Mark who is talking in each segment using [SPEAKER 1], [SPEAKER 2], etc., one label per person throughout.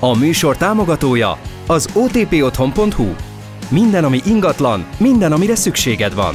[SPEAKER 1] A műsor támogatója az otpotthon.hu. Minden, ami ingatlan, minden, amire szükséged van.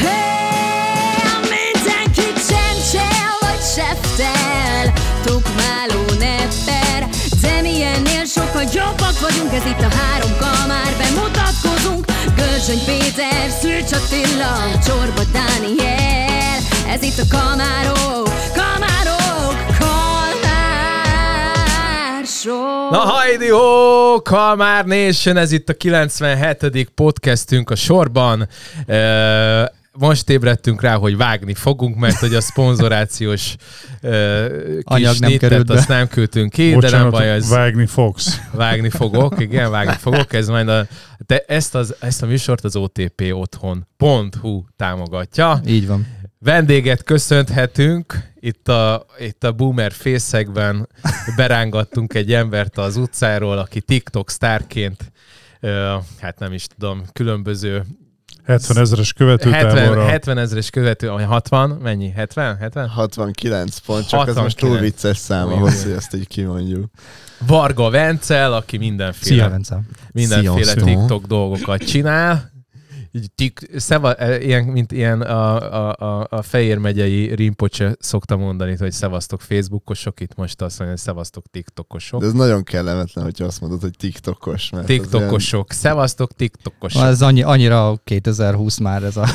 [SPEAKER 2] Hey, mindenkit csencsel vagy seftel, tukmáló nepper, de milyennél sokkal jobbak vagyunk, ez itt a három kamár, bemutatkozunk, Görzsöny Péter, Szűcs Attila, Csorba Dániel, ez itt a kamárok, kamárok, kalmársok.
[SPEAKER 3] Na hajdi ho, Kalmár Nation, ez itt a 97. podcastünk a sorban. Ö, Most ébredtünk rá, hogy vágni fogunk, mert hogy a szponzorációs ö, kis
[SPEAKER 4] Anyag nem
[SPEAKER 3] nittet
[SPEAKER 4] került be.
[SPEAKER 3] azt nem küldtünk ki, de nem
[SPEAKER 5] Bocsánat,
[SPEAKER 3] baj, ez
[SPEAKER 5] vágni fogsz.
[SPEAKER 3] vágni fogok, igen, vágni fogok, ez majd a, de ezt, az, ezt a műsort az OTP otthon.hu támogatja.
[SPEAKER 4] Így van.
[SPEAKER 3] Vendéget köszönthetünk, itt a, itt a boomer fészekben berángattunk egy embert az utcáról, aki TikTok sztárként, ö, hát nem is tudom, különböző
[SPEAKER 5] 70 ezeres követőtáborra.
[SPEAKER 3] 70, 70 ezeres követő, vagy 60, mennyi? 70? 70?
[SPEAKER 6] 69 pont, csak ez most
[SPEAKER 3] 69.
[SPEAKER 6] túl vicces szám
[SPEAKER 3] Jó.
[SPEAKER 6] ahhoz, hogy ezt így kimondjuk.
[SPEAKER 3] Varga Vencel, aki mindenféle
[SPEAKER 4] Szia, Vence.
[SPEAKER 3] mindenféle
[SPEAKER 6] Sziasztok.
[SPEAKER 3] TikTok dolgokat csinál. Így Tik, szeva, eh, ilyen, mint ilyen a, a, a, a Fejér megyei rimpocse szokta mondani, hogy szevasztok Facebookosok, itt most azt mondja, hogy szevasztok TikTokosok.
[SPEAKER 6] De ez nagyon kellemetlen, hogyha azt mondod, hogy TikTokos. Mert az
[SPEAKER 3] TikTokosok, Hát szevasztok TikTokosok.
[SPEAKER 4] Ez annyi, annyira 2020 már ez a...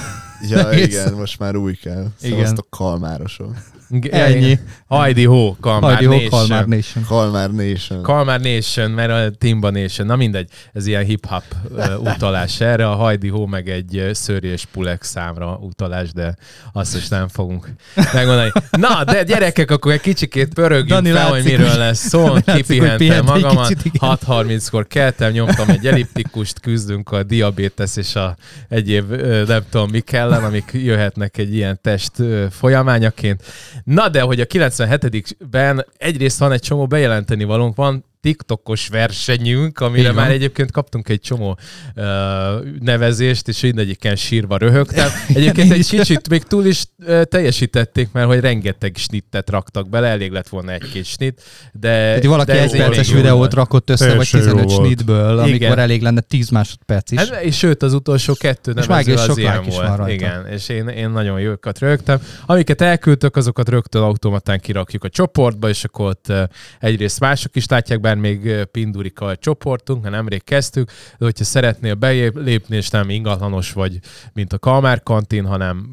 [SPEAKER 6] Ilyen... Ja,
[SPEAKER 4] egész-
[SPEAKER 6] igen, most már új kell.
[SPEAKER 4] Igen.
[SPEAKER 6] Szevasztok kalmárosok.
[SPEAKER 3] G-
[SPEAKER 4] Ennyi.
[SPEAKER 3] Hajdi ho, Kalmár
[SPEAKER 4] Hajdi Hawk
[SPEAKER 3] Nation.
[SPEAKER 4] Kalmár Nation.
[SPEAKER 6] Kalmár Nation.
[SPEAKER 3] Kalmár Nation, mert a Timba Nation, na mindegy, ez ilyen hip-hop ö, utalás erre, a Hajdi Hó meg egy ö, szőri és pulek számra utalás, de azt is nem fogunk megmondani. Na, de gyerekek, akkor egy kicsikét pörögjünk
[SPEAKER 4] Dani
[SPEAKER 3] fel,
[SPEAKER 4] látszik,
[SPEAKER 3] hogy miről
[SPEAKER 4] hogy-
[SPEAKER 3] lesz szó,
[SPEAKER 4] Dani látszik, hogy
[SPEAKER 3] kipihentem
[SPEAKER 4] pihent egy
[SPEAKER 3] magamat,
[SPEAKER 4] kicsit, igen.
[SPEAKER 3] 6.30-kor keltem, nyomtam egy elliptikust, küzdünk a diabétesz és a egyéb ö, nem tudom mik ellen, amik jöhetnek egy ilyen test ö, folyamányaként. Na de, hogy a 97-ben egyrészt van egy csomó bejelenteni valónk, van TikTokos versenyünk, amire
[SPEAKER 4] Így van.
[SPEAKER 3] már egyébként kaptunk egy csomó ö, nevezést, és mindegyiken sírva röhögtem. Egyébként egy kicsit még túl is ö, teljesítették, mert hogy rengeteg snittet raktak bele, elég lett volna egy-két snit, de...
[SPEAKER 4] Hogy valaki
[SPEAKER 3] de
[SPEAKER 4] egy
[SPEAKER 3] elég
[SPEAKER 4] perces
[SPEAKER 3] jó volt.
[SPEAKER 4] videót rakott össze, vagy
[SPEAKER 5] Teljesen jó
[SPEAKER 4] 15
[SPEAKER 5] volt.
[SPEAKER 4] snitből,
[SPEAKER 3] Igen.
[SPEAKER 4] amikor elég lenne 10 másodperc is.
[SPEAKER 3] Hát, és sőt, az utolsó kettő
[SPEAKER 4] És
[SPEAKER 3] nevező
[SPEAKER 4] vágj, és
[SPEAKER 3] az
[SPEAKER 4] sok
[SPEAKER 3] ilyen
[SPEAKER 4] like is
[SPEAKER 3] volt.
[SPEAKER 4] van rajta.
[SPEAKER 3] Igen, és én, én nagyon jókat rögtem. Amiket elküldtök, azokat rögtön automatán kirakjuk a csoportba, és akkor ott eh, egyrészt mások is látják, bár még eh, pindurik a csoportunk, mert nemrég kezdtük, de hogyha szeretnél belépni, és nem ingatlanos vagy, mint a Kalmár kantin, hanem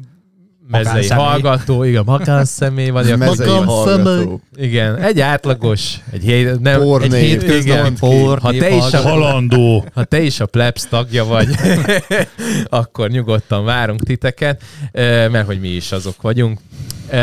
[SPEAKER 3] mezei
[SPEAKER 4] Magánszemély.
[SPEAKER 3] hallgató, igen, magánszemély vagy,
[SPEAKER 6] Ez
[SPEAKER 3] akkor,
[SPEAKER 6] mezei hallgató.
[SPEAKER 3] igen, egy átlagos, egy, hét, nem,
[SPEAKER 6] Porné.
[SPEAKER 3] egy hétköznapi,
[SPEAKER 6] Igen.
[SPEAKER 4] Porné,
[SPEAKER 3] ha te is a
[SPEAKER 5] Halandó.
[SPEAKER 3] ha te is a plebs tagja vagy, akkor nyugodtan várunk titeket, ö, mert hogy mi is azok vagyunk. Ö,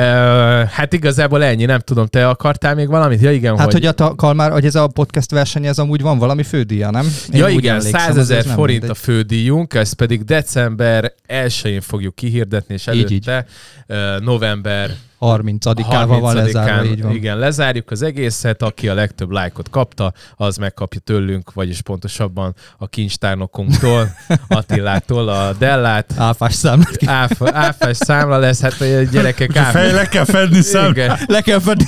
[SPEAKER 3] Hát igazából ennyi, nem tudom, te akartál még valamit? Ja igen,
[SPEAKER 4] Hát, hogy a ta- Kalmár, hogy ez a podcast verseny, ez amúgy van valami fődíja, nem? Én
[SPEAKER 3] Ja
[SPEAKER 4] úgy
[SPEAKER 3] igen,
[SPEAKER 4] emlékszem,
[SPEAKER 3] 100
[SPEAKER 4] az- az
[SPEAKER 3] ezer
[SPEAKER 4] nem
[SPEAKER 3] forint a
[SPEAKER 4] mindegy.
[SPEAKER 3] fődíjunk, ezt pedig december 1-én fogjuk kihirdetni, és
[SPEAKER 4] Így, így.
[SPEAKER 3] előtte ö, november
[SPEAKER 4] 30 adikával van
[SPEAKER 3] 30-án,
[SPEAKER 4] lezárva, így van.
[SPEAKER 3] Igen, lezárjuk az egészet, aki a legtöbb lájkot kapta, az megkapja tőlünk, vagyis pontosabban a kincstárnokunktól, Attilától a Dellát,
[SPEAKER 4] Áfás számlát ki.
[SPEAKER 3] áfa, áfás számla lesz, hát a gyerekek
[SPEAKER 5] Hogyha fej
[SPEAKER 3] ám.
[SPEAKER 5] le kell fedni szem.
[SPEAKER 3] Igen.
[SPEAKER 4] Le kell fedni.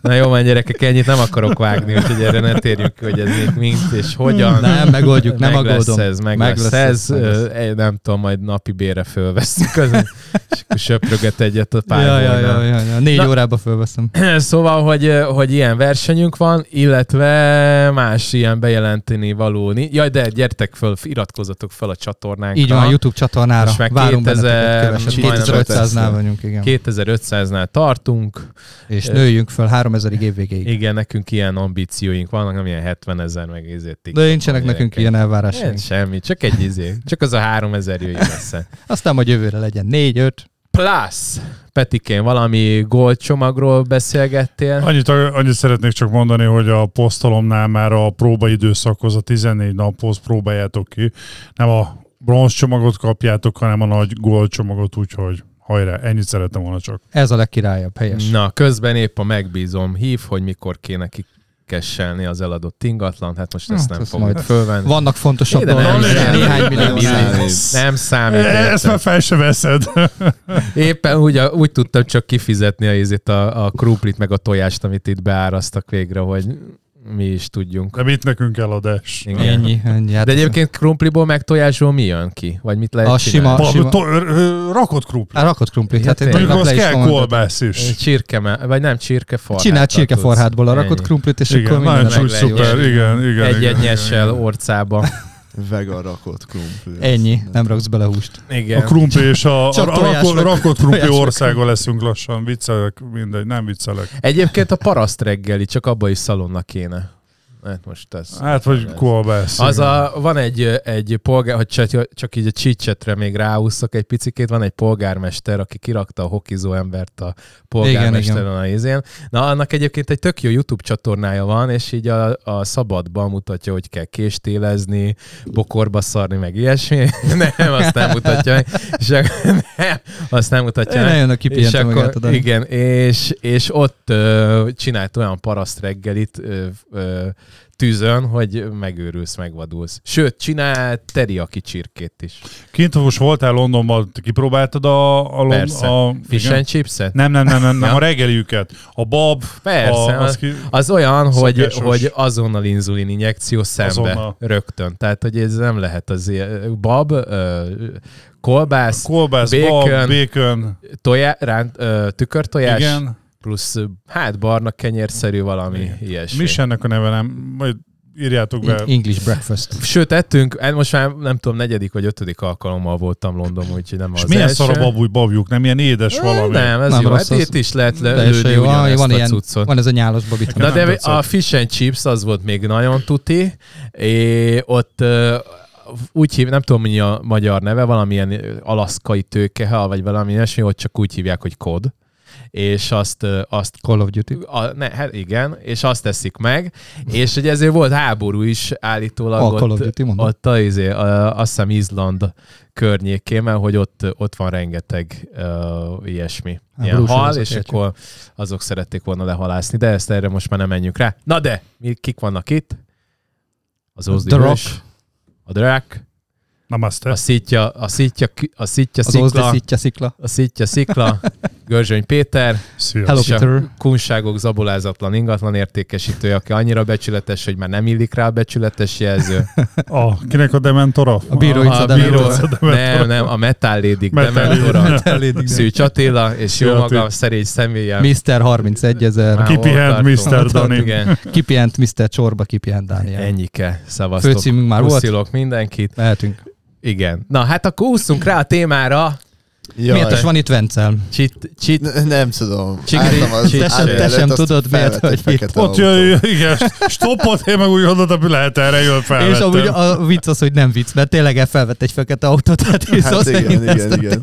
[SPEAKER 3] Na jó, van gyerekek, ennyit nem akarok vágni, úgyhogy erre ne térjünk, ki, hogy ez még mint és hogyan.
[SPEAKER 4] Nem, megoldjuk, nem
[SPEAKER 3] meg lesz
[SPEAKER 4] aggódom.
[SPEAKER 3] ez, meg, lesz, ez, meg lesz. Ö, nem tudom, majd napi bére fölveszünk, az, és akkor söpröget egyet a pár
[SPEAKER 4] Ja, ja, ja, ja, ja. Négy
[SPEAKER 3] Na-
[SPEAKER 4] órába fölveszem.
[SPEAKER 3] Szóval, hogy, hogy ilyen versenyünk van, illetve más ilyen bejelenteni való. ni- Jaj, de gyertek föl, iratkozzatok fel a csatornánkra.
[SPEAKER 4] Így van, a YouTube csatornára.
[SPEAKER 3] Most már
[SPEAKER 4] Várunk
[SPEAKER 3] 2000
[SPEAKER 4] benneteket kövesebb.
[SPEAKER 3] majdnem
[SPEAKER 4] 2500-nál vagyunk, igen.
[SPEAKER 3] 2500-nál tartunk.
[SPEAKER 4] És nőjünk föl 3000-ig évvégéig.
[SPEAKER 3] Igen, nekünk ilyen ambícióink vannak, nem ilyen 70 ezer meg ezért.
[SPEAKER 4] De nincsenek nekünk ilyen elvárásaink.
[SPEAKER 3] Semmi, csak egy izé. Csak az a 3000 jöjjön össze.
[SPEAKER 4] Aztán majd jövőre legyen 4-5.
[SPEAKER 3] Plusz, Petikén, valami goldcsomagról beszélgettél?
[SPEAKER 5] Annyit, annyit szeretnék csak mondani, hogy a posztalomnál már a próbaidőszakhoz, a 14 naphoz próbáljátok ki. Nem a bronz csomagot kapjátok, hanem a nagy gold csomagot, úgyhogy hajrá, ennyit szerettem volna csak.
[SPEAKER 4] Ez a legkirályabb, helyes.
[SPEAKER 3] Na, közben épp a megbízom hív, hogy mikor kéne ki cash-elni az eladott ingatlan, hát most ezt
[SPEAKER 4] Hát,
[SPEAKER 3] nem
[SPEAKER 4] ezt
[SPEAKER 3] fogod
[SPEAKER 4] majd
[SPEAKER 3] fölvenni.
[SPEAKER 4] Vannak fontosabb
[SPEAKER 3] Éde, nem,
[SPEAKER 4] dolgok,
[SPEAKER 5] nem,
[SPEAKER 4] néhány
[SPEAKER 6] nem,
[SPEAKER 4] millió
[SPEAKER 6] nem,
[SPEAKER 4] száz.
[SPEAKER 6] nem.
[SPEAKER 3] Nem számít.
[SPEAKER 5] E- Ezt
[SPEAKER 3] érted?
[SPEAKER 5] már fel se veszed.
[SPEAKER 3] Éppen úgy, úgy tudtam csak kifizetni a, ízét, a, a kruplit, meg a tojást, amit itt beárasztak végre, hogy mi is tudjunk.
[SPEAKER 5] De mit nekünk eladás?
[SPEAKER 3] Igen.
[SPEAKER 4] Ennyi, ennyi. Hát
[SPEAKER 3] De
[SPEAKER 4] ez-
[SPEAKER 3] egyébként krumpliból meg tojásból mi jön ki? Vagy mit lehet
[SPEAKER 4] A
[SPEAKER 3] csinálni?
[SPEAKER 4] sima-
[SPEAKER 5] Ba- to- ö- ö- Rakott krumpli.
[SPEAKER 4] Á, rakott krumplit. Hát én
[SPEAKER 3] tényleg.
[SPEAKER 4] tegnap
[SPEAKER 5] Mondjuk az
[SPEAKER 4] le is
[SPEAKER 5] kell
[SPEAKER 4] kommenteltem.
[SPEAKER 5] kolbász is.
[SPEAKER 3] Csirkeme, vagy nem csirkeforhát.
[SPEAKER 4] Csinál csirkeforhátból a rakott krumplit, és
[SPEAKER 5] Igen,
[SPEAKER 4] akkor minden
[SPEAKER 5] nagyon
[SPEAKER 3] meg
[SPEAKER 5] csúcs,
[SPEAKER 4] meg
[SPEAKER 3] legyen.
[SPEAKER 5] szuper, igen, igen.
[SPEAKER 3] Egy
[SPEAKER 5] igen,
[SPEAKER 3] egyenessel
[SPEAKER 5] igen, igen.
[SPEAKER 3] orcába.
[SPEAKER 6] Vega rakott krumpli.
[SPEAKER 4] Ennyi, nem raksz bele húst.
[SPEAKER 3] Igen.
[SPEAKER 5] A krumpli és a, a
[SPEAKER 4] Csak tojás
[SPEAKER 5] rakott,
[SPEAKER 4] meg-
[SPEAKER 5] rakott krumpli
[SPEAKER 4] tojás meg
[SPEAKER 5] országa leszünk lassan. Viccelek, mindegy, nem viccelek.
[SPEAKER 3] Egyébként a paraszt reggeli, csak abba is szalonna kéne. Hát most ez.
[SPEAKER 5] Hát, vagy kolbász.
[SPEAKER 3] Az
[SPEAKER 5] igen.
[SPEAKER 3] a, van egy, egy polgár, hogy csak, csak így a csicsetre még ráúszok egy picikét, van egy polgármester, aki kirakta a hokizó embert a polgármesteren a izén. Na, annak egyébként egy tök jó YouTube csatornája van, és így a, a szabadban mutatja, hogy kell késtélezni, bokorba szarni, meg ilyesmi. Nem, azt nem mutatja meg. És akkor, nem, azt nem mutatja meg.
[SPEAKER 4] Ne jön a
[SPEAKER 3] És
[SPEAKER 4] kipihente
[SPEAKER 3] akkor,
[SPEAKER 4] magát a Dani.
[SPEAKER 3] igen, és, és ott ö, csinált olyan paraszt reggelit ö, ö, tűzön, hogy megőrülsz, megvadulsz. Sőt, csinált teriaki csirkét is.
[SPEAKER 5] Kint most voltál Londonban, te kipróbáltad a... a, Lon-
[SPEAKER 3] Persze.
[SPEAKER 5] a
[SPEAKER 3] Fish
[SPEAKER 5] igen?
[SPEAKER 3] and chipset?
[SPEAKER 5] nem, nem, nem, nem, nem,
[SPEAKER 3] Ja.
[SPEAKER 5] a reggeliüket. A bab,
[SPEAKER 3] Persze,
[SPEAKER 5] a, az ki,
[SPEAKER 3] Az olyan, hogy,
[SPEAKER 5] Szokásos.
[SPEAKER 3] hogy azonnal inzulin injekció szembe
[SPEAKER 5] Azonnal.
[SPEAKER 3] rögtön. Tehát, hogy ez nem lehet az ilyen. Bab, ö, kolbász,
[SPEAKER 5] kolbász,
[SPEAKER 3] Bacon.
[SPEAKER 5] bab, bacon,
[SPEAKER 3] tojá, ránt, ö, tükörtojás, Igen.
[SPEAKER 5] igen.
[SPEAKER 3] plusz ö, hát barna kenyérszerű valami
[SPEAKER 5] Igen. Mi
[SPEAKER 3] ilyesmi.
[SPEAKER 5] is ennek a neve nem? Majd írjátok be.
[SPEAKER 4] English breakfast.
[SPEAKER 3] Sőt, ettünk, hát most már nem tudom, negyedik vagy ötödik alkalommal voltam Londonban, úgyhogy nem
[SPEAKER 5] És
[SPEAKER 3] az
[SPEAKER 5] milyen
[SPEAKER 3] első.
[SPEAKER 5] szar a babúj babjuk, nem ilyen édes
[SPEAKER 3] Ö,
[SPEAKER 5] valami?
[SPEAKER 3] Nem, ez
[SPEAKER 4] Nem
[SPEAKER 3] nem jó.
[SPEAKER 4] rossz
[SPEAKER 3] Hát
[SPEAKER 4] az.
[SPEAKER 3] itt is lehet le-
[SPEAKER 4] De és
[SPEAKER 3] lőni
[SPEAKER 4] jó,
[SPEAKER 3] ugyanezt
[SPEAKER 4] van
[SPEAKER 3] a
[SPEAKER 4] ilyen-
[SPEAKER 3] cuccot.
[SPEAKER 4] Van ez a nyálos babit.
[SPEAKER 3] Na
[SPEAKER 5] Nem
[SPEAKER 3] de
[SPEAKER 5] tetszett.
[SPEAKER 3] a fish and chips az volt még nagyon tuti, és ott ö, úgy hív, nem tudom, mi a magyar neve, valamilyen ö, alaszkai tőkehal, vagy valami ilyesmi, ott csak úgy hívják, hogy kod, és azt, ö, azt
[SPEAKER 4] Call of Duty.
[SPEAKER 3] a, ne, hát igen, és azt teszik meg, és hogy ezért volt háború is állítólag
[SPEAKER 4] A Call of
[SPEAKER 3] ott,
[SPEAKER 4] Duty, mondom.
[SPEAKER 3] ott a, izé, a, azt hiszem Izland környékén, mert hogy ott, ott van rengeteg uh, ilyesmi ilyen
[SPEAKER 4] Háborús
[SPEAKER 3] hal,
[SPEAKER 4] sorozat,
[SPEAKER 3] és
[SPEAKER 4] értjük.
[SPEAKER 3] akkor azok szerették volna lehalászni, de ezt erre most már nem menjünk rá. Na de, mi, kik vannak itt? Az
[SPEAKER 4] The
[SPEAKER 3] Ozzy
[SPEAKER 4] Rock.
[SPEAKER 3] Hős, a Drak,
[SPEAKER 5] Namaste.
[SPEAKER 3] a szitja, a szitja, a szitja,
[SPEAKER 4] Az Ozdi
[SPEAKER 3] szikla,
[SPEAKER 4] szitja szikla.
[SPEAKER 3] a szitja, szikla, Görzsöny Péter,
[SPEAKER 5] Szia.
[SPEAKER 4] Hello
[SPEAKER 3] Sem.
[SPEAKER 4] Peter.
[SPEAKER 3] kunságok zabolázatlan ingatlan értékesítője, aki annyira becsületes, hogy már nem illik rá a becsületes jelző.
[SPEAKER 5] A, kinek a dementora?
[SPEAKER 4] A bíró itt
[SPEAKER 3] A
[SPEAKER 4] a
[SPEAKER 3] bíró,
[SPEAKER 4] Demeter.
[SPEAKER 3] nem, nem, a Metal Lédik
[SPEAKER 5] Metal
[SPEAKER 3] Dementora,
[SPEAKER 4] Elég, igen.
[SPEAKER 3] Szűcs Attila, és jó
[SPEAKER 5] Szia,
[SPEAKER 3] magam
[SPEAKER 5] Ati.
[SPEAKER 3] szerény személlyel.
[SPEAKER 4] Mr. 31 ezer.
[SPEAKER 3] Már ott
[SPEAKER 5] Kipihent
[SPEAKER 3] tartunk.
[SPEAKER 5] Mr.
[SPEAKER 3] Ott tartunk,
[SPEAKER 5] Dani.
[SPEAKER 3] Igen,
[SPEAKER 4] Kipihent Mr. Csorba, kipihent Dániel.
[SPEAKER 3] ennyike, szavaztok.
[SPEAKER 4] Főcímünk már volt.
[SPEAKER 3] Puszilok mindenkit.
[SPEAKER 4] Mehetünk.
[SPEAKER 3] Igen. Na, hát akkor úszunk rá a témára.
[SPEAKER 4] Miért is
[SPEAKER 6] Jaj,
[SPEAKER 4] van itt Vencel?
[SPEAKER 3] Csit, csit,
[SPEAKER 6] N- nem tudom.
[SPEAKER 3] Csigri-
[SPEAKER 6] Álltam az
[SPEAKER 3] Te
[SPEAKER 4] sem-
[SPEAKER 6] állj
[SPEAKER 4] te sem
[SPEAKER 6] előtt, azt
[SPEAKER 4] tudod, miért
[SPEAKER 6] felvett egy
[SPEAKER 4] vagy
[SPEAKER 6] fekete
[SPEAKER 5] Ott
[SPEAKER 6] autó.
[SPEAKER 5] jön, igen, stoppot, én meg úgy gondoltam, hogy lehet erre jön fel.
[SPEAKER 4] És amúgy a vicc az, hogy nem vicc, mert tényleg elfelvett egy fekete autót, tehát és
[SPEAKER 6] Hát
[SPEAKER 4] az
[SPEAKER 6] igen, igen,
[SPEAKER 4] igen.
[SPEAKER 6] igen.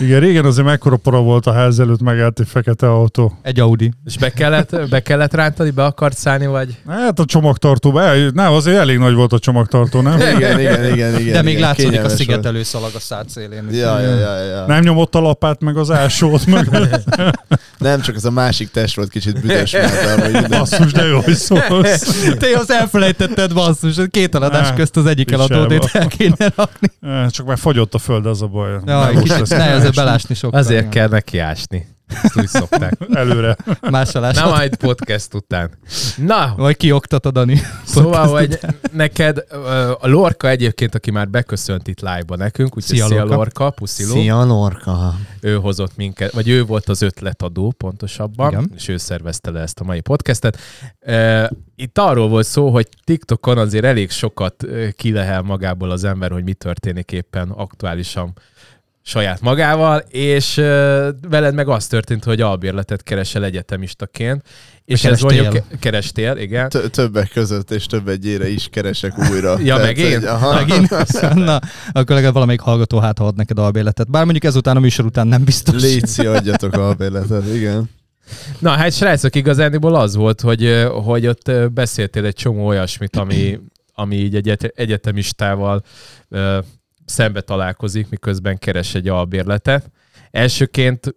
[SPEAKER 5] Igen, régen azért mekkora para volt a ház előtt megállt egy fekete autó.
[SPEAKER 4] Egy Audi.
[SPEAKER 3] és be kellett, be kellett rántani, be akart szállni, vagy?
[SPEAKER 5] Hát a csomagtartóba, el- nem, azért elég nagy volt a csomagtartó, nem?
[SPEAKER 6] Igen, igen, igen, igen.
[SPEAKER 4] De még
[SPEAKER 6] igen,
[SPEAKER 4] látszódik a
[SPEAKER 6] kényelmes volt.
[SPEAKER 4] szigetelő szalag a szád szélén.
[SPEAKER 6] Ja, ja, ja, ja. Nem.
[SPEAKER 5] Nem nyomott a lapát, meg az ásót, meg
[SPEAKER 6] nem, csak az a másik test volt kicsit büdös, mert amúgy minden...
[SPEAKER 5] basszus, de jó, hogy szólsz.
[SPEAKER 4] Te azt elfelejtetted, basszus, két eladás
[SPEAKER 5] Á,
[SPEAKER 4] közt az egyik
[SPEAKER 5] Istenem.
[SPEAKER 4] eladódét el kéne rakni.
[SPEAKER 5] Eh, Csak már fagyott a föld, az a baj.
[SPEAKER 4] Ja,
[SPEAKER 5] Nem most
[SPEAKER 4] kicsit
[SPEAKER 5] lesz
[SPEAKER 4] ne
[SPEAKER 5] keresni.
[SPEAKER 4] ezzel belásni sokkal.
[SPEAKER 3] Azért
[SPEAKER 4] igen.
[SPEAKER 3] kell nekiásni. Ezt úgy szokták.
[SPEAKER 5] Előre.
[SPEAKER 4] Más alás.
[SPEAKER 3] Na majd podcast után. Na,
[SPEAKER 4] Vagy kioktat a Dani.
[SPEAKER 3] Szóval,
[SPEAKER 4] Podcast
[SPEAKER 3] hogy neked ö, a Lorka egyébként, aki már beköszönt itt live-ba nekünk, úgyhogy
[SPEAKER 4] Szia,
[SPEAKER 3] szia,
[SPEAKER 4] Lorka.
[SPEAKER 3] Lorka, Lorka pusziló, szia.
[SPEAKER 6] Norka.
[SPEAKER 3] ő hozott minket, vagy ő volt az ötletadó pontosabban,
[SPEAKER 4] Igen.
[SPEAKER 3] Igen. és ő szervezte le ezt a mai podcastet. Ö, Itt arról volt szó, hogy TikTokon azért elég sokat ö, kilehel magából az ember, hogy mi történik éppen aktuálisan saját magával, és ö, veled meg az történt, hogy albérletet keresel egyetemistaként, és ez
[SPEAKER 4] Kerestél.
[SPEAKER 3] mondjuk kerestél, igen.
[SPEAKER 6] Tö- többek között és több egyére is keresek újra.
[SPEAKER 3] Ja, meg én?
[SPEAKER 6] hogy- aha.
[SPEAKER 4] Megint. Na, akkor legalább valamelyik hallgató hát ha ad neked albéletet. Bár mondjuk ezután a műsor után nem biztos.
[SPEAKER 6] Léci, adjatok a béletet, igen.
[SPEAKER 3] Na hát srácok, igazániból az volt, hogy, ö, hogy ott ö, beszéltél egy csomó olyasmit, ami, ami így egyet, egyetemistával ö, szembe találkozik, miközben keres egy albérletet. Elsőként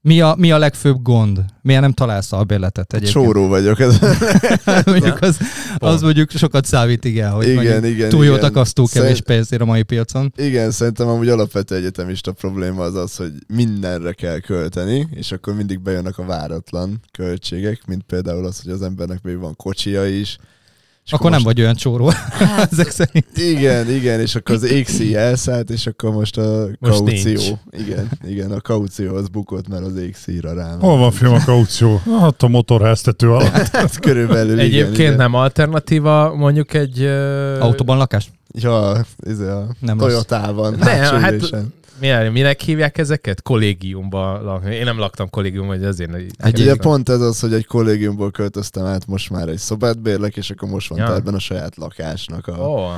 [SPEAKER 4] Mi a, mi a legfőbb gond? Miért nem találsz albérletet egyébként?
[SPEAKER 6] Csóró vagyok. Ez,
[SPEAKER 4] mondjuk az, az mondjuk sokat számít, igen, hogy
[SPEAKER 6] Igen,
[SPEAKER 4] mondjuk
[SPEAKER 6] igen,
[SPEAKER 4] túl jót
[SPEAKER 6] igen.
[SPEAKER 4] akasztó kevés
[SPEAKER 6] Szerint-
[SPEAKER 4] pénzért a mai piacon.
[SPEAKER 6] igen, szerintem amúgy alapvető egyetemista probléma az az, hogy mindenre kell költeni, és akkor mindig bejönnek a váratlan költségek, mint például az, hogy az embernek még van kocsia is. És
[SPEAKER 4] Akkor nem vagy olyan csóró. Ezek szerint.
[SPEAKER 6] Igen, igen, és akkor az ékszíj elszállt, és akkor most a
[SPEAKER 3] Most
[SPEAKER 6] kaució.
[SPEAKER 3] nincs.
[SPEAKER 6] Igen, igen, a kaució az bukott, mert az ékszíjra rám.
[SPEAKER 5] Hol van film a kaució? Hát a motorháztető alatt.
[SPEAKER 6] Hát körülbelül
[SPEAKER 3] Egyébként
[SPEAKER 6] igen,
[SPEAKER 3] nem alternatíva mondjuk egy... ö,
[SPEAKER 4] Autóban lakás?
[SPEAKER 6] Igen. Ja, ez a
[SPEAKER 4] Nem rossz.
[SPEAKER 6] Toyotában.
[SPEAKER 3] Ne, hát-
[SPEAKER 6] Nem, hát...
[SPEAKER 3] Milyen, minek hívják ezeket? Kollégiumban lakni. Én nem laktam kollégiumban, hogy azért...
[SPEAKER 6] Hát ugye pont ez az, hogy egy kollégiumból költöztem át, most már egy szobát bérlek, és akkor most van
[SPEAKER 3] Ja.
[SPEAKER 6] ja. tárban a saját lakásnak a oh.
[SPEAKER 3] Ó,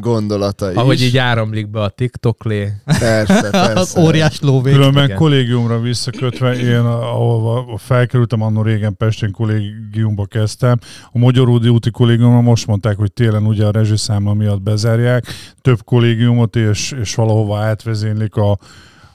[SPEAKER 6] gondolata is.
[SPEAKER 3] ahogy így áramlik be a TikTok lé.
[SPEAKER 6] Persze,
[SPEAKER 4] Az
[SPEAKER 6] persze.
[SPEAKER 4] óriás lóvé.
[SPEAKER 5] Különben
[SPEAKER 3] igen.
[SPEAKER 5] kollégiumra visszakötve, én ahol felkerültem annó régen Pestén kollégiumba kezdtem, a Magyaródi úti kollégiumra most mondták, hogy télen ugye a rezsiszámla miatt bezárják, több kollégiumot és, és valahova átvezénylik a,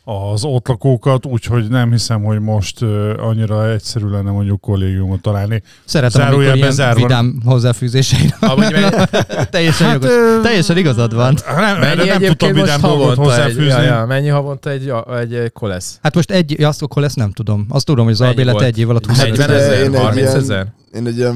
[SPEAKER 5] az ott lakókat, úgyhogy nem hiszem, hogy most ö, annyira egyszerű lenne mondjuk kollégiumot találni.
[SPEAKER 4] Szeretem, amikor
[SPEAKER 5] Zárójelbe
[SPEAKER 4] ilyen
[SPEAKER 5] zárva.
[SPEAKER 4] vidám hozzáfűzéseid.
[SPEAKER 3] Amúgy meg-
[SPEAKER 4] teljesen,
[SPEAKER 6] Hát,
[SPEAKER 4] jogos, teljesen igazad van.
[SPEAKER 5] Nem, erre
[SPEAKER 3] Mennyi
[SPEAKER 5] nem tudtam
[SPEAKER 3] egyébként most
[SPEAKER 5] vidám dolgot
[SPEAKER 3] havonta egy,
[SPEAKER 5] hozzáfűzni.
[SPEAKER 3] ja, ja, mennyi havonta egy, a- egy, egy kolesz?
[SPEAKER 4] Hát most egy, ja, azt akkor lesz, nem tudom. Azt tudom, hogy az
[SPEAKER 3] Mennyi
[SPEAKER 4] albélet
[SPEAKER 3] volt?
[SPEAKER 4] egy év alatt 25
[SPEAKER 3] 40
[SPEAKER 6] ezer.
[SPEAKER 3] ezer,
[SPEAKER 6] Én egy
[SPEAKER 3] 30
[SPEAKER 6] ilyen-
[SPEAKER 3] ezer?
[SPEAKER 6] Én egy ilyen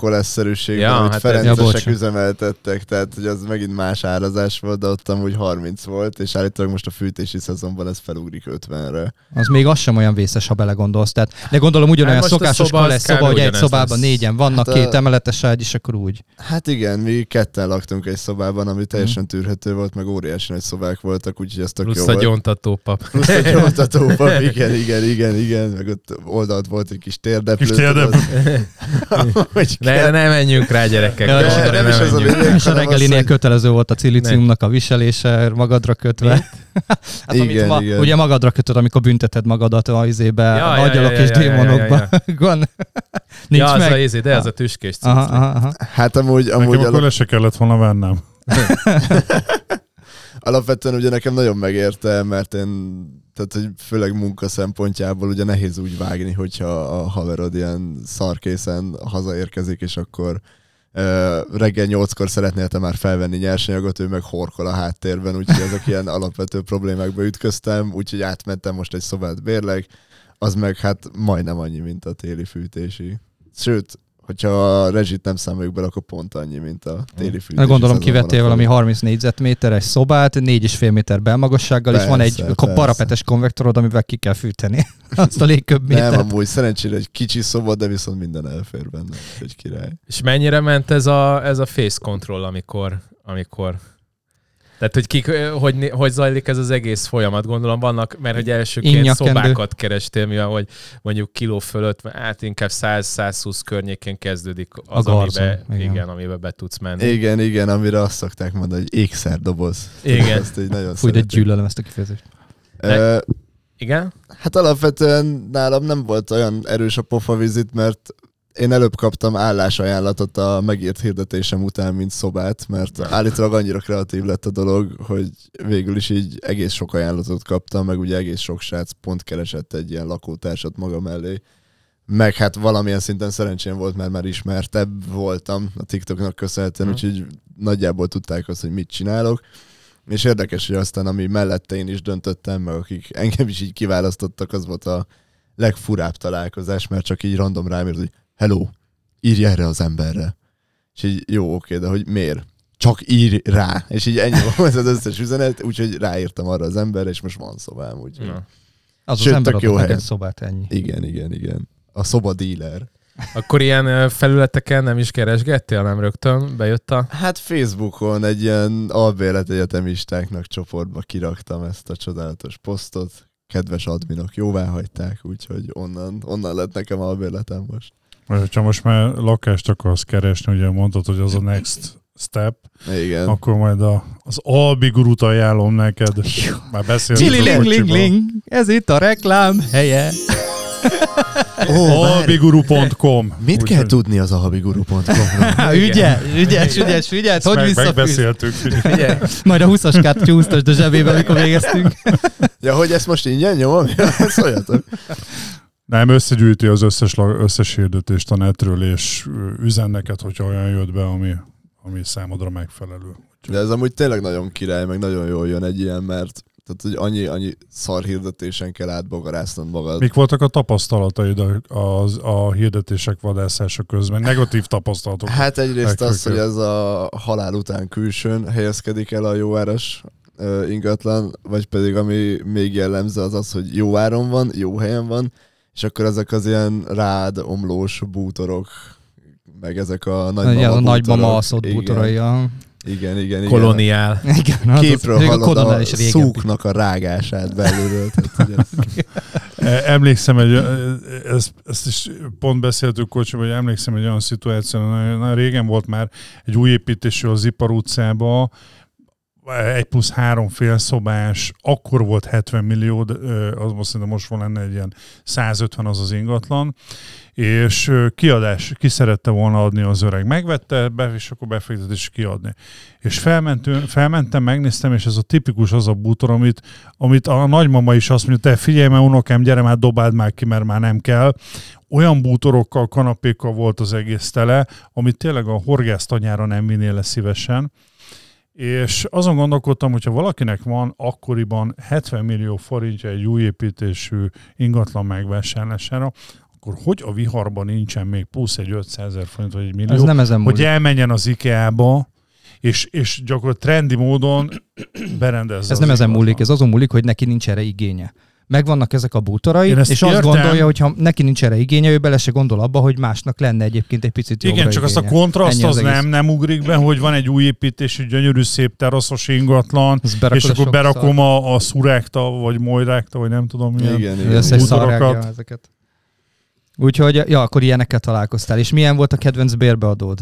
[SPEAKER 6] magánkoleszerűségben,
[SPEAKER 3] Ja,
[SPEAKER 6] ja, amit
[SPEAKER 3] hát
[SPEAKER 6] hát
[SPEAKER 3] ez-
[SPEAKER 4] Ja,
[SPEAKER 6] ferencesek
[SPEAKER 4] bocs.
[SPEAKER 6] üzemeltettek, tehát hogy az megint más árazás volt, de ott amúgy 30 volt, és állítólag most a fűtési szezonban ez felugrik 50-re.
[SPEAKER 4] Az még az sem olyan vészes, ha belegondolsz. Tehát, de gondolom ugyanolyan
[SPEAKER 3] Hát most a
[SPEAKER 4] szokásos
[SPEAKER 3] szoba az
[SPEAKER 4] kolesz
[SPEAKER 3] kb.
[SPEAKER 4] szoba, hogy egy
[SPEAKER 3] ugyanez
[SPEAKER 4] szobában
[SPEAKER 3] lesz.
[SPEAKER 4] négyen vannak,
[SPEAKER 6] Hát a-
[SPEAKER 4] két emeletes ágy, és akkor úgy.
[SPEAKER 6] Hát igen, mi ketten laktunk egy szobában, ami teljesen tűrhető volt, meg óriási nagy szobák voltak, úgyhogy ez tök jó
[SPEAKER 3] Mhm. Plusz a
[SPEAKER 6] volt.
[SPEAKER 3] gyontató pap.
[SPEAKER 6] Plusz a gyomtatóban, igen, igen, igen, igen, meg ott oldalt volt egy kis térdeplő.
[SPEAKER 5] Kis térdeplő.
[SPEAKER 6] tudod? Hogy
[SPEAKER 3] Ne, ne, ne menjünk rá, gyerekek.
[SPEAKER 4] Ja,
[SPEAKER 3] Ne, ne
[SPEAKER 4] de
[SPEAKER 6] nem is az a
[SPEAKER 3] menjünk.
[SPEAKER 6] lényeg.
[SPEAKER 4] És a
[SPEAKER 6] hanem az,
[SPEAKER 4] reggelinél
[SPEAKER 6] hogy-
[SPEAKER 4] kötelező volt a cilíciumnak a viselése, magadra kötve. hát amit
[SPEAKER 6] Igen,
[SPEAKER 4] ma,
[SPEAKER 6] igen.
[SPEAKER 4] ugye magadra kötöd, amikor bünteted magadat a izébe,
[SPEAKER 3] Ja,
[SPEAKER 4] a
[SPEAKER 3] ja,
[SPEAKER 4] nagyalak
[SPEAKER 3] ja,
[SPEAKER 4] és
[SPEAKER 3] ja, ja, ja,
[SPEAKER 4] démonokban.
[SPEAKER 3] ja,
[SPEAKER 4] Gon- Nincs
[SPEAKER 3] Ja, az a
[SPEAKER 4] meg.
[SPEAKER 3] izé, de az a tüskés cucc.
[SPEAKER 4] Aha, aha, aha.
[SPEAKER 6] Hát amúgy, amúgy
[SPEAKER 5] Nekem
[SPEAKER 6] alap,
[SPEAKER 5] akkor le se kellett volna vennem.
[SPEAKER 6] alapvetően ugye nekem nagyon megérte, mert én, tehát hogy főleg munka szempontjából ugye nehéz úgy vágni, hogyha a haverod ilyen szarkészen hazaérkezik, és akkor ö, reggel nyolckor szeretnél te már felvenni nyersanyagot, ő meg horkol a háttérben, úgyhogy ezek ilyen alapvető problémákba ütköztem, úgyhogy átmentem most egy szobát bérlek, az meg hát majdnem annyi, mint a téli fűtési. Sőt, hogyha a rezsit nem számoljuk bele, akkor pont annyi, mint a téli fűtési.
[SPEAKER 4] Na, gondolom
[SPEAKER 6] szezonban,
[SPEAKER 4] kivettél
[SPEAKER 6] akkor-
[SPEAKER 4] valami 30 négyzetméteres szobát, 4,5 méter belmagassággal, és van egy
[SPEAKER 6] Persze,
[SPEAKER 4] ko-
[SPEAKER 6] persze.
[SPEAKER 4] parapetes konvektorod, amivel ki kell fűteni azt a légköbb
[SPEAKER 6] Nem,
[SPEAKER 4] métert.
[SPEAKER 6] amúgy szerencsére egy kicsi szoba, de viszont minden elfér benne, egy király.
[SPEAKER 3] És mennyire ment ez a, ez a face control, amikor, amikor tehát, hogy, kik, hogy, né- hogy zajlik ez az egész folyamat, gondolom vannak, mert hogy elsőként
[SPEAKER 4] Innyakendő.
[SPEAKER 3] szobákat kerestél, mivel hogy mondjuk kiló fölött, hát inkább 100-120 környékén kezdődik az,
[SPEAKER 4] garzon,
[SPEAKER 3] amibe, igen.
[SPEAKER 4] igen.
[SPEAKER 3] igen, amibe be tudsz menni.
[SPEAKER 6] Igen, igen, amire azt szokták mondani, hogy ékszerdoboz.
[SPEAKER 3] Igen.
[SPEAKER 6] Azt így nagyon
[SPEAKER 4] Fúj, de
[SPEAKER 6] szeretik.
[SPEAKER 4] gyűlölöm ezt a kifejezést.
[SPEAKER 6] Ö,
[SPEAKER 3] igen?
[SPEAKER 6] Hát alapvetően nálam nem volt olyan erős a pofavizit, mert én előbb kaptam állásajánlatot a megírt hirdetésem után, mint szobát, mert állítólag annyira kreatív lett a dolog, hogy végül is így egész sok ajánlatot kaptam, meg ugye egész sok srác pont keresett egy ilyen lakótársat maga mellé. Meg hát valamilyen szinten szerencsém volt, mert már ismertebb voltam a TikToknak köszönhetően, úgyhogy nagyjából tudták azt, hogy mit csinálok. És érdekes, hogy aztán, ami mellette én is döntöttem, meg akik engem is így kiválasztottak, az volt a legfurább találkozás, mert csak így random rám írt, hogy hello, írj erre az emberre. És így jó, oké, de hogy miért? Csak írj rá. És így ennyi volt az összes üzenet, úgyhogy ráírtam arra az emberre, és most van szobám. Úgyhogy.
[SPEAKER 3] Na.
[SPEAKER 4] Az az
[SPEAKER 6] Sőt,
[SPEAKER 4] ember
[SPEAKER 6] tök
[SPEAKER 4] adott
[SPEAKER 6] jó
[SPEAKER 4] neked
[SPEAKER 6] helyen.
[SPEAKER 4] szobát, ennyi.
[SPEAKER 6] Igen, igen, igen. A szoba dealer.
[SPEAKER 3] Akkor ilyen ö, felületeken nem is keresgettél, nem rögtön bejött a...
[SPEAKER 6] Hát Facebookon egy ilyen albérlet egyetemistáknak csoportba kiraktam ezt a csodálatos posztot. Kedves adminok jóvá hagyták, úgyhogy onnan, onnan lett nekem albérletem most.
[SPEAKER 5] Vagy Ha most már lakást akarsz keresni, ugye mondtad, hogy az a next step,
[SPEAKER 6] Igen.
[SPEAKER 5] akkor majd a, az Albi gurut ajánlom neked. Már beszéltünk.
[SPEAKER 4] Csili
[SPEAKER 5] a
[SPEAKER 4] ling ling
[SPEAKER 5] kocsiban.
[SPEAKER 4] ling, ez itt a reklám helye.
[SPEAKER 5] Habiguru.com.
[SPEAKER 6] Mit kell tudni az a habiguru.com-ról?
[SPEAKER 4] Há, ügyes, ügyes, ügyes, ügyes, hogy
[SPEAKER 5] meg,
[SPEAKER 4] visszafűz.
[SPEAKER 5] megbeszéltük.
[SPEAKER 3] Figyelj,
[SPEAKER 4] Majd a 20-as kártya húztasd a zsebébe, amikor végeztünk.
[SPEAKER 6] ja, hogy ezt most ingyen nyomom? Szóljatok.
[SPEAKER 5] Nem, összegyűjti az összes, lag- összes hirdetést a netről, és ö, üzen neked, hogyha olyan jött be, ami, ami számodra megfelelő.
[SPEAKER 6] De ez amúgy tényleg nagyon király, meg nagyon jól jön egy ilyen, mert tehát, hogy annyi, annyi szar hirdetésen kell átbogarásznod magad.
[SPEAKER 5] Mik voltak a tapasztalataid a, az, a hirdetések vadászása közben? Negatív tapasztalatok.
[SPEAKER 6] Hát egyrészt
[SPEAKER 5] Legfőképp.
[SPEAKER 6] az, hogy ez a halál után külsőn helyezkedik el a jóáras ö, ingatlan, vagy pedig ami még jellemző az az, hogy jó áron van, jó helyen van, és akkor ezek az ilyen rád omlós bútorok, meg ezek a nagymama,
[SPEAKER 4] Ja, a nagymama
[SPEAKER 6] bútorok.
[SPEAKER 4] aszott
[SPEAKER 6] Igen,
[SPEAKER 4] bútorai. a-
[SPEAKER 6] Igen, igen, igen.
[SPEAKER 3] koloniál.
[SPEAKER 4] Igen, az,
[SPEAKER 6] Képről
[SPEAKER 4] még a
[SPEAKER 6] hallod
[SPEAKER 4] kodonál
[SPEAKER 6] a,
[SPEAKER 4] is régen.
[SPEAKER 6] szúknak a rágását belülről. Tehát, ugye, ez-
[SPEAKER 5] E- Emlékszem, egy, ö, ezt, ezt is pont beszéltük kocsiban, hogy emlékszem egy olyan szituáción, nagyon, nagyon régen volt már egy új építésű az Ipar utcába, egy plusz három félszobás, akkor volt 70 millió, de, ö, az most szerintem most van lenne egy ilyen 150 az az ingatlan, és ö, kiadás, ki szerette volna adni az öreg. Megvette, be, és akkor befektetés kiadni. És felmentő, felmentem, megnéztem, és ez a tipikus az a bútor, amit, amit a nagymama is azt mondja, te figyelj már unokám, gyere már, dobáld már ki, mert már nem kell. Olyan bútorokkal, kanapékkal volt az egész tele, amit tényleg a horgásztanyára nem vinnél le szívesen. És azon gondolkodtam, hogyha valakinek van akkoriban 70 millió forintja egy új építésű ingatlan megvásárlására, akkor hogy a viharban nincsen még plusz egy 500 ezer forint, vagy egy millió?
[SPEAKER 4] Ez nem ezen
[SPEAKER 5] hogy
[SPEAKER 4] múlik.
[SPEAKER 5] elmenjen az IKEA-ba, és, és gyakorlatilag trendi módon berendezze.
[SPEAKER 4] Ez
[SPEAKER 5] az
[SPEAKER 4] nem ezen
[SPEAKER 5] ingatlant.
[SPEAKER 4] múlik, ez azon múlik, hogy neki nincs erre igénye. Megvannak ezek a bútorai,
[SPEAKER 5] Én ezt
[SPEAKER 4] és azt
[SPEAKER 5] értem.
[SPEAKER 4] gondolja, hogy ha neki nincs erre igénye, ő bele se gondol abba, hogy másnak lenne egyébként egy picit jobbra
[SPEAKER 5] Igen, csak azt a
[SPEAKER 4] igénye.
[SPEAKER 5] kontraszt
[SPEAKER 4] Ennyi
[SPEAKER 5] az,
[SPEAKER 4] az
[SPEAKER 5] az
[SPEAKER 4] egész.
[SPEAKER 5] nem, nem ugrik be, hogy van egy új építésű, gyönyörű, szép teraszos ingatlan,
[SPEAKER 4] Azt berakod
[SPEAKER 5] és
[SPEAKER 4] a
[SPEAKER 5] akkor
[SPEAKER 4] sok
[SPEAKER 5] berakom a, a szurákta, vagy mojrákta, vagy nem tudom milyen.
[SPEAKER 6] igen, igen.
[SPEAKER 4] Összes
[SPEAKER 5] bútorokat.
[SPEAKER 4] szarrágja ezeket. Úgyhogy, ja, akkor ilyenekkel találkoztál. És milyen volt a kedvenc bérbeadód?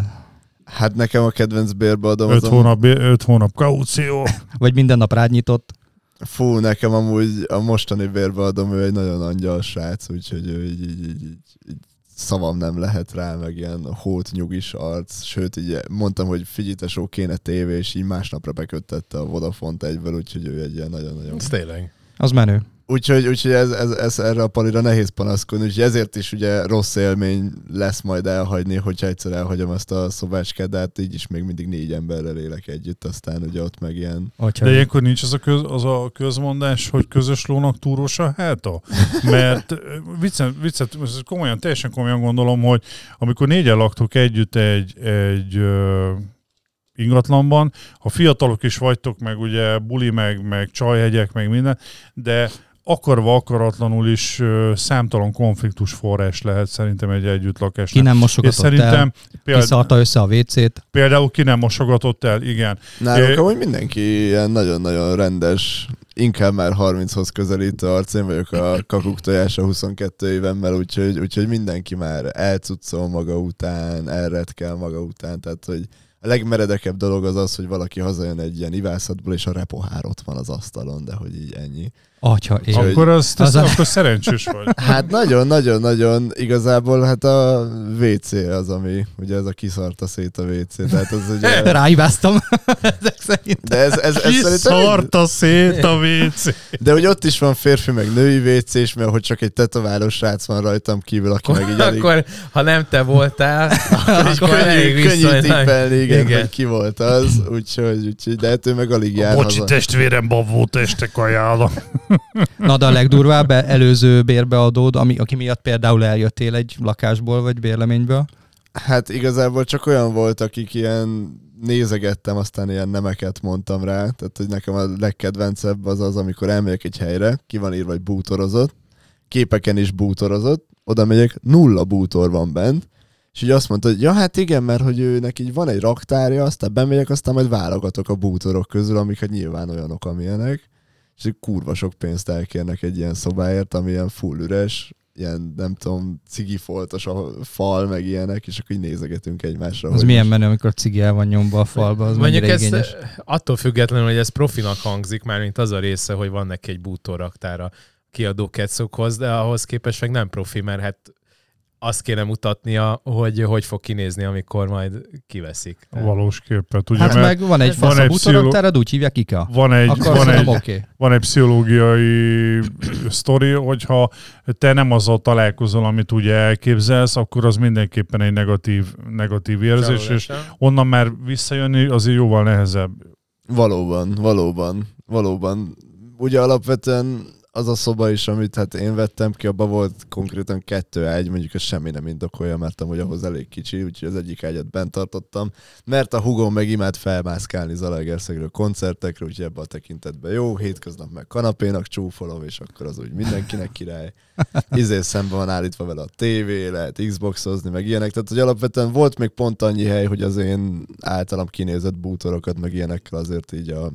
[SPEAKER 6] Hát nekem a kedvenc bérbeadom
[SPEAKER 5] Öt
[SPEAKER 6] az a
[SPEAKER 5] hónap, öt hónap kaució.
[SPEAKER 4] Vagy minden nap rád nyitott?
[SPEAKER 6] Fú, nekem amúgy a mostani bérbeadom, ő egy nagyon angyal srác, úgyhogy ő így, így, így, így, így szavam nem lehet rá, meg ilyen hót nyugis arc, sőt így mondtam, hogy figyelj, tesó, kéne tévé, és így másnapra beköttette a Vodafont egyből, úgyhogy ő egy ilyen nagyon-nagyon...
[SPEAKER 3] Ez tényleg.
[SPEAKER 4] Az menő.
[SPEAKER 6] Úgyhogy, úgyhogy ez, ez, ez, erre a palira nehéz panaszkodni, úgyhogy ezért is ugye rossz élmény lesz majd elhagyni, hogyha egyszer elhagyom ezt a szobácskát, de hát így is még mindig négy emberrel élek együtt, aztán ugye ott meg ilyen
[SPEAKER 4] Atya.
[SPEAKER 5] De ilyenkor nincs az a, köz, az a közmondás, hogy közös lónak túros a háta? Mert ö, viccen, viccet, most ezt komolyan, teljesen komolyan gondolom, hogy amikor négyen laktuk együtt egy, egy ö, ingatlanban, ha fiatalok is vagytok, meg ugye buli, meg, meg csajhegyek, meg minden, de akarva akaratlanul is ö, számtalan konfliktus forrás lehet szerintem egy
[SPEAKER 4] Ki
[SPEAKER 5] együttlakásnak.
[SPEAKER 4] nem
[SPEAKER 5] És
[SPEAKER 4] mosogatott
[SPEAKER 5] szerintem
[SPEAKER 4] el,
[SPEAKER 5] például,
[SPEAKER 4] kiszarta össze a WC-t.
[SPEAKER 5] például ki nem mosogatott el, igen.
[SPEAKER 6] Nálunk
[SPEAKER 5] Ö-
[SPEAKER 6] amúgy mindenki ilyen nagyon-nagyon rendes, inkább már 30-hoz közelítő arc, én vagyok a kakuk tojása 22 évemmel, úgyhogy, úgyhogy mindenki már elcuccol maga után, elretkel maga után, tehát hogy a legmeredekebb dolog az az, hogy valaki hazajön egy ilyen ivászatból, és a repohár ott van az asztalon, de hogy így ennyi.
[SPEAKER 4] Atya ég.
[SPEAKER 6] Úgyhogy-
[SPEAKER 5] Akkor, azt,
[SPEAKER 4] Az
[SPEAKER 5] azt,
[SPEAKER 4] a-
[SPEAKER 5] akkor szerencsés vagy.
[SPEAKER 6] Hát nagyon-nagyon-nagyon igazából hát a WC az, ami ugye ez a kiszarta szét a WC, tehát az ugye...
[SPEAKER 4] Ráibáztam ezek szerint.
[SPEAKER 6] De ez, ez, ez szerintem
[SPEAKER 5] Kiszarta szét a WC.
[SPEAKER 6] De hogy ott is van férfi, meg női WC, és mert hogy csak egy tetováló srác van rajtam kívül, aki meg így alig...
[SPEAKER 3] Akkor, ha nem te voltál,
[SPEAKER 6] így
[SPEAKER 3] akkor elég
[SPEAKER 6] könnyű, könnyű
[SPEAKER 3] viszonylag.
[SPEAKER 6] tippelni, igen,
[SPEAKER 3] Igen.
[SPEAKER 6] igen, hogy ki volt az, úgyhogy, úgyhogy de hát ő meg alig jár
[SPEAKER 5] Bocsi
[SPEAKER 6] haza.
[SPEAKER 5] testvérem, babó testek ajánlom.
[SPEAKER 4] Na de a legdurvább előző bérbeadód, ami, aki miatt például eljöttél egy lakásból vagy bérleményből.
[SPEAKER 6] Hát igazából csak olyan volt, akik ilyen nézegettem, aztán ilyen nemeket mondtam rá, tehát hogy nekem a legkedvencebb az az, amikor elmegyek egy helyre, ki van írva, hogy bútorozott, képeken is bútorozott, oda megyek, nulla bútor van bent, és így azt mondta, hogy ja, hát igen, mert hogy őnek így van egy raktárja, aztán bemegyek, aztán majd válogatok a bútorok közül, amik hát nyilván olyanok, amilyenek, és így kurva sok pénzt elkérnek egy ilyen szobáért, ami ilyen full üres, ilyen, nem tudom, cigifoltos a fal, meg ilyenek, és akkor így nézegetünk egymásra.
[SPEAKER 4] Az
[SPEAKER 6] hogy
[SPEAKER 4] milyen menő, amikor a cigi el van nyomva a falba, az
[SPEAKER 3] Mondjuk
[SPEAKER 4] mennyire
[SPEAKER 3] ez eh,
[SPEAKER 4] igényes.
[SPEAKER 3] attól függetlenül, hogy ez profinak hangzik, már mint az a része, hogy van neki egy bútorraktára kiadó kecokhoz, de ahhoz képest meg nem profi, mert hát azt kéne mutatnia, hogy hogy fog kinézni, amikor majd kiveszik. Tehát-
[SPEAKER 5] valós képet. Ugye,
[SPEAKER 4] Hát
[SPEAKER 5] mert
[SPEAKER 4] meg van egy
[SPEAKER 5] van
[SPEAKER 4] fasz a
[SPEAKER 5] egy pszicholo-
[SPEAKER 4] bútoroktára, úgy hívják Ika.
[SPEAKER 5] van egy,
[SPEAKER 4] Akkor
[SPEAKER 5] van egy,
[SPEAKER 4] szerintem oké.
[SPEAKER 5] van egy pszichológiai sztori, hogyha te nem azzal találkozol, amit ugye elképzelsz, akkor az mindenképpen egy negatív, negatív érzés, és onnan már visszajönni azért jóval nehezebb.
[SPEAKER 6] Valóban, valóban, valóban. Ugye alapvetően az a szoba is, amit hát én vettem ki, abban volt konkrétan kettő ágy, mondjuk ez semmi nem indokolja, mert amúgy ahhoz elég kicsi, úgyhogy az egyik ágyat bent tartottam, mert a hugom meg imád felmászkálni Zalaegerszegről koncertekre, úgyhogy ebbe a tekintetben jó, hétköznap meg kanapénak csúfolom, és akkor az úgy mindenkinek király. Izé szemben van állítva vele a tévé, lehet Xboxozni, meg ilyenek, tehát hogy alapvetően volt még pont annyi hely, hogy az én általam kinézett bútorokat, meg ilyenekkel azért így a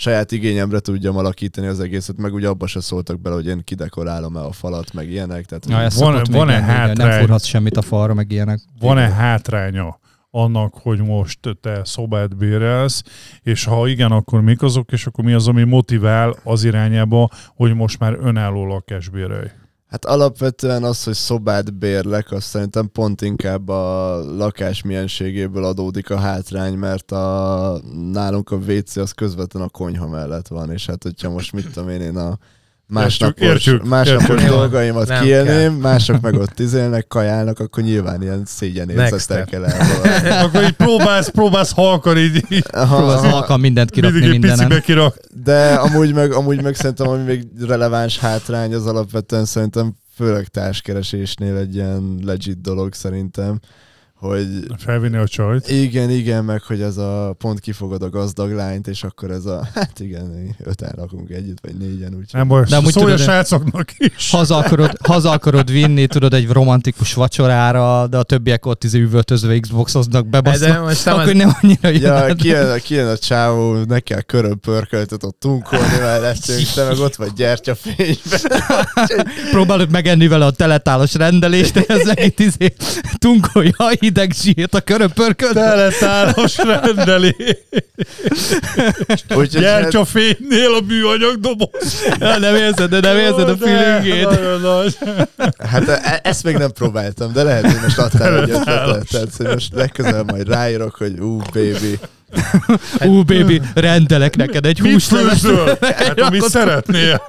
[SPEAKER 6] saját igényemre tudjam alakítani az egészet, meg ugye abba se szóltak bele, hogy én kidekorálom el a falat, meg ilyenek. Tehát
[SPEAKER 4] Na, ez
[SPEAKER 5] Van-
[SPEAKER 4] szokott még
[SPEAKER 5] van-e
[SPEAKER 4] lenni, igen,
[SPEAKER 5] hátrány?
[SPEAKER 4] Nem furhatsz semmit a falra, meg ilyenek.
[SPEAKER 5] Van-e hátránya annak, hogy most te szobát bérelsz, és ha igen, akkor mik azok, és akkor mi az, ami motivál az irányába, hogy most már önálló lakás bérelj?
[SPEAKER 6] Hát alapvetően az, hogy szobát bérlek, azt szerintem pont inkább a lakás mienségéből adódik a hátrány, mert a, nálunk a WC az közvetlen a konyha mellett van, és hát hogyha most mit tudom én, én a másnapos,
[SPEAKER 5] értjük,
[SPEAKER 6] másnapos
[SPEAKER 3] értjük.
[SPEAKER 6] dolgaimat
[SPEAKER 3] Nem
[SPEAKER 6] kiélném, mások meg ott izélnek, kajálnak, akkor nyilván ilyen szégyenérzettel
[SPEAKER 3] Next
[SPEAKER 6] kell elvalni.
[SPEAKER 5] Akkor így próbálsz, próbálsz halkan így, így
[SPEAKER 4] Próbálsz halkan mindent kirakni
[SPEAKER 5] mindig egy picibe
[SPEAKER 4] mindenen.
[SPEAKER 5] kirak.
[SPEAKER 6] De amúgy meg, amúgy meg szerintem, ami még releváns hátrány, az alapvetően szerintem főleg társkeresésnél egy ilyen legit dolog szerintem, hogy
[SPEAKER 5] Felvinni a csajt.
[SPEAKER 6] igen, igen, meg hogy ez a pont kifogod a gazdag lányt, és akkor ez a, hát igen, öten lakunk együtt, vagy négyen, úgyhogy.
[SPEAKER 5] Nem baj,
[SPEAKER 4] De amúgy
[SPEAKER 5] szólj a
[SPEAKER 4] tudod, de-
[SPEAKER 5] srácoknak is.
[SPEAKER 4] Haza akarod, haza akarod vinni, tudod, egy romantikus vacsorára, de a többiek ott izé üvöltözve Xboxoznak,
[SPEAKER 3] De
[SPEAKER 4] bebasznak.
[SPEAKER 3] most nem
[SPEAKER 4] Akkor
[SPEAKER 3] az,
[SPEAKER 4] nem annyira jön.
[SPEAKER 6] Ja,
[SPEAKER 4] át.
[SPEAKER 6] kijön, a- kijön a csávó, ne kell köröm pörköltet ott tunkolni mellettünk, te meg ott vagy gyertyafényben.
[SPEAKER 4] Próbálod megenni vele a teletálos rendelést, de ez megint izé tunkolja a hideg zsírt a köröpörköd.
[SPEAKER 5] Teletáros rendelés.
[SPEAKER 6] Úgyhogy hát,
[SPEAKER 5] Gyertyafénynél a műanyag doboz.
[SPEAKER 4] Nem érzed, de nem érzed a feelingét.
[SPEAKER 5] Nagyon nagy.
[SPEAKER 6] hát e- ezt még nem próbáltam, de lehet, hogy most adtál egy ötletet, tehát hogy most legközelebb majd ráírok, hogy ú, baby,
[SPEAKER 4] Ú, baby, rendelek neked egy
[SPEAKER 5] Mit
[SPEAKER 4] húsleves.
[SPEAKER 5] főzöl? Hát, amit szeretnél.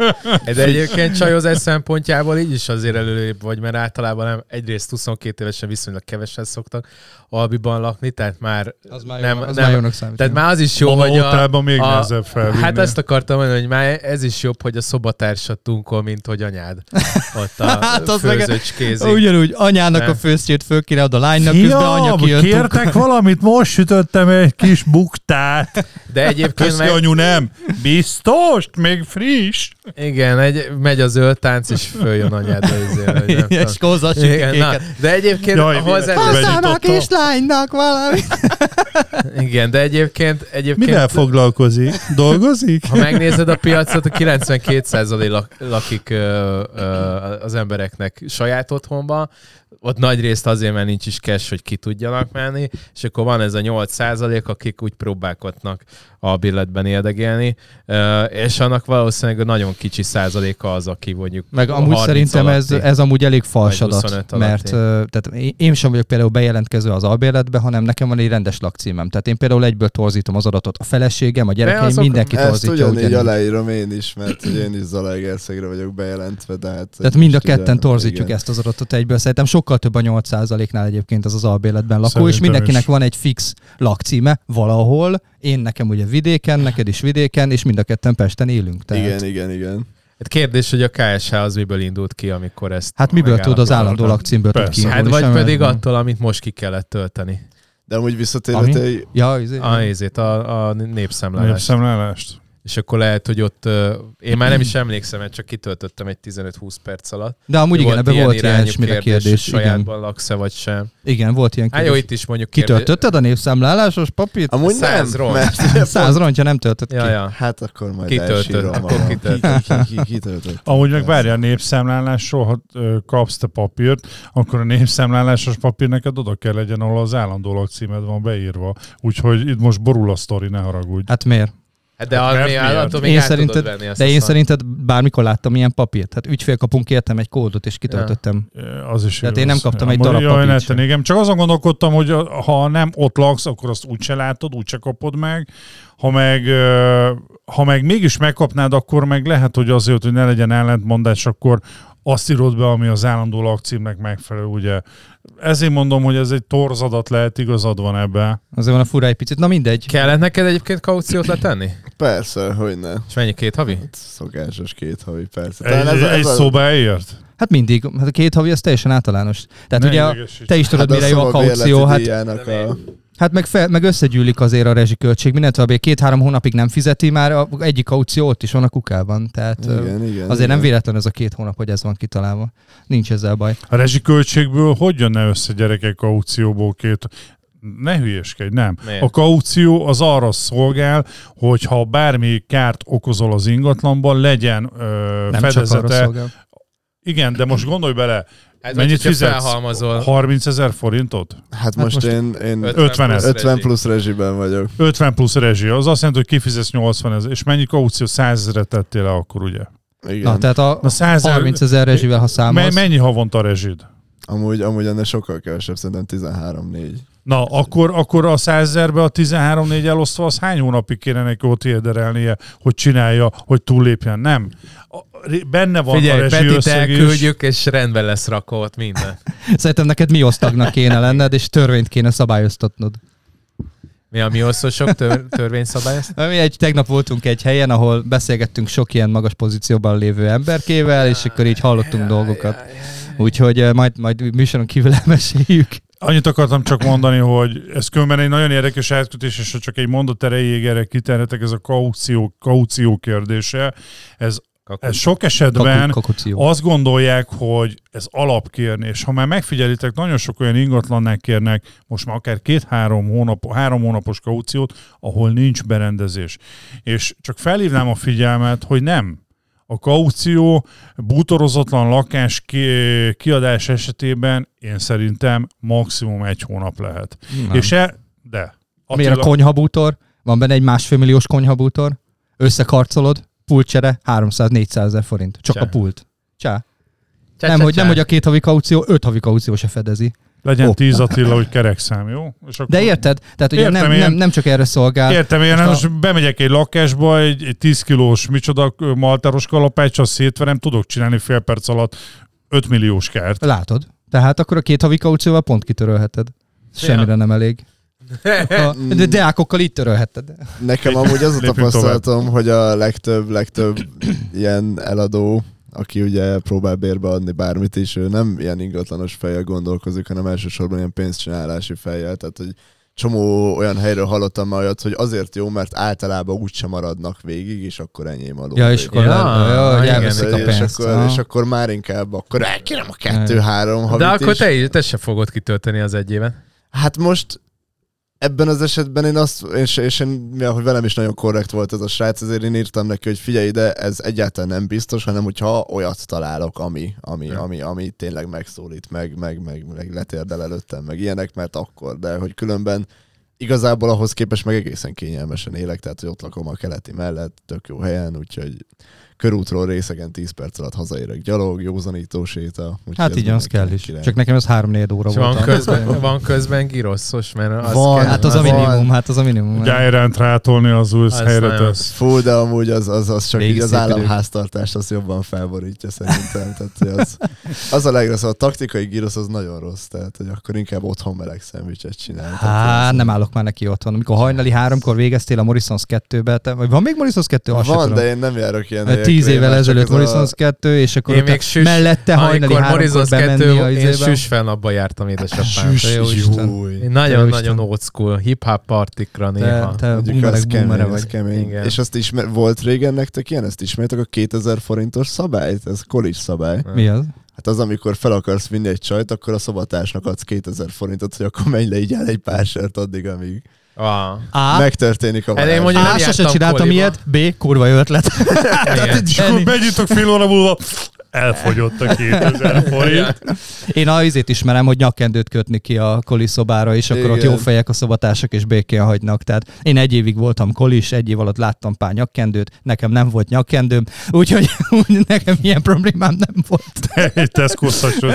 [SPEAKER 3] ez egyébként csajozás szempontjából így is azért előrébb vagy, mert általában nem, egyrészt 22 évesen viszonylag kevesen szoktak albiban lakni, tehát már
[SPEAKER 4] Az már,
[SPEAKER 3] nem,
[SPEAKER 4] nem, az
[SPEAKER 3] nem,
[SPEAKER 4] már jónak számít.
[SPEAKER 3] Tehát már az is jó,
[SPEAKER 5] Baba
[SPEAKER 3] hogy
[SPEAKER 5] otthonában még nehezebb felvinni.
[SPEAKER 3] Hát ezt akartam mondani, hogy már ez is jobb, hogy a szobatársad tunkol, mint hogy anyád ott a
[SPEAKER 4] Hát
[SPEAKER 3] hát
[SPEAKER 4] az meg-
[SPEAKER 3] főzőcskézik.
[SPEAKER 4] Ugyanúgy anyának
[SPEAKER 3] Nem.
[SPEAKER 4] a főztjét föl kéne ad a lánynak, közben anya kijön.
[SPEAKER 5] kértek valamit? Most sütöttem egy kis buktát.
[SPEAKER 3] De egyébként
[SPEAKER 5] Köszi,
[SPEAKER 3] meg,
[SPEAKER 5] anyu, nem. Biztos? Még friss?
[SPEAKER 3] igen, egy, megy a zöld tánc, és följön anyád a izére, hogy nem tudom.
[SPEAKER 4] És hozzá a
[SPEAKER 3] igen, na,
[SPEAKER 4] sütikéket.
[SPEAKER 3] de egyébként
[SPEAKER 5] Jaj,
[SPEAKER 3] hozzá,
[SPEAKER 5] véletlenül vegyük.
[SPEAKER 4] Hozzám a
[SPEAKER 5] Begyújtotta.
[SPEAKER 4] kislánynak valami.
[SPEAKER 3] igen, de egyébként, egyébként
[SPEAKER 5] Mivel foglalkozik? Dolgozik?
[SPEAKER 3] ha megnézed a piacot, a 92% lak, lakik ö, ö, az embereknek saját otthonban, ott nagy részt azért, mert nincs is cash, hogy ki tudjanak menni, és akkor van ez a 8% akik úgy próbálkodnak a billetben érdegélni, ö, és annak valószínűleg nagyon kicsi százaléka az, aki mondjuk
[SPEAKER 4] Meg
[SPEAKER 3] a
[SPEAKER 4] amúgy
[SPEAKER 3] 30
[SPEAKER 4] szerintem ez,
[SPEAKER 3] alatti.
[SPEAKER 4] ez amúgy elég fals
[SPEAKER 3] Vagy 25
[SPEAKER 4] adat,
[SPEAKER 3] alatti.
[SPEAKER 4] mert ö, tehát én- én sem vagyok például bejelentkező az albérletbe, hanem nekem van egy rendes lakcímem. Tehát én például egyből torzítom az adatot. A feleségem, a gyerekeim,
[SPEAKER 3] azok-
[SPEAKER 4] mindenki
[SPEAKER 6] Ezt
[SPEAKER 4] torzítja
[SPEAKER 6] ugyanígy
[SPEAKER 4] ugyanígy.
[SPEAKER 6] aláírom én is, mert hogy én is Zalaegerszegre vagyok bejelentve, de hát...
[SPEAKER 4] Tehát mind a
[SPEAKER 6] most ugye-
[SPEAKER 4] ketten torzítjuk
[SPEAKER 6] igen.
[SPEAKER 4] ezt az adatot egyből. Szerintem sokkal több a 8%-nál egyébként az az albérletben lakó, és
[SPEAKER 5] Szerintem
[SPEAKER 4] mindenkinek
[SPEAKER 5] is.
[SPEAKER 4] van egy fix lakcíme valahol. Én nekem ugye vidéken, neked is vidéken, és mind a ketten Pesten élünk. Tehát.
[SPEAKER 6] Igen, igen, igen.
[SPEAKER 3] Hát Kérdés, hogy a KSH az miből indult ki, amikor ezt
[SPEAKER 4] Hát miből tud az
[SPEAKER 3] megállapodott?
[SPEAKER 4] állandó lakcímből tud
[SPEAKER 5] Persze.
[SPEAKER 4] kiindulni?
[SPEAKER 3] Hát vagy
[SPEAKER 4] Semmi
[SPEAKER 3] pedig
[SPEAKER 4] nem.
[SPEAKER 3] attól, amit most ki kellett tölteni.
[SPEAKER 6] De amúgy visszatérve,
[SPEAKER 4] Ami?
[SPEAKER 6] te,
[SPEAKER 4] Ja, izé.
[SPEAKER 3] A, ezért a, a népszámlálást.
[SPEAKER 5] Népszemlálást.
[SPEAKER 3] És akkor lehet, hogy ott, ö, én már nem is emlékszem, mert csak kitöltöttem egy 15-20 perc alatt.
[SPEAKER 4] De amúgy igen, ebben volt ilyen ismire kérdés.
[SPEAKER 3] hogy
[SPEAKER 4] kérdés igen.
[SPEAKER 3] sajátban laksz-e vagy sem.
[SPEAKER 4] igen, volt ilyen
[SPEAKER 3] Hát
[SPEAKER 4] kérdés.
[SPEAKER 3] jó, itt is mondjuk
[SPEAKER 4] Kitöltötted a népszámlálásos papírt?
[SPEAKER 6] Amúgy
[SPEAKER 3] Száz
[SPEAKER 6] nem,
[SPEAKER 3] ron.
[SPEAKER 6] mert ugye
[SPEAKER 4] Száz rontja nem töltött
[SPEAKER 3] Ja,
[SPEAKER 4] ki.
[SPEAKER 3] ja.
[SPEAKER 6] Hát akkor majd
[SPEAKER 3] Kitöltött,
[SPEAKER 6] elsírom
[SPEAKER 3] akkor
[SPEAKER 6] magam.
[SPEAKER 3] kitöltött.
[SPEAKER 6] Ki- ki- ki- Kitöltött.
[SPEAKER 5] Amúgy meg várja a népszámlálásról, ha ö, kapsz te papírt, akkor a népszámlálásos papír neked oda kell legyen, ahol az állandó lakcímed van beírva. Úgyhogy itt most borul a sztori, ne haragudj.
[SPEAKER 4] Hát miért?
[SPEAKER 3] Hát de
[SPEAKER 5] Hát
[SPEAKER 3] hát,
[SPEAKER 5] mert
[SPEAKER 3] még
[SPEAKER 5] miért?
[SPEAKER 3] állatom, még
[SPEAKER 4] Én
[SPEAKER 3] át tudod
[SPEAKER 4] szerinted,
[SPEAKER 3] venni azt
[SPEAKER 4] de
[SPEAKER 3] a
[SPEAKER 4] én
[SPEAKER 3] szart.
[SPEAKER 4] szerinted bármikor láttam ilyen papírt. Hát ügyfélkapunk értem egy kódot, és kitöltöttem.
[SPEAKER 5] Az is
[SPEAKER 4] Tehát
[SPEAKER 5] igaz.
[SPEAKER 4] én nem kaptam egy
[SPEAKER 5] Amúgy
[SPEAKER 4] darab
[SPEAKER 5] jaj,
[SPEAKER 4] papírt
[SPEAKER 5] ne
[SPEAKER 4] sem.
[SPEAKER 5] tenni, igen. Csak azon gondolkodtam, hogy a- ha nem ott laksz, akkor azt úgyse látod, úgyse kapod meg. Ha meg, ö, ha meg mégis megkapnád, akkor meg lehet, hogy azért, hogy ne legyen ellentmondás, akkor azt írod be, ami az állandó lakcímnek megfelelő, ugye. Ezért mondom, hogy ez egy torzadat lehet, igazad van ebbe.
[SPEAKER 4] Azért van a fura egy picit. Na mindegy.
[SPEAKER 3] Kellett neked egyébként kauciót letenni?
[SPEAKER 6] Persze, hogy ne.
[SPEAKER 3] És mennyi két havi?
[SPEAKER 6] Szokásos két havi, persze.
[SPEAKER 5] Egy, ez, egy ez szóbáért?
[SPEAKER 4] Hát mindig. Hát a két havi az teljesen általános. Tehát
[SPEAKER 5] Ne
[SPEAKER 4] ugye a-
[SPEAKER 5] idegesíts.
[SPEAKER 4] te is tudod, mire jó a kaució. Hát
[SPEAKER 6] Hát, a...
[SPEAKER 4] Hát meg, fel, meg összegyűlik azért a rezsiköltség, mindent tovább, két-három hónapig nem fizeti, már a, egyik aució ott is van a kukában, tehát igen,
[SPEAKER 6] Igen,
[SPEAKER 4] azért
[SPEAKER 6] igen.
[SPEAKER 4] igen.
[SPEAKER 6] igen.
[SPEAKER 4] nem véletlen ez a két hónap, hogy ez van kitalálva. Nincs ezzel baj.
[SPEAKER 5] A rezsiköltségből hogy jönne össze gyerekek kaucióból két ne hülyeskedj, nem.
[SPEAKER 3] Miért?
[SPEAKER 5] A kaució az arra szolgál, hogy ha bármi kárt okozol az ingatlanban, legyen ö,
[SPEAKER 4] Nem csak arra
[SPEAKER 5] fedezete.
[SPEAKER 4] szolgál.
[SPEAKER 5] Igen, de most gondolj bele,
[SPEAKER 3] Hát,
[SPEAKER 5] mennyit fizetsz?
[SPEAKER 3] Felhalmozol.
[SPEAKER 5] 30 ezer forintot?
[SPEAKER 6] hát most,
[SPEAKER 4] most
[SPEAKER 6] én, én
[SPEAKER 3] 50
[SPEAKER 6] 50,
[SPEAKER 5] 50
[SPEAKER 3] plusz
[SPEAKER 5] ezer.
[SPEAKER 3] rezsi.
[SPEAKER 6] plusz rezsiben vagyok.
[SPEAKER 5] 50 plusz rezsi, az azt jelenti, hogy kifizetsz 80 ezer, és mennyi kaució 100 ezeret tettél le akkor, ugye?
[SPEAKER 6] Igen.
[SPEAKER 4] Na, tehát a
[SPEAKER 5] Na 100
[SPEAKER 4] 30 ezer rezsivel, ha
[SPEAKER 5] Me-
[SPEAKER 4] számolsz,
[SPEAKER 5] mennyi havonta a rezsid?
[SPEAKER 6] Amúgy, amúgy ennél sokkal kevesebb, szerintem 13-4.
[SPEAKER 5] Na, akkor, akkor a 100 ezerbe a 13-4 elosztva, az hány hónapig kéne neki ott érderelnie, hogy csinálja, hogy túllépjen? Nem. A, benne van a
[SPEAKER 3] Figyelj,
[SPEAKER 5] rezsi
[SPEAKER 3] Petit
[SPEAKER 5] összeg is.
[SPEAKER 3] elküldjük, és rendben lesz rakva ott minden.
[SPEAKER 4] szerintem neked mi osztagnak kéne lenned, és törvényt kéne szabályoztatnod.
[SPEAKER 3] Mi a mi oszosok tör, törvényszabály ezt?
[SPEAKER 4] Mi egy, tegnap voltunk egy helyen, ahol beszélgettünk sok ilyen magas pozícióban lévő emberkével, és akkor így hallottunk dolgokat. Úgyhogy eh, majd, majd műsoron kívül elmeséljük.
[SPEAKER 5] Annyit akartam csak mondani, hogy ez különben egy nagyon érdekes átkötés, és ha csak egy mondat erejéig erre kiterhetek, ez a kaució, kaució kérdése. Ez, ez sok esetben
[SPEAKER 4] Kakució.
[SPEAKER 5] azt gondolják, hogy ez alapkérni, és ha már megfigyelitek, nagyon sok olyan ingatlannál kérnek most már akár két-három hónap, három hónapos kauciót, ahol nincs berendezés. És csak felhívnám a figyelmet, hogy nem. A kaució bútorozatlan lakás ki- kiadás esetében én szerintem maximum egy hónap lehet.
[SPEAKER 4] Nem.
[SPEAKER 5] Nem. És e, de.
[SPEAKER 4] Miért a konyhabútor? Van benne egy másfél milliós konyhabútor? Összekarcolod, pultcsere 300-400 ezer forint. Csak
[SPEAKER 3] Csá.
[SPEAKER 4] a pult. Csá. Nem, hogy, nem, hogy a két havi kaució, öt havi kaució se fedezi.
[SPEAKER 5] legyen
[SPEAKER 4] Hopp.
[SPEAKER 5] tíz Attila, hogy kerekszám, jó? És akkor...
[SPEAKER 4] De érted? Tehát ugye
[SPEAKER 5] Értem
[SPEAKER 4] nem,
[SPEAKER 5] én.
[SPEAKER 4] nem, nem, csak erre szolgál.
[SPEAKER 5] Értem, én
[SPEAKER 4] Hát, Most
[SPEAKER 5] most,
[SPEAKER 4] a-
[SPEAKER 5] most bemegyek egy lakásba, egy, egy 10 kilós micsoda ö, maltáros kalapáccsal szétverem, tudok csinálni fél perc alatt 5 milliós kárt.
[SPEAKER 4] Látod? Tehát akkor a két havi kaucióval pont kitörölheted. Semmire nem elég. A, de deákokkal így törölheted.
[SPEAKER 6] Nekem amúgy az a
[SPEAKER 5] Lépjünk
[SPEAKER 6] tapasztalatom, hogy a legtöbb, legtöbb ilyen eladó, aki ugye próbál bérbe adni bármit is, ő nem ilyen ingatlanos fejjel gondolkozik, hanem elsősorban ilyen pénzcsinálási fejjel, tehát hogy csomó olyan helyről hallottam már olyat, hogy azért jó, mert általában úgyse maradnak végig, és akkor enyém a
[SPEAKER 4] Ja, és akkor
[SPEAKER 3] Ja,
[SPEAKER 4] le- ja, hogy
[SPEAKER 3] igen,
[SPEAKER 4] elveszik a
[SPEAKER 6] és, és,
[SPEAKER 4] pénzt.
[SPEAKER 6] akkor,
[SPEAKER 4] Ah.
[SPEAKER 6] és akkor már inkább, akkor elkérem a kettő-három havit
[SPEAKER 3] De akkor
[SPEAKER 6] is.
[SPEAKER 3] te, is- te se fogod kitölteni az egy éven.
[SPEAKER 6] Hát most ebben az esetben én azt, és, és én, mivel hogy velem is nagyon korrekt volt ez a srác, ezért én írtam neki, hogy figyelj ide, ez egyáltalán nem biztos, hanem hogyha olyat találok, ami, ami, ami, ami tényleg megszólít, meg, meg, meg, meg letérdel előttem, meg ilyenek, mert akkor, de hogy különben igazából ahhoz képest meg egészen kényelmesen élek, tehát hogy ott lakom a keleti mellett, tök jó helyen, úgyhogy körútról részegen 10 perc alatt hazaérek gyalog, józanító séta. úgyhogy
[SPEAKER 4] Hát így az
[SPEAKER 6] ez mindenkinek
[SPEAKER 4] kell is.
[SPEAKER 6] király.
[SPEAKER 4] Csak nekem ez 3-4 óra
[SPEAKER 3] És Szóval van
[SPEAKER 4] volt.
[SPEAKER 5] Szóval
[SPEAKER 3] közben, van közben girosszos, mert az
[SPEAKER 6] Van,
[SPEAKER 3] kell.
[SPEAKER 4] Hát az a
[SPEAKER 6] Van.
[SPEAKER 4] minimum, hát az a minimum.
[SPEAKER 5] Gyájránt rátolni az új
[SPEAKER 3] Az
[SPEAKER 5] helyre
[SPEAKER 3] nagyon-
[SPEAKER 5] tesz.
[SPEAKER 6] Fú, de amúgy az, az, az csak
[SPEAKER 4] Régi
[SPEAKER 6] így az
[SPEAKER 4] szép idők.
[SPEAKER 6] államháztartást az jobban felborítja szerintem. Tehát hogy az, az a legrosszabb. A taktikai gyrosz az nagyon rossz, tehát hogy akkor inkább otthon meleg szendvicset csinál. Tehát,
[SPEAKER 4] Há, nem állok már neki otthon. Amikor hajnali háromkor végeztél a Morrisons 2-be, te, vagy van még Morrisons 2? Azt se
[SPEAKER 6] van,
[SPEAKER 4] tudom.
[SPEAKER 6] de én nem járok ilyen
[SPEAKER 4] Mert Tíz
[SPEAKER 6] helyekre,
[SPEAKER 4] évvel
[SPEAKER 6] mert csak
[SPEAKER 4] ezelőtt
[SPEAKER 6] ez a-
[SPEAKER 4] Morrisons 2, és akkor
[SPEAKER 3] Én
[SPEAKER 4] utána
[SPEAKER 3] még süs,
[SPEAKER 4] mellette hajnali
[SPEAKER 3] amikor
[SPEAKER 4] háromkor
[SPEAKER 3] Morizos
[SPEAKER 4] bemenni a
[SPEAKER 3] 2, én
[SPEAKER 4] izébe. Hát
[SPEAKER 3] süs felnapba jártam édesapám.
[SPEAKER 4] Süs, jó Isten.
[SPEAKER 6] Júj.
[SPEAKER 3] Nagyon-nagyon old school, hip-hop partikra
[SPEAKER 4] Te,
[SPEAKER 3] néha.
[SPEAKER 4] te
[SPEAKER 6] Mondjuk az
[SPEAKER 4] bumerek
[SPEAKER 6] kemény,
[SPEAKER 4] eh, bumere
[SPEAKER 6] az
[SPEAKER 4] vagy.
[SPEAKER 6] kemény.
[SPEAKER 3] Igen.
[SPEAKER 6] És azt ismer, volt régen nektek ilyen, ezt ismertek a 2000 forintos szabályt? Ez college szabály.
[SPEAKER 4] Mi az?
[SPEAKER 6] Hát az, amikor fel akarsz vinni egy csajt, akkor a szobatársnak adsz 2000 forintot, hogy akkor menj le így el egy pár sört addig, amíg
[SPEAKER 3] Ah.
[SPEAKER 4] A.
[SPEAKER 6] megtörténik a
[SPEAKER 3] Hát én
[SPEAKER 6] varázs.
[SPEAKER 3] mondjuk-
[SPEAKER 4] A.
[SPEAKER 3] nem
[SPEAKER 4] Sose
[SPEAKER 3] jártam
[SPEAKER 4] csináltam
[SPEAKER 3] koliba.
[SPEAKER 4] ilyet. B. Kurva jó ötlet.
[SPEAKER 3] Igen.
[SPEAKER 5] És akkor
[SPEAKER 4] Ennyi.
[SPEAKER 5] megyítok fél óra múlva, elfogyott a 2000 forint.
[SPEAKER 4] Én a izét ismerem, hogy nyakkendőt kötni ki a koli szobára, és akkor Igen. ott
[SPEAKER 6] Igen.
[SPEAKER 4] jó fejek a szobatársak, és békén hagynak. Tehát én egy évig voltam kolis, egy év alatt láttam pár nyakkendőt, nekem nem volt nyakkendőm, úgyhogy úgy, nekem ilyen problémám nem volt.
[SPEAKER 5] Egy tesco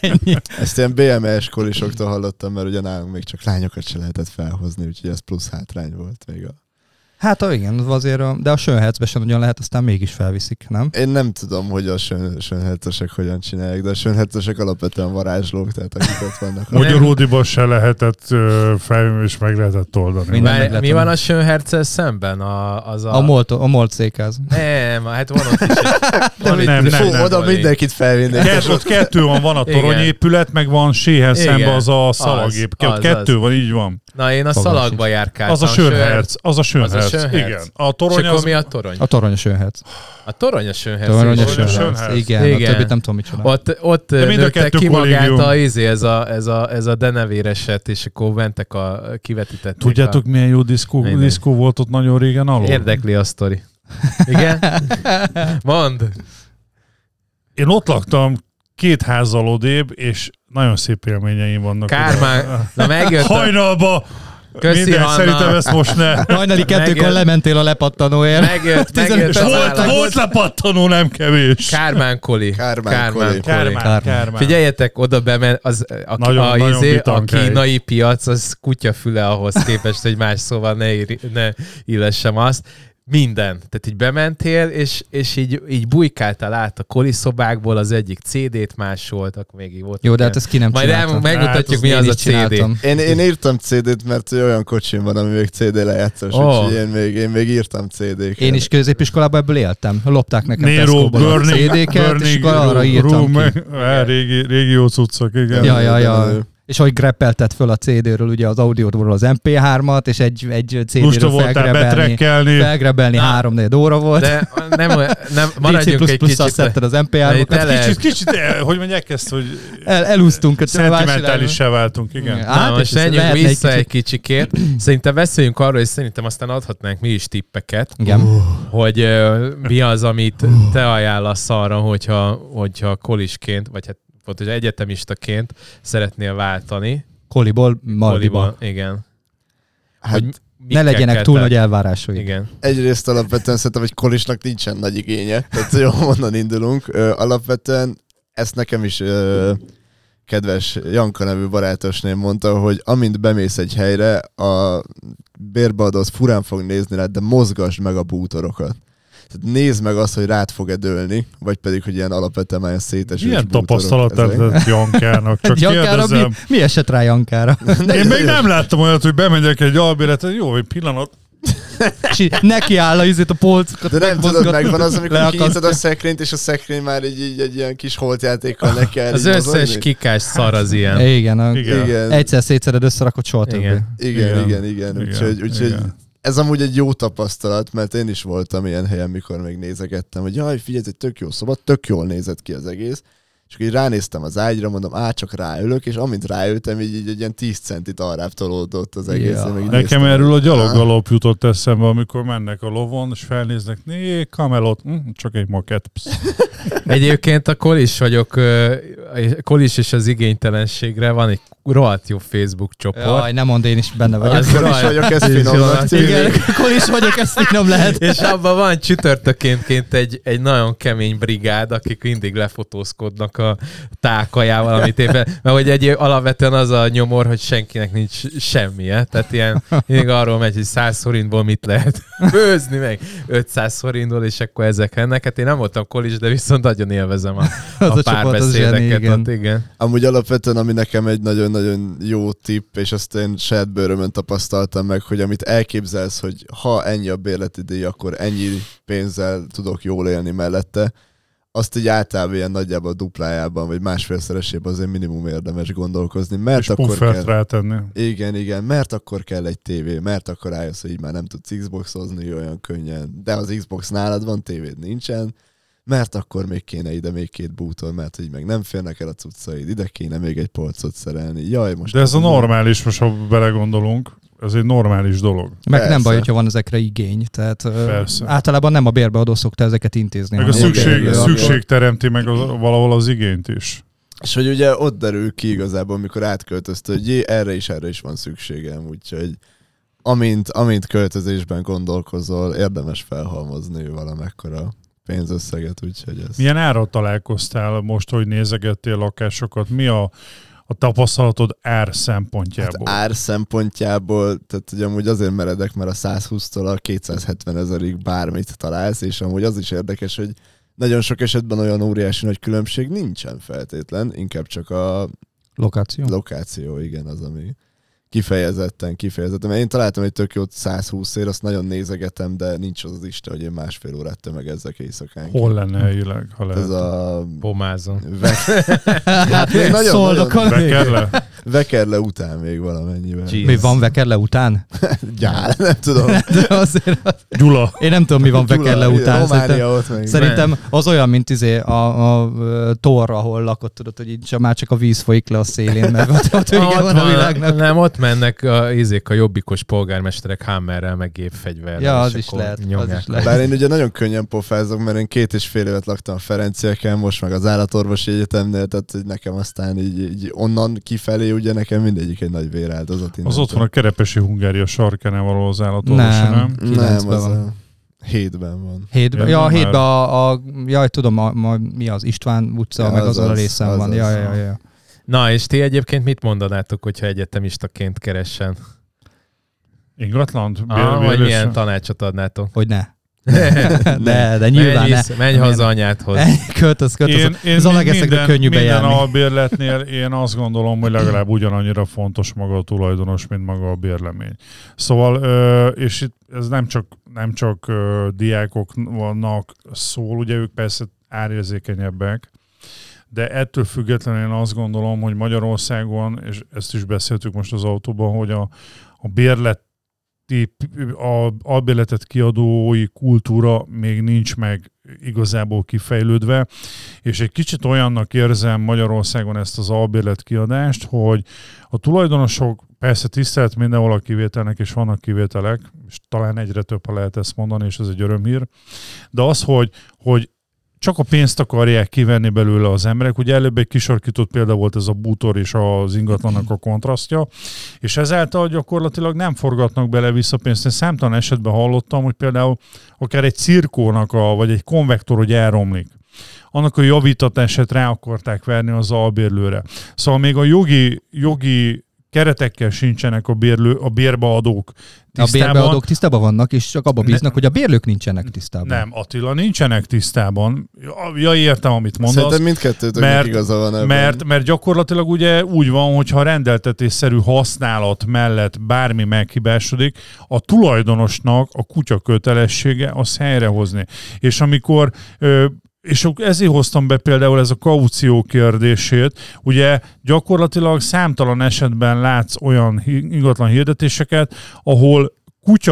[SPEAKER 4] Ennyi.
[SPEAKER 6] Ezt ilyen BMS kolisoktól hallottam, mert ugye nálunk még csak lányokat se lehetett felhozni, úgyhogy ez plusz hátrány volt még a...
[SPEAKER 4] Hát ah, igen, azért, a- de a Sönhecbe sem nagyon lehet, aztán mégis felviszik, nem?
[SPEAKER 6] Én nem tudom, hogy a sön- sönhercesek hogyan csinálják, de a sönhercesek alapvetően varázslók, tehát akik ott vannak. a-
[SPEAKER 5] Magyaródiba se lehetett ö, fel, és meg lehetett oldani.
[SPEAKER 4] Minden
[SPEAKER 3] Már, mi
[SPEAKER 4] meglepő.
[SPEAKER 3] van a Sönherccel szemben? A, az a...
[SPEAKER 4] A, Molt, a Molt székház.
[SPEAKER 3] Nem, hát van ott is. Van
[SPEAKER 5] mit-
[SPEAKER 3] itt
[SPEAKER 5] nem,
[SPEAKER 3] is.
[SPEAKER 5] nem,
[SPEAKER 6] Fú,
[SPEAKER 5] nem.
[SPEAKER 6] oda mindenkit felvinnék.
[SPEAKER 5] Kettő, ott kettő van, van a
[SPEAKER 3] Igen.
[SPEAKER 5] toronyépület, meg van séhen
[SPEAKER 3] Igen.
[SPEAKER 5] szemben az a
[SPEAKER 3] Az,
[SPEAKER 5] szalagép. Ott
[SPEAKER 3] az,
[SPEAKER 5] kettő
[SPEAKER 3] az.
[SPEAKER 5] van, így van.
[SPEAKER 3] Na, én a
[SPEAKER 4] Fogalmas
[SPEAKER 3] szalagba járkáltam.
[SPEAKER 5] Az a
[SPEAKER 3] Sönherc.
[SPEAKER 5] sönherc. Az a sönherc.
[SPEAKER 3] Sönherc.
[SPEAKER 5] Igen. A
[SPEAKER 3] És
[SPEAKER 5] torony
[SPEAKER 3] akkor
[SPEAKER 5] az...
[SPEAKER 3] mi a torony?
[SPEAKER 4] A torony a Sönhec.
[SPEAKER 3] A torony a Sönherc.
[SPEAKER 4] Torony a
[SPEAKER 5] Torony a
[SPEAKER 4] Sönhec.
[SPEAKER 5] Sönhec.
[SPEAKER 4] Igen,
[SPEAKER 3] Igen.
[SPEAKER 4] igen, a többit nem tudom micsoda.
[SPEAKER 3] Ott, ott
[SPEAKER 5] De mind a
[SPEAKER 3] nőtte
[SPEAKER 5] kettő
[SPEAKER 3] ki magát
[SPEAKER 5] kollégium.
[SPEAKER 3] a, izé, ez a, ez a, ez a denevéreset, és akkor mentek a kivetítették.
[SPEAKER 5] Tudjátok,
[SPEAKER 3] a...
[SPEAKER 5] milyen jó diszkó,
[SPEAKER 3] Mindegy.
[SPEAKER 5] diszkó volt ott nagyon régen alul?
[SPEAKER 3] Érdekli a sztori. Igen? Mond.
[SPEAKER 5] Én ott laktam két házzal odébb, és nagyon szép élményeim vannak.
[SPEAKER 3] Kármán. Na megjött a...
[SPEAKER 5] Hajnalba!
[SPEAKER 3] Köszi,
[SPEAKER 5] Minden,
[SPEAKER 3] Anna.
[SPEAKER 5] szerintem ezt most ne.
[SPEAKER 4] Hajnali kettőkor
[SPEAKER 3] Megjött.
[SPEAKER 4] lementél a lepattanóért.
[SPEAKER 3] Megjött, megjött
[SPEAKER 5] És
[SPEAKER 3] a
[SPEAKER 5] volt,
[SPEAKER 3] válasz.
[SPEAKER 5] volt lepattanó, nem kevés.
[SPEAKER 3] Kármán Koli.
[SPEAKER 6] Kármán Koli.
[SPEAKER 5] Kármán,
[SPEAKER 4] Kármán.
[SPEAKER 5] Kármán. Kármán.
[SPEAKER 3] Figyeljetek, oda bemen, az, a,
[SPEAKER 5] Nagyon-
[SPEAKER 3] nagyon, a,
[SPEAKER 5] nagyon
[SPEAKER 3] izé, a
[SPEAKER 5] bitang hely.
[SPEAKER 3] kínai piac, az kutyafüle ahhoz képest, hogy más szóval ne, ír, ne illessem azt. Minden. Tehát így bementél, és, és így, így bujkáltál át a koliszobákból, az egyik CD-t másoltak, még így volt.
[SPEAKER 4] Jó, de
[SPEAKER 3] ilyen-
[SPEAKER 4] hát ezt ki nem
[SPEAKER 3] Majd el,
[SPEAKER 4] csináltam.
[SPEAKER 5] Hát,
[SPEAKER 3] megmutatjuk,
[SPEAKER 5] azt
[SPEAKER 3] mi
[SPEAKER 4] Én
[SPEAKER 3] az
[SPEAKER 4] így
[SPEAKER 3] a CD.
[SPEAKER 4] csináltam.
[SPEAKER 6] Én, én írtam CD-t, mert hogy olyan kocsim van, ami még CD lejátszás,
[SPEAKER 3] Ó.
[SPEAKER 6] oh. úgyhogy én még, én még írtam CD-ket.
[SPEAKER 4] Én is középiskolában ebből éltem. Lopták nekem
[SPEAKER 5] Nero,
[SPEAKER 4] Tesco-ból a
[SPEAKER 5] Burning,
[SPEAKER 4] CD-ket, és
[SPEAKER 5] Burning,
[SPEAKER 4] akkor arra írtam
[SPEAKER 5] Room,
[SPEAKER 4] ki.
[SPEAKER 5] Á, régi, régi jó cuccok, igen.
[SPEAKER 4] Ja, ja, ja. És hogy greppeltett föl a CD-ről ugye az audióról az MP3-at, és egy, egy
[SPEAKER 5] Lusta
[SPEAKER 4] CD-ről
[SPEAKER 5] voltál
[SPEAKER 4] felgrebelni.
[SPEAKER 5] betrekkelni.
[SPEAKER 4] Felgrebelni három-négy óra volt. De
[SPEAKER 3] De nem, nem
[SPEAKER 4] DC++
[SPEAKER 3] maradjunk egy
[SPEAKER 4] plusz-plusz-al
[SPEAKER 3] kicsit.
[SPEAKER 4] szedted az
[SPEAKER 3] Itt
[SPEAKER 4] MP3-okat.
[SPEAKER 3] el- lehet.
[SPEAKER 5] Kicsit, kicsit, eh, hogy mondják ezt, hogy
[SPEAKER 4] Hát, El, elúsztunk a
[SPEAKER 5] szentimentálissá váltunk, igen.
[SPEAKER 3] Na,
[SPEAKER 4] Hát,
[SPEAKER 3] most
[SPEAKER 4] és ez
[SPEAKER 3] menjünk
[SPEAKER 4] lehetne egy
[SPEAKER 3] vissza egy
[SPEAKER 4] kicsit-
[SPEAKER 3] kicsikét. Szerintem beszéljünk arról, és szerintem aztán adhatnánk mi is tippeket,
[SPEAKER 4] Igen.
[SPEAKER 3] hogy ö, mi az, amit te ajánlasz arra, hogyha, hogyha kolisként, vagy hát volt, hogy egyetemistaként szeretnél váltani.
[SPEAKER 4] Koliból Maldiba.
[SPEAKER 3] Koliban. Igen.
[SPEAKER 6] Hát
[SPEAKER 3] hogy mi
[SPEAKER 4] Ne legyenek
[SPEAKER 3] kell
[SPEAKER 4] túl
[SPEAKER 3] tenni.
[SPEAKER 4] nagy elvárásaik.
[SPEAKER 3] Igen.
[SPEAKER 6] egyrészt alapvetően szerintem, hogy kolisnak nincsen nagy igénye, tehát jó, onnan indulunk. Ö, alapvetően ezt nekem is ö, kedves Janka nevű barátosném mondta, hogy amint bemész egy helyre, a bérbeadó az furán fog nézni rád, de mozgasd meg a bútorokat. Tehát nézd meg azt, hogy rád fog-e dőlni, vagy pedig, hogy ilyen alapvetően ilyen szétesős
[SPEAKER 5] Milyen
[SPEAKER 6] bútorok
[SPEAKER 5] tapasztalatát
[SPEAKER 6] ezek.
[SPEAKER 5] lett Jankának? Csak
[SPEAKER 4] Jankára mi,
[SPEAKER 5] kérdezem.
[SPEAKER 4] Hát, mi esett rá Jankára?
[SPEAKER 5] Én még nem láttam olyat, hogy bemegyek egy albéletre, jó, egy pillanat.
[SPEAKER 4] És így neki áll a izét a polcokat.
[SPEAKER 6] De nem tudod,
[SPEAKER 4] megmozgat-
[SPEAKER 6] megvan az, amikor
[SPEAKER 4] leakasztja.
[SPEAKER 6] kinyitod a szekrényt, és a szekrény már így, így egy ilyen kis holtjátékkal le kell
[SPEAKER 3] Az
[SPEAKER 6] így
[SPEAKER 3] összes
[SPEAKER 6] mozogni.
[SPEAKER 3] kikás szar az ilyen.
[SPEAKER 4] Igen, a-
[SPEAKER 5] Igen.
[SPEAKER 6] Igen.
[SPEAKER 4] egyszer szétszered összerakod, soha többé.
[SPEAKER 3] Igen.
[SPEAKER 6] Igen,
[SPEAKER 5] Igen.
[SPEAKER 6] igen, igen.
[SPEAKER 5] Igen,
[SPEAKER 6] igen úgyhogy, úgyhogy
[SPEAKER 5] igen.
[SPEAKER 6] igen. ez amúgy egy jó tapasztalat, mert én is voltam ilyen helyen, mikor még nézegettem, hogy jaj, figyelj, ez egy tök jó szoba, tök jól nézett ki az egész. És akkor így ránéztem az ágyra, mondom, á, csak ráülök, és amint ráültem, így, így egy ilyen 10 centit arrább tolódott az egész.
[SPEAKER 4] Ja.
[SPEAKER 6] én még
[SPEAKER 5] Nekem
[SPEAKER 6] néztem.
[SPEAKER 5] erről a gyaloggalop jutott eszembe, amikor mennek a lovon, és felnéznek, né, kamelot, hm, csak egy makett.
[SPEAKER 6] Hát
[SPEAKER 5] Psz.
[SPEAKER 3] Egyébként a kolis vagyok, ö, a kolis és az igénytelenségre van egy rohadt jó Facebook csoport.
[SPEAKER 4] Jaj, nem mondd, én is benne vagyok.
[SPEAKER 3] Az-
[SPEAKER 6] Akkor is
[SPEAKER 3] Jaj.
[SPEAKER 6] vagyok, ez
[SPEAKER 3] Így
[SPEAKER 6] finomnak
[SPEAKER 3] van.
[SPEAKER 6] tűnik.
[SPEAKER 4] Igen, akkor is vagyok, ezt így nem lehet.
[SPEAKER 3] És abban van csütörtökénként egy, egy nagyon kemény brigád, akik mindig lefotózkodnak a tálkajával, amit éppen, mert hogy egy alapvetően az a nyomor, hogy senkinek nincs semmije, tehát ilyen mindig arról megy, hogy 100 forintból mit lehet főzni meg, 500 forintból, és akkor ezek ennek. Hát én nem voltam kolis, de viszont nagyon élvezem a,
[SPEAKER 4] Az
[SPEAKER 3] a,
[SPEAKER 4] a csoport, az zseni,
[SPEAKER 3] párbeszédeket.
[SPEAKER 4] igen.
[SPEAKER 3] ott, igen.
[SPEAKER 6] Amúgy alapvetően, ami nekem egy nagyon-nagyon jó tipp, és azt én saját bőrömön tapasztaltam meg, hogy amit elképzelsz, hogy ha ennyi a bérleti díj, akkor ennyi pénzzel tudok jól élni mellette, azt így általában ilyen nagyjából a duplájában, vagy másfélszeresében azért minimum érdemes gondolkozni, mert
[SPEAKER 5] És
[SPEAKER 6] akkor kell...
[SPEAKER 5] puffert rátenni.
[SPEAKER 6] Igen, igen, mert akkor kell egy tévé, mert akkor rájössz, hogy így már nem tudsz Xboxozni olyan könnyen, de az Xbox nálad van, tévéd nincsen, mert akkor még kéne ide még két bútor, mert így meg nem férnek el a cuccaid, ide kéne még egy polcot szerelni. Jaj, most...
[SPEAKER 5] De ez a
[SPEAKER 6] nem-
[SPEAKER 5] normális, most ha belegondolunk. Ez egy normális dolog.
[SPEAKER 4] Meg
[SPEAKER 6] Persze.
[SPEAKER 4] nem baj, hogyha van ezekre igény. Tehát ö,
[SPEAKER 5] Persze.
[SPEAKER 4] általában nem a bérbeadó szokta ezeket intézni.
[SPEAKER 5] Meg a
[SPEAKER 4] hanem
[SPEAKER 5] szükség,
[SPEAKER 4] bérbeadó.
[SPEAKER 5] a szükség teremti meg az, valahol az igényt is.
[SPEAKER 6] És hogy ugye ott derül ki igazából, amikor átköltözte, hogy jé, erre is, erre is van szükségem, úgyhogy amint, amint költözésben gondolkozol, érdemes felhalmozni valamekkora pénzösszeget, úgyhogy ez...
[SPEAKER 5] Milyen árat találkoztál most, hogy nézegettél lakásokat? Mi a, a tapasztalatod ár szempontjából?
[SPEAKER 6] Hát ár szempontjából, tehát ugye amúgy azért meredek, mert a 120-tól a 270 ezerig bármit találsz, és amúgy az is érdekes, hogy nagyon sok esetben olyan óriási nagy különbség nincsen feltétlen, inkább csak a
[SPEAKER 4] Lokáció.
[SPEAKER 6] lokáció, igen, az, ami kifejezetten, kifejezetten. Mert én találtam egy tök jót 120 ér, azt nagyon nézegetem, de nincs az az Isten, hogy én másfél órát tömegezzek éjszakán.
[SPEAKER 5] Hol lenne helyileg, ha lehet?
[SPEAKER 6] Ez a...
[SPEAKER 3] Pomázom.
[SPEAKER 6] Ve- hát még nagyon,
[SPEAKER 4] Szoldokon.
[SPEAKER 6] nagyon
[SPEAKER 5] Bekerle?
[SPEAKER 6] vekerle után még valamennyivel.
[SPEAKER 3] Gee.
[SPEAKER 4] Mi van Vekerle után?
[SPEAKER 6] Gyál, nem tudom.
[SPEAKER 4] De azért, az-
[SPEAKER 5] Gyula.
[SPEAKER 4] én nem tudom, mi van
[SPEAKER 6] Gyula,
[SPEAKER 4] Vekerle után. Szerintem,
[SPEAKER 6] Románia ott meg.
[SPEAKER 4] szerintem az olyan, mint izé a, a, ö, tor, ahol lakott, tudod, hogy így csak már csak a víz folyik le a szélén, mert ott, ott vége van a világnak.
[SPEAKER 3] Nem, ott mennek a, izék a jobbikos polgármesterek hammerrel, meg gépfegyverrel.
[SPEAKER 4] Ja,
[SPEAKER 3] és
[SPEAKER 4] az is
[SPEAKER 3] akkor
[SPEAKER 4] lehet, az
[SPEAKER 3] nyomják
[SPEAKER 4] is
[SPEAKER 3] le.
[SPEAKER 4] lehet.
[SPEAKER 6] Bár én ugye nagyon könnyen pofázok, mert én két és fél évet laktam a Ferencieken, most meg az állatorvosi egyetemnél, tehát hogy nekem aztán így, így onnan kifelé, ugye nekem mindegyik egy nagy véráldozat.
[SPEAKER 5] Az
[SPEAKER 6] innentől.
[SPEAKER 5] ott van a kerepesi Hungária sarkánál való az állatorvos,
[SPEAKER 4] Nem,
[SPEAKER 5] nem? nem?
[SPEAKER 6] Nem,
[SPEAKER 4] kilencben
[SPEAKER 6] az
[SPEAKER 4] van.
[SPEAKER 6] a hétben van.
[SPEAKER 4] Hétben,
[SPEAKER 5] Én
[SPEAKER 4] ja,
[SPEAKER 5] nem
[SPEAKER 4] a
[SPEAKER 5] már.
[SPEAKER 4] hétben a, a, jaj, tudom, a, ma, mi az István utca,
[SPEAKER 6] Ja,
[SPEAKER 4] meg
[SPEAKER 6] az
[SPEAKER 4] azon a
[SPEAKER 6] az,
[SPEAKER 4] részen
[SPEAKER 6] az
[SPEAKER 4] van.
[SPEAKER 6] az.
[SPEAKER 4] Ja, ja, ja, ja.
[SPEAKER 3] Na, és ti egyébként mit mondanátok, hogyha egyetemistaként keressen?
[SPEAKER 5] Ingatlant?
[SPEAKER 3] Ah,
[SPEAKER 5] Bér-
[SPEAKER 3] vagy
[SPEAKER 5] bér-
[SPEAKER 3] milyen tanácsotat adnátok?
[SPEAKER 4] Hogy ne.
[SPEAKER 3] ne,
[SPEAKER 4] De, de nyilván
[SPEAKER 3] menj,
[SPEAKER 4] ne.
[SPEAKER 3] vissza, menj haza anyádhoz.
[SPEAKER 4] Költöz, költöz.
[SPEAKER 5] Én, én
[SPEAKER 4] az
[SPEAKER 5] min-
[SPEAKER 4] alegeszekre
[SPEAKER 5] minden-
[SPEAKER 4] könnyű bejárni.
[SPEAKER 5] Minden albérletnél én azt gondolom, hogy legalább ugyanannyira fontos maga a tulajdonos, mint maga a bérlemény. Szóval, ö, és itt ez nem csak, nem csak ö, diákoknak szól, ugye ők persze árérzékenyebbek, de ettől függetlenül én azt gondolom, hogy Magyarországon, és ezt is beszéltük most az autóban, hogy a, a bérleti, a albérletet kiadói kultúra még nincs meg igazából kifejlődve, és egy kicsit olyannak érzem Magyarországon ezt az albérlet kiadást, hogy a tulajdonosok persze tisztelt mindenhol a kivételnek, és vannak kivételek, és talán egyre több, ha lehet ezt mondani, és ez egy örömhír, de az, hogy, hogy csak a pénzt akarják kivenni belőle az emberek. Ugye előbb egy kisarkított példa volt ez a bútor és az ingatlannak a kontrasztja, és ezáltal gyakorlatilag nem forgatnak bele vissza pénzt. Én számtalan esetben hallottam, hogy például akár egy cirkónak, a, vagy egy konvektor, hogy elromlik annak a javítatását rá akarták verni az albérlőre. Szóval még a jogi, jogi keretekkel sincsenek a, bérlő, a bérbeadók
[SPEAKER 4] A
[SPEAKER 5] tisztában.
[SPEAKER 4] bérbeadók tisztában vannak, és csak abba bíznak, hogy a bérlők nincsenek tisztában.
[SPEAKER 5] Nem, Attila, nincsenek tisztában. Ja, Ja, értem, amit mondasz.
[SPEAKER 6] Szerintem mindkettőtöknek
[SPEAKER 5] mert-
[SPEAKER 6] igaza van ebben.
[SPEAKER 5] Mert, mert gyakorlatilag ugye úgy van, hogyha rendeltetésszerű használat mellett bármi meghibásodik, a tulajdonosnak a kutya kötelessége az helyrehozni. És amikor ö, és ok- ezért hoztam be például ez a kaució kérdését. Ugye gyakorlatilag számtalan esetben látsz olyan hi- ingatlan hirdetéseket, ahol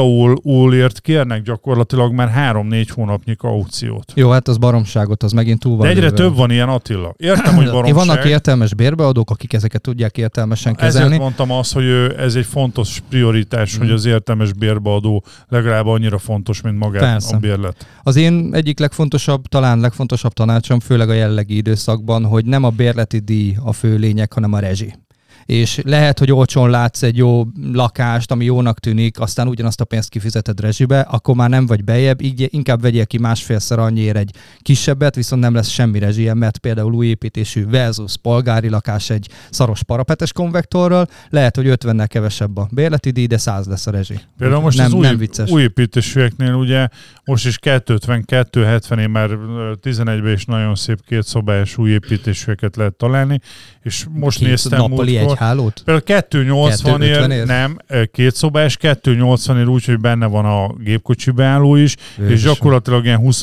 [SPEAKER 5] kutyaólért kérnek gyakorlatilag már 3-4 hónapnyi kauciót.
[SPEAKER 4] Jó, hát az baromságot, az megint túl van.
[SPEAKER 5] De egyre
[SPEAKER 4] lőve.
[SPEAKER 5] több van ilyen Attila. Értem, hogy baromság.
[SPEAKER 4] Vannak értelmes bérbeadók, akik ezeket tudják értelmesen kezelni. Mm.
[SPEAKER 5] Ezért mondtam azt, hogy ö, ez egy fontos prioritás, hogy az értelmes bérbeadó legalább annyira fontos, mint maga
[SPEAKER 4] Persze.
[SPEAKER 5] a bérlet.
[SPEAKER 4] Az én egyik legfontosabb, talán legfontosabb tanácsom, főleg a jellegi időszakban, hogy nem a bérleti díj a fő lényeg, hanem a rezsi. És lehet, hogy olcsón látsz egy jó lakást, ami jónak tűnik, aztán ugyanazt a pénzt kifizeted rezsibe, akkor már nem vagy bejebb, így inkább vegyél ki másfélszer annyiért egy kisebbet, viszont nem lesz semmi rezsie, mert például új építésű versus polgári lakás egy szaros parapetes konvektorral, lehet, hogy 50-nel kevesebb a bérleti díj, de 100 lesz a rezsi.
[SPEAKER 5] Például most
[SPEAKER 4] nem,
[SPEAKER 5] az új,
[SPEAKER 4] nem vicces.
[SPEAKER 5] új építésűeknél ugye most is 250-270, én már ö, 11-ben is nagyon szép kétszobás új építésűeket lehet találni, és most
[SPEAKER 4] Két
[SPEAKER 5] néztem
[SPEAKER 4] nappali egy
[SPEAKER 5] múltkor,
[SPEAKER 4] hálót?
[SPEAKER 5] Például 280 ér,
[SPEAKER 4] 250 ér?
[SPEAKER 5] nem, két szobás, 280 ér úgy, hogy benne van a gépkocsi beálló is, és
[SPEAKER 4] Jézusom.
[SPEAKER 5] gyakorlatilag ilyen 20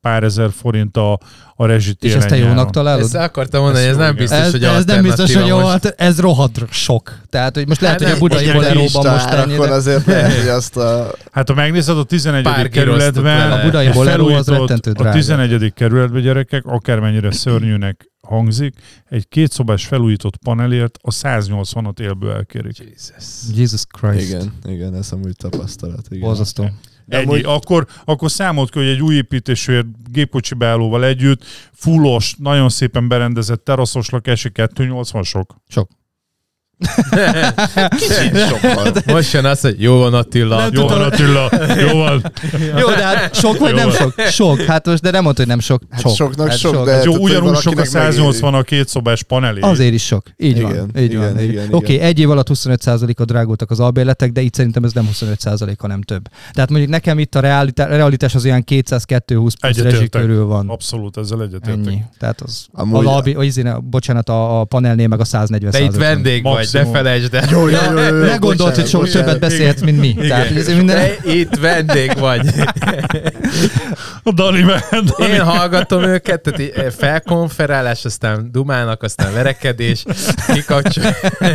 [SPEAKER 5] pár ezer forint a, a
[SPEAKER 4] És
[SPEAKER 5] rezsitéren
[SPEAKER 4] ezt te jónak találod?
[SPEAKER 3] Ezt akartam mondani, ez, ez
[SPEAKER 5] Ez jó,
[SPEAKER 3] nem
[SPEAKER 5] igen.
[SPEAKER 3] biztos,
[SPEAKER 4] ez,
[SPEAKER 3] hogy
[SPEAKER 4] ez nem biztos, hogy
[SPEAKER 3] alternatíva
[SPEAKER 4] jó,
[SPEAKER 3] most.
[SPEAKER 4] alter- ez rohadt sok. Tehát, hogy most lehet,
[SPEAKER 3] Hát
[SPEAKER 4] hogy a
[SPEAKER 3] nem,
[SPEAKER 4] budai
[SPEAKER 5] most
[SPEAKER 4] boleróban most
[SPEAKER 6] Listára,
[SPEAKER 4] ennyi,
[SPEAKER 6] akkor
[SPEAKER 4] de
[SPEAKER 6] azért lehet, hogy azt a...
[SPEAKER 5] Hát ha megnézed a 11.
[SPEAKER 3] Pár gyrosztot
[SPEAKER 5] kerületben,
[SPEAKER 3] vele. A
[SPEAKER 4] budai
[SPEAKER 5] egy
[SPEAKER 4] Bolero az
[SPEAKER 5] felújított-
[SPEAKER 4] rettentő
[SPEAKER 5] A
[SPEAKER 4] drága.
[SPEAKER 5] 11. kerületben gyerekek, akármennyire szörnyűnek hangzik, egy kétszobás felújított panelért a 180-at élből elkérik.
[SPEAKER 3] Jesus.
[SPEAKER 4] Jesus Christ.
[SPEAKER 6] Igen, igen, ez amúgy tapasztalat. Igen.
[SPEAKER 4] Borzasztó.
[SPEAKER 5] Ennyi. Amúgy... Akkor, akkor számolt ki, hogy egy új építésűért gépkocsi beállóval együtt, fullos, nagyon szépen berendezett teraszos lakási 280 sok.
[SPEAKER 4] Sok.
[SPEAKER 6] Kicsit sokkal.
[SPEAKER 3] Most jön az, hogy jó van Attila.
[SPEAKER 4] Nem
[SPEAKER 5] Jó van Attila, jó van.
[SPEAKER 4] Jó, de hát sok vagy
[SPEAKER 5] Jó
[SPEAKER 4] nem
[SPEAKER 5] van.
[SPEAKER 4] sok? Sok. Hát most, de nem mondta, hogy nem sok.
[SPEAKER 6] Hát soknak sok, de
[SPEAKER 5] Jó,
[SPEAKER 6] tehát, hogy
[SPEAKER 5] ugyanúgy sok a
[SPEAKER 6] valakinek megéri.
[SPEAKER 5] 180 a kétszobás panelé.
[SPEAKER 4] Azért is sok. Így
[SPEAKER 6] Igen,
[SPEAKER 4] van. Így
[SPEAKER 6] igen,
[SPEAKER 4] van. így-
[SPEAKER 6] igen,
[SPEAKER 4] Oké,
[SPEAKER 6] igen.
[SPEAKER 4] egy év alatt 25%-a drágultak az albérletek, de itt szerintem ez nem 25%, hanem több. Tehát mondjuk nekem itt a realitá- realitás az olyan 200-220 plusz
[SPEAKER 5] Egyetértek.
[SPEAKER 4] rezsik körül van.
[SPEAKER 5] Abszolút ezzel egyetértek.
[SPEAKER 4] Ennyi. Tehát az,
[SPEAKER 6] Amúgy-
[SPEAKER 4] Amúgy a, albi, a, izine, bocsánat, a, a panelnél meg a 140
[SPEAKER 3] Te itt vendég vagy, ne
[SPEAKER 5] Maximum.
[SPEAKER 3] felejtsd el.
[SPEAKER 6] Jó, jó, jó, jó, jó,
[SPEAKER 4] Ne gondolt, hogy
[SPEAKER 6] bocsánat,
[SPEAKER 4] sokkal
[SPEAKER 6] bocsánat.
[SPEAKER 4] többet beszélhetsz, mint mi. Tehát, hogy ez minden...
[SPEAKER 3] Te itt vendég vagy.
[SPEAKER 5] A Dani, ment, Dani.
[SPEAKER 3] Én hallgatom őket, tehát így felkonferálás, aztán dumának, aztán verekedés, kikapcsol,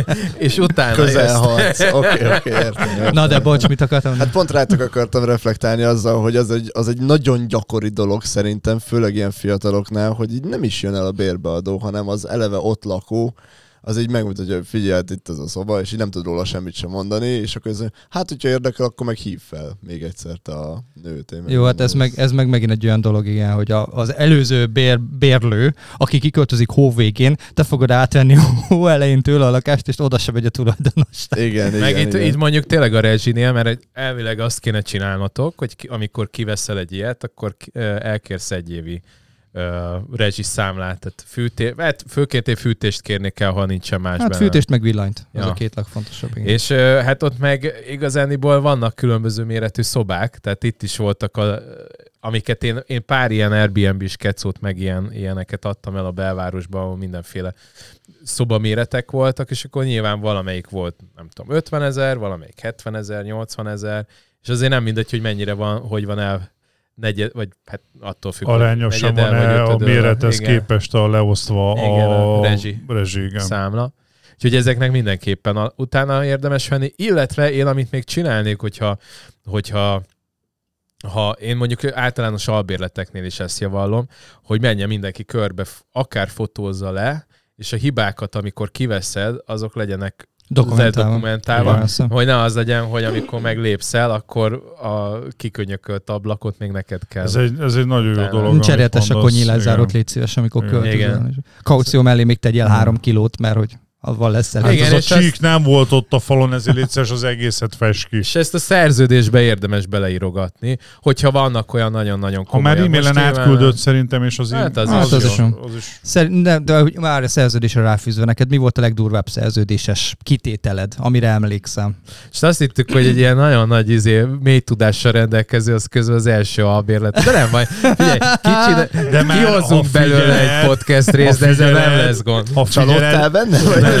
[SPEAKER 3] és utána
[SPEAKER 6] Közel
[SPEAKER 3] jössz.
[SPEAKER 6] harc. Oké, oké, értem. értem.
[SPEAKER 4] Na de bocs, mit akartam mondani?
[SPEAKER 6] Hát pont rátok akartam reflektálni azzal, hogy az egy, az egy nagyon gyakori dolog szerintem, főleg ilyen fiataloknál, hogy így nem is jön el a bérbeadó, hanem az eleve ott lakó, az így megmutatja, hogy figyelj, hát itt az a szoba, és így nem tud róla semmit sem mondani, és akkor ez, hát hogyha érdekel, akkor meg hív fel még egyszer te a nőt. Én
[SPEAKER 4] Jó, hát ez
[SPEAKER 6] megmondom.
[SPEAKER 4] meg, ez meg megint egy olyan dolog, igen, hogy a, az előző bér, bérlő, aki kiköltözik hó végén, te fogod átvenni hó elején tőle a lakást, és oda se megy a tulajdonos.
[SPEAKER 6] Igen, igen,
[SPEAKER 3] Meg itt,
[SPEAKER 6] igen.
[SPEAKER 3] itt mondjuk tényleg a rezsinél, mert egy- elvileg azt kéne csinálnotok, hogy ki, amikor kiveszel egy ilyet, akkor ki- ö, elkérsz egy évi ö, rezsiszámlát. Tehát fűté, hát főként én fűtést kérni kell, ha nincsen más
[SPEAKER 4] Hát
[SPEAKER 3] benne.
[SPEAKER 4] fűtést meg villanyt, ja. az
[SPEAKER 3] Ja.
[SPEAKER 4] a két legfontosabb. Igen.
[SPEAKER 3] És ö, hát ott meg igazániból vannak különböző méretű szobák, tehát itt is voltak, a, amiket én, én pár ilyen Airbnb-s kecót, meg ilyen, ilyeneket adtam el a belvárosba, ahol mindenféle szobaméretek voltak, és akkor nyilván valamelyik volt, nem tudom, 50 ezer, valamelyik 70 ezer, 80 ezer, és azért nem mindegy, hogy mennyire van, hogy van el negyed, vagy hát attól függ, hogy
[SPEAKER 5] Arányosan
[SPEAKER 3] negyedel vagy
[SPEAKER 5] van-e a
[SPEAKER 3] ötödel,
[SPEAKER 5] mérethez
[SPEAKER 3] igen,
[SPEAKER 5] képest a leosztva
[SPEAKER 3] Igen,
[SPEAKER 5] a,
[SPEAKER 3] a rezsi.
[SPEAKER 5] rezsi igen.
[SPEAKER 3] számla. Úgyhogy ezeknek mindenképpen a, utána érdemes venni, illetve én amit még csinálnék, hogyha, hogyha ha én mondjuk általános albérleteknél is ezt javallom, hogy menjen mindenki körbe, f- akár fotózza le, és a hibákat, amikor kiveszed, azok legyenek
[SPEAKER 4] Dokumentálva. Igen,
[SPEAKER 3] dokumentálva
[SPEAKER 4] persze.
[SPEAKER 3] hogy ne az legyen, hogy amikor meglépsz el, akkor a kikönyökölt ablakot még neked kell.
[SPEAKER 5] Ez egy, ez egy nagyon jó
[SPEAKER 3] Utána.
[SPEAKER 5] dolog.
[SPEAKER 4] Cseréltes
[SPEAKER 5] amit
[SPEAKER 4] a
[SPEAKER 5] mondasz,
[SPEAKER 4] konyhilázárót,
[SPEAKER 5] igen.
[SPEAKER 4] légy szíves, amikor
[SPEAKER 5] Igen.
[SPEAKER 4] költözöl.
[SPEAKER 3] Igen.
[SPEAKER 4] Kaució mellé még tegyél három kilót, mert hogy avval lesz elég.
[SPEAKER 3] Igen,
[SPEAKER 5] Hát
[SPEAKER 3] és
[SPEAKER 5] az a csík
[SPEAKER 3] ezt-
[SPEAKER 5] nem volt ott a falon, ezért légy szíves, az egészet fes ki.
[SPEAKER 3] És ezt a szerződésbe érdemes beleirogatni, hogyha vannak olyan nagyon-nagyon
[SPEAKER 5] Ha
[SPEAKER 3] komoly.
[SPEAKER 5] már e-mailen átküldött szerintem, és az
[SPEAKER 3] Hát az
[SPEAKER 4] is az is jó.
[SPEAKER 5] az is.
[SPEAKER 4] Szerintem, de hogy már a szerződésre ráfűzve neked, mi volt a legdurvább szerződéses kitételed, amire emlékszem?
[SPEAKER 3] És azt hittük, hogy egy ilyen nagyon nagy izé, mély tudással rendelkező, az közben az első albérlet. De nem baj. Figyelj, kicsi,
[SPEAKER 5] De
[SPEAKER 3] de
[SPEAKER 5] már,
[SPEAKER 3] kihozzunk
[SPEAKER 5] ha
[SPEAKER 3] belőle
[SPEAKER 5] figyeled,
[SPEAKER 3] egy podcast részt,
[SPEAKER 5] ha
[SPEAKER 3] de ezzel nem
[SPEAKER 5] figyeled,
[SPEAKER 3] lesz gond.
[SPEAKER 5] Ha
[SPEAKER 6] Csalódtál
[SPEAKER 5] figyeled,
[SPEAKER 6] benne? Vagy?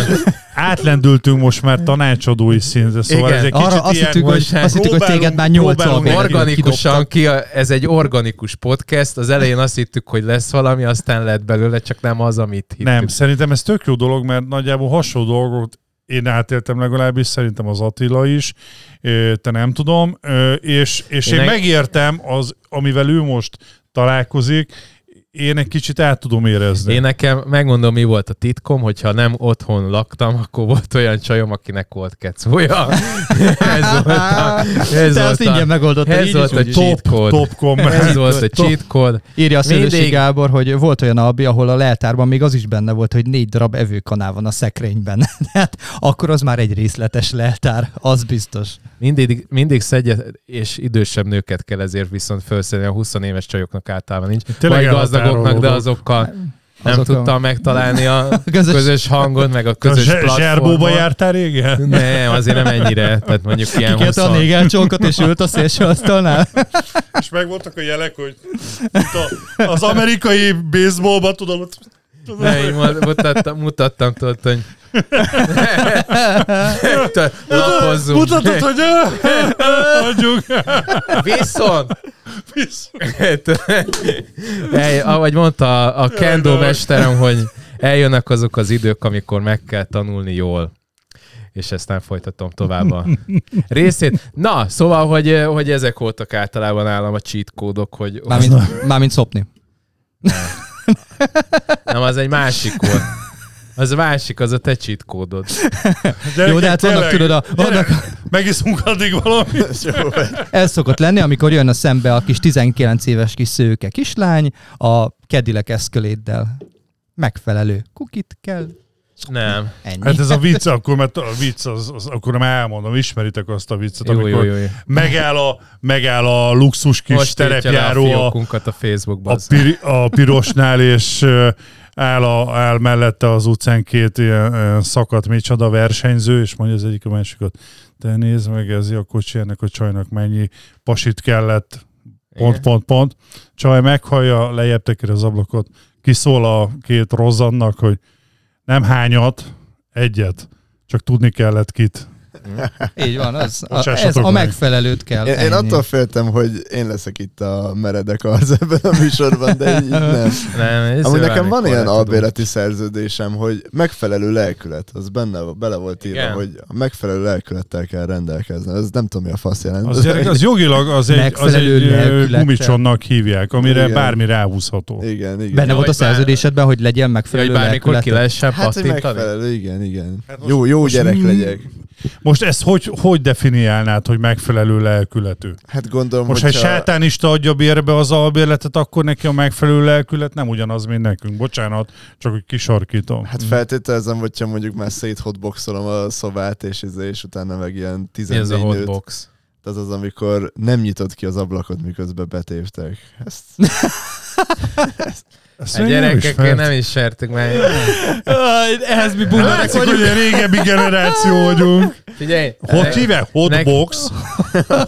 [SPEAKER 5] átlendültünk most már tanácsadói szintre, szóval
[SPEAKER 3] Igen,
[SPEAKER 5] ez egy kicsit
[SPEAKER 4] Arra azt
[SPEAKER 5] ilyen...
[SPEAKER 4] hittük, hogy,
[SPEAKER 3] most hát
[SPEAKER 4] azt hittük, hogy téged már
[SPEAKER 5] próbálunk-
[SPEAKER 4] nyolc
[SPEAKER 5] próbálunk
[SPEAKER 4] albérletet
[SPEAKER 3] Organikusan ki, a- ez egy organikus podcast. Az elején azt hittük, hogy lesz valami, aztán lett belőle, csak nem az, amit hittük.
[SPEAKER 5] Nem, szerintem ez tök jó dolog, mert nagyjából hasonló dolgot én átéltem legalábbis, szerintem az Attila is, ö, te nem tudom, ö, és, és én,
[SPEAKER 3] Én
[SPEAKER 5] én
[SPEAKER 3] egy-
[SPEAKER 5] megértem, az, amivel ő most találkozik, én egy kicsit át tudom érezni.
[SPEAKER 3] Én nekem, megmondom, mi volt a titkom, hogyha nem otthon laktam, akkor volt olyan csajom, akinek volt kecója. ez volt a, ez
[SPEAKER 4] Te
[SPEAKER 3] volt
[SPEAKER 4] azt
[SPEAKER 3] a,
[SPEAKER 4] ingyen megoldottad,
[SPEAKER 3] ez
[SPEAKER 4] így
[SPEAKER 3] volt
[SPEAKER 4] is,
[SPEAKER 3] a
[SPEAKER 4] úgy is.
[SPEAKER 3] cheat
[SPEAKER 5] top,
[SPEAKER 3] code.
[SPEAKER 5] top komment.
[SPEAKER 3] Ez volt a cheat code.
[SPEAKER 4] Írja a
[SPEAKER 3] Mindig.
[SPEAKER 4] Szőlősi Gábor, hogy volt olyan albi, ahol a leltárban még az is benne volt, hogy négy darab evőkanál van a szekrényben. Tehát akkor az már egy részletes leltár, az biztos.
[SPEAKER 3] Mindig, mindig szedje, és idősebb nőket kell ezért viszont felszedni, a 20 éves csajoknak általában nincs.
[SPEAKER 5] Tényleg
[SPEAKER 3] Vagy gazdagoknak, de
[SPEAKER 5] elhatárolódok.
[SPEAKER 3] azokkal nem
[SPEAKER 4] Azok a-
[SPEAKER 3] tudtam megtalálni a
[SPEAKER 4] közös-
[SPEAKER 3] közös, hangot, meg a
[SPEAKER 5] Te
[SPEAKER 3] közös
[SPEAKER 5] zse- Zserbóba
[SPEAKER 3] platformot.
[SPEAKER 5] jártál régen?
[SPEAKER 3] Nem, azért nem ennyire. Tehát mondjuk ilyen
[SPEAKER 4] Kikelt
[SPEAKER 3] 20...
[SPEAKER 4] a négelcsókot, és ült a szélső asztalnál.
[SPEAKER 5] És megvoltak a jelek, hogy itt a, az amerikai baseballba tudod, ott-
[SPEAKER 3] Ne, így mond- mutattam, mutattam, tudod, hogy... Te- Lapozzunk.
[SPEAKER 5] mutatod, hogy adjuk.
[SPEAKER 3] Viszont! El, ahogy mondta a, a kendo mesterem, hogy eljönnek azok az idők, amikor meg kell tanulni jól. És ezt nem folytatom tovább a részét. Na, szóval, hogy, hogy ezek voltak általában állam a cheat kódok, hogy...
[SPEAKER 4] Mármint, mármint szopni.
[SPEAKER 3] Nem, az egy másik volt. Az a másik, az a te cheat kódod.
[SPEAKER 4] Jó, de hát vannak, tudod, a, vannak,
[SPEAKER 5] Megiszunk addig valamit.
[SPEAKER 6] Jó,
[SPEAKER 4] ez szokott lenni, amikor jön a szembe a kis 19 éves kis szőke kislány a kedilek eszköléddel. Megfelelő kukit kell,
[SPEAKER 3] Nem.
[SPEAKER 4] ennyi.
[SPEAKER 5] Hát ez a vicc, akkor, mert a vicc, az, az, akkor már elmondom, ismeritek azt a viccet,
[SPEAKER 3] Jó, jó,
[SPEAKER 5] amikor
[SPEAKER 3] jó, jó.
[SPEAKER 5] Megáll, a, megáll a luxus kis
[SPEAKER 3] Most
[SPEAKER 5] terepjáró
[SPEAKER 3] tiltja le a
[SPEAKER 5] a,
[SPEAKER 3] fiókunkat a Facebookban.
[SPEAKER 5] a, pir, a pirosnál, és ö, áll, a, áll mellette az utcán két ilyen, ilyen szakadt micsoda versenyző, és mondja az egyik a másikat, te nézd meg ez a kocsi, ennek a csajnak mennyi pasit kellett, pont, pont, pont. Csaj meghallja, lejjebb tekeri az ablakot, kiszól a két rozannak, hogy nem hányat, egyet, csak tudni kellett kit.
[SPEAKER 4] Így van, az, a,
[SPEAKER 5] Bocsássatok
[SPEAKER 4] ez a
[SPEAKER 5] meg.
[SPEAKER 4] megfelelőt kell.
[SPEAKER 6] Én, én
[SPEAKER 4] ennyi.
[SPEAKER 6] attól féltem, hogy én leszek itt a meredek arc ebben a műsorban, de így nem.
[SPEAKER 3] Nem, ez
[SPEAKER 6] Amúgy
[SPEAKER 5] Izé
[SPEAKER 3] jó,
[SPEAKER 6] nekem van
[SPEAKER 3] amikor
[SPEAKER 6] ilyen
[SPEAKER 3] lehet, tudom.
[SPEAKER 6] albérleti szerződésem, hogy megfelelő lelkület, az benne, bele volt írva,
[SPEAKER 3] Igen.
[SPEAKER 6] hogy a megfelelő lelkülettel kell rendelkezni. Ez nem tudom, mi a fasz jelent.
[SPEAKER 5] Az, gyerek, az jogilag az egy, az egy
[SPEAKER 4] Megfelelő
[SPEAKER 5] ö,
[SPEAKER 4] lelkülettel.
[SPEAKER 5] gumicsonnak hívják, amire
[SPEAKER 6] Igen.
[SPEAKER 5] bármi ráhúzható.
[SPEAKER 6] Igen, igen.
[SPEAKER 4] Benne
[SPEAKER 3] Ja,
[SPEAKER 4] volt a
[SPEAKER 3] hogy bár-
[SPEAKER 4] szerződésedben, hogy legyen
[SPEAKER 3] Ja,
[SPEAKER 4] megfelelő
[SPEAKER 3] Hogy bármikor ki
[SPEAKER 4] lelkülete.
[SPEAKER 3] lehessen
[SPEAKER 6] Hát, hogy
[SPEAKER 3] pattintani.
[SPEAKER 6] megfelelő, igen, igen.
[SPEAKER 5] Hát most-
[SPEAKER 6] jó, jó
[SPEAKER 5] most hmm.
[SPEAKER 6] gyerek
[SPEAKER 5] mi-
[SPEAKER 6] legyek.
[SPEAKER 5] Most ezt hogy, hogy definiálnád, hogy megfelelő lelkületű?
[SPEAKER 6] Hát gondolom,
[SPEAKER 5] Most, ha egy
[SPEAKER 6] hogyha...
[SPEAKER 5] sátánista adja bérbe az albérletet, akkor neki a megfelelő lelkület nem ugyanaz, mint nekünk. Bocsánat, csak hogy kisarkítom.
[SPEAKER 6] Hát feltételezem, hogyha mondjuk már széthotboxolom a szobát, és, izé, és utána meg ilyen
[SPEAKER 3] Mi ez a
[SPEAKER 6] 14 nőt.
[SPEAKER 3] hotbox?
[SPEAKER 6] Az az, amikor nem nyitott ki az ablakot, miközben betéptek. Ezt...
[SPEAKER 5] Ezt
[SPEAKER 3] A
[SPEAKER 5] még nem
[SPEAKER 3] gyerekekkel
[SPEAKER 5] ismert.
[SPEAKER 3] nem is sertük már.
[SPEAKER 4] Aj, Ehhez mi bunyák
[SPEAKER 5] Látszik, hogy egy régebbi generáció vagyunk.
[SPEAKER 3] Figyelj! eh,
[SPEAKER 5] Hogy hívják? Hotbox?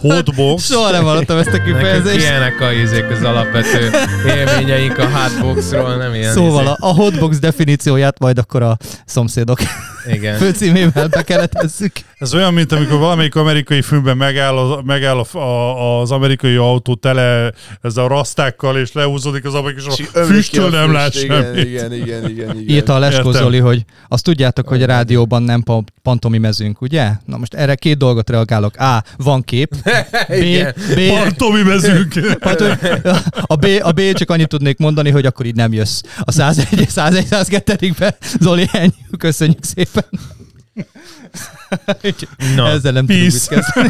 [SPEAKER 5] Hotbox?
[SPEAKER 4] Soha nem hallottam ezt a
[SPEAKER 3] Nekünk
[SPEAKER 4] kifejezést.
[SPEAKER 3] ilyenek a ízék az alapvető élményeink a hotboxról, nem ilyen izé-
[SPEAKER 4] Szóval a, a hotbox definícióját majd akkor a szomszédok
[SPEAKER 3] izék. Igen.
[SPEAKER 4] főcímével be kellett tesszük.
[SPEAKER 5] Ez olyan, mint amikor valamelyik amerikai filmben megáll, az, megáll a, a, az amerikai autó tele ezzel a rasztákkal, és lehúzódik az ablak, és a
[SPEAKER 6] ömlik ki
[SPEAKER 5] füsttől
[SPEAKER 6] a
[SPEAKER 5] nem
[SPEAKER 6] füst,
[SPEAKER 5] lát
[SPEAKER 6] igen,
[SPEAKER 5] semmit.
[SPEAKER 6] Igen, igen, igen, igen.
[SPEAKER 4] Írta a Leskó
[SPEAKER 5] Értem.
[SPEAKER 4] Zoli, hogy azt tudjátok, hogy a rádióban nem pa- pantomimezünk, ugye? Na most erre két dolgot reagálok. A. Van kép. B.
[SPEAKER 3] Igen.
[SPEAKER 4] B.
[SPEAKER 5] Partomi mezünk.
[SPEAKER 4] Hát, hogy a, B, a B csak annyit tudnék mondani, hogy akkor így nem jössz. A 101 101 102 be Zoli, ennyi. Köszönjük szépen. Úgyhogy
[SPEAKER 3] Na,
[SPEAKER 4] Ezzel nem tudunk mit
[SPEAKER 5] peace.
[SPEAKER 4] kezdeni.